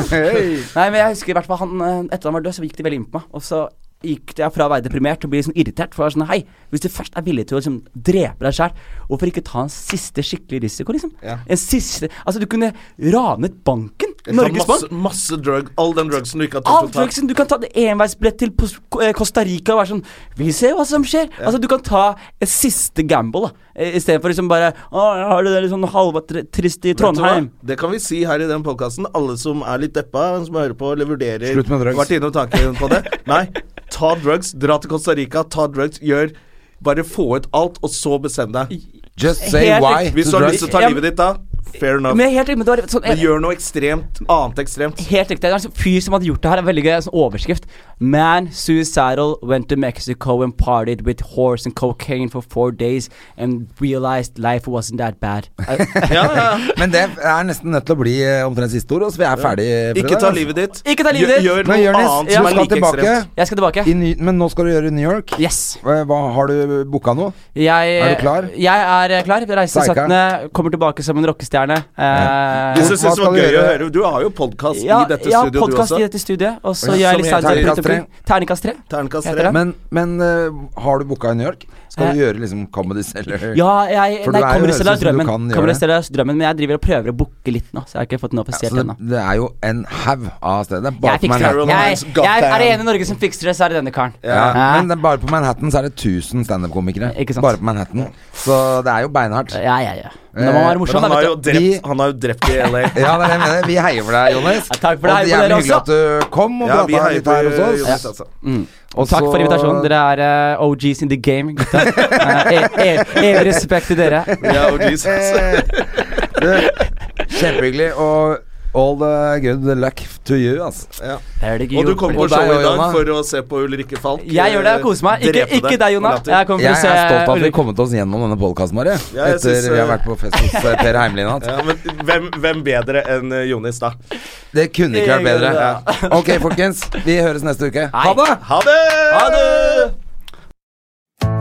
Speaker 1: Hey.
Speaker 3: Nei, men jeg husker i hvert fall han eh, Etter han var død, så gikk det veldig inn på meg. Og så gikk jeg fra å være deprimert til å bli sånn irritert. For jeg var sånn Hei, hvis du først er villig til å liksom drepe deg sjæl, hvorfor ikke ta en siste skikkelig risiko, liksom?
Speaker 2: Ja.
Speaker 3: En siste Altså, du kunne ranet banken. Norges Bank.
Speaker 2: masse, masse drug, all den drugsen du ikke har
Speaker 3: Alt
Speaker 2: tatt
Speaker 3: for eksempel, Du kan ta en enveisbillett til Pos- Ko- eh, Costa Rica og være sånn Vi ser hva som skjer. Altså, du kan ta en siste gamble, da. Istedenfor liksom bare Å, har du det litt sånn halvtrist i Trondheim?
Speaker 2: Det kan vi si her i den podkasten. Alle som er litt deppa, som hører på eller vurderer
Speaker 1: Slutt med drugs.
Speaker 2: Vært innom tanken på det. Nei, ta drugs. Dra til Costa Rica, ta drugs. Gjør Bare få ut alt, og så bestem deg.
Speaker 1: Just say
Speaker 3: Helt
Speaker 1: why
Speaker 3: riktig.
Speaker 1: to
Speaker 2: Hvis du har
Speaker 1: drugs.
Speaker 2: lyst til å ta
Speaker 3: Ja, men-
Speaker 2: livet ditt da, Fair enough.
Speaker 3: Men jeg er helt enig, men det var sånn
Speaker 2: Men gjør noe ekstremt annet ekstremt.
Speaker 3: Helt riktig. Det er en sånn fyr som hadde gjort det her. En veldig gøy sånn overskrift. Man suicidal went to Mexico and partied with horse and cocaine for four days and realized life wasn't that bad.
Speaker 2: Ja, ja. ja.
Speaker 1: Men det er nesten nødt til å bli eh, omtrent siste ord, så vi er ferdig. for i
Speaker 2: Ikke
Speaker 1: dag,
Speaker 2: ta
Speaker 1: altså.
Speaker 2: livet ditt.
Speaker 3: Ikke ta livet ditt.
Speaker 2: Gjør, gjør
Speaker 1: Men
Speaker 2: noe
Speaker 1: Jonis,
Speaker 2: annet
Speaker 1: du
Speaker 2: som er
Speaker 1: skal
Speaker 2: like
Speaker 1: tilbake.
Speaker 2: ekstremt.
Speaker 3: Jeg skal tilbake.
Speaker 1: I ny, men nå skal du gjøre New York.
Speaker 3: Yes.
Speaker 1: Hva, hva- har du booka noe?
Speaker 3: Jeg,
Speaker 1: Er du klar?
Speaker 3: Jeg er eh, klar. Reiser
Speaker 1: Steika.
Speaker 3: 17. Kommer tilbake som en rockestjerne. Eh,
Speaker 2: Hvis du syns
Speaker 1: Hva
Speaker 2: det var
Speaker 1: skal du
Speaker 2: gøy å
Speaker 1: gjøre?
Speaker 2: høre Du har jo podkast
Speaker 3: ja,
Speaker 2: i dette
Speaker 3: ja,
Speaker 2: studioet, du
Speaker 3: podcast
Speaker 2: også.
Speaker 3: i dette studiet. Og så
Speaker 2: Som
Speaker 3: gjør jeg litt
Speaker 2: heter
Speaker 3: standup rundt
Speaker 1: Terningkast tre.
Speaker 3: omkring. Terningkast
Speaker 2: Terningkast
Speaker 3: tre. Heter
Speaker 2: tre.
Speaker 3: det?
Speaker 1: Men, men eh, har du booka i New York? Skal du gjøre liksom Comedy Cellar?
Speaker 3: Eh, Ja, jeg
Speaker 1: For
Speaker 3: Nei,
Speaker 1: du er jo
Speaker 3: kommer
Speaker 1: høres
Speaker 3: til å
Speaker 1: ut som du
Speaker 3: drømmen.
Speaker 1: kan gjøre
Speaker 3: Kommer
Speaker 1: det.
Speaker 3: til å drømmen, men jeg driver og prøver å booke litt nå, så jeg har ikke fått noe
Speaker 1: Så
Speaker 3: offisielt
Speaker 1: det,
Speaker 3: ennå.
Speaker 1: Altså, det er jo en haug av steder. Bare på
Speaker 3: Jeg fikser det.
Speaker 1: Manhattan.
Speaker 3: Jeg,
Speaker 2: Caroline's
Speaker 3: jeg er det
Speaker 2: Goddamn.
Speaker 3: ene i Norge som fikser det, så er det denne karen.
Speaker 1: Ja,
Speaker 3: Hæ?
Speaker 1: men det, er bare på Manhattan så er det 1000 standup-komikere.
Speaker 3: Ikke sant.
Speaker 1: Bare på Manhattan. Så det er jo beinhardt.
Speaker 3: ja, ja, ja. Men da må man
Speaker 1: Eh,
Speaker 3: være
Speaker 2: Men
Speaker 3: morsom,
Speaker 2: han
Speaker 3: da,
Speaker 2: har, jo
Speaker 3: vet du.
Speaker 2: drept,
Speaker 1: Vi-
Speaker 2: han har jo drept i LA.
Speaker 1: Ja, det er det jeg mener. Vi heier for deg, Jonis.
Speaker 3: Ja, takk for det.
Speaker 1: og
Speaker 3: Heier
Speaker 1: det
Speaker 3: på
Speaker 1: er
Speaker 3: dere
Speaker 1: hyggelig
Speaker 3: også.
Speaker 1: at du kom og
Speaker 2: Ja, vi
Speaker 1: prata
Speaker 2: heier
Speaker 1: litt
Speaker 2: på
Speaker 1: her hos oss.
Speaker 2: Jonas, altså.
Speaker 1: Og
Speaker 3: Mm. Takk
Speaker 1: så-
Speaker 3: for invitasjonen. Dere er eh, OGs in the game, gutta. Eh, e- e- Evig respekt til dere.
Speaker 2: Ja, og Jesus.
Speaker 1: Eh, du, Kjempehyggelig. Og all the good luck to you, altså.
Speaker 2: Ja.
Speaker 3: Er det ikke
Speaker 2: Og du
Speaker 3: gjort
Speaker 2: kommer på
Speaker 3: for-
Speaker 1: Og deg
Speaker 2: show i
Speaker 1: og
Speaker 2: dag
Speaker 1: Jonna.
Speaker 2: for å se på Ulrikke Falk.
Speaker 3: Jeg gjør det, jeg
Speaker 2: eh,
Speaker 3: koser meg. Ikke,
Speaker 2: drepe
Speaker 3: ikke deg, Jonna.
Speaker 2: med latter.
Speaker 3: Jeg kommer
Speaker 1: Jeg er
Speaker 3: for å se
Speaker 1: stolt av at vi
Speaker 3: Ulrik.
Speaker 1: har kommet oss gjennom denne podkasten vår.
Speaker 2: Ja,
Speaker 1: Ja,
Speaker 2: jeg
Speaker 1: etter
Speaker 2: synes,
Speaker 1: vi har
Speaker 2: eh,
Speaker 1: vært på fest hos eh, Per Heimlin og alt.
Speaker 2: Ja, men hvem, hvem bedre enn eh, Jonis, da?
Speaker 1: Det kunne ikke vært bedre.
Speaker 2: Ja.
Speaker 1: Ok, folkens. Vi høres neste uke.
Speaker 3: Hei.
Speaker 2: Ha det!
Speaker 3: Ha det!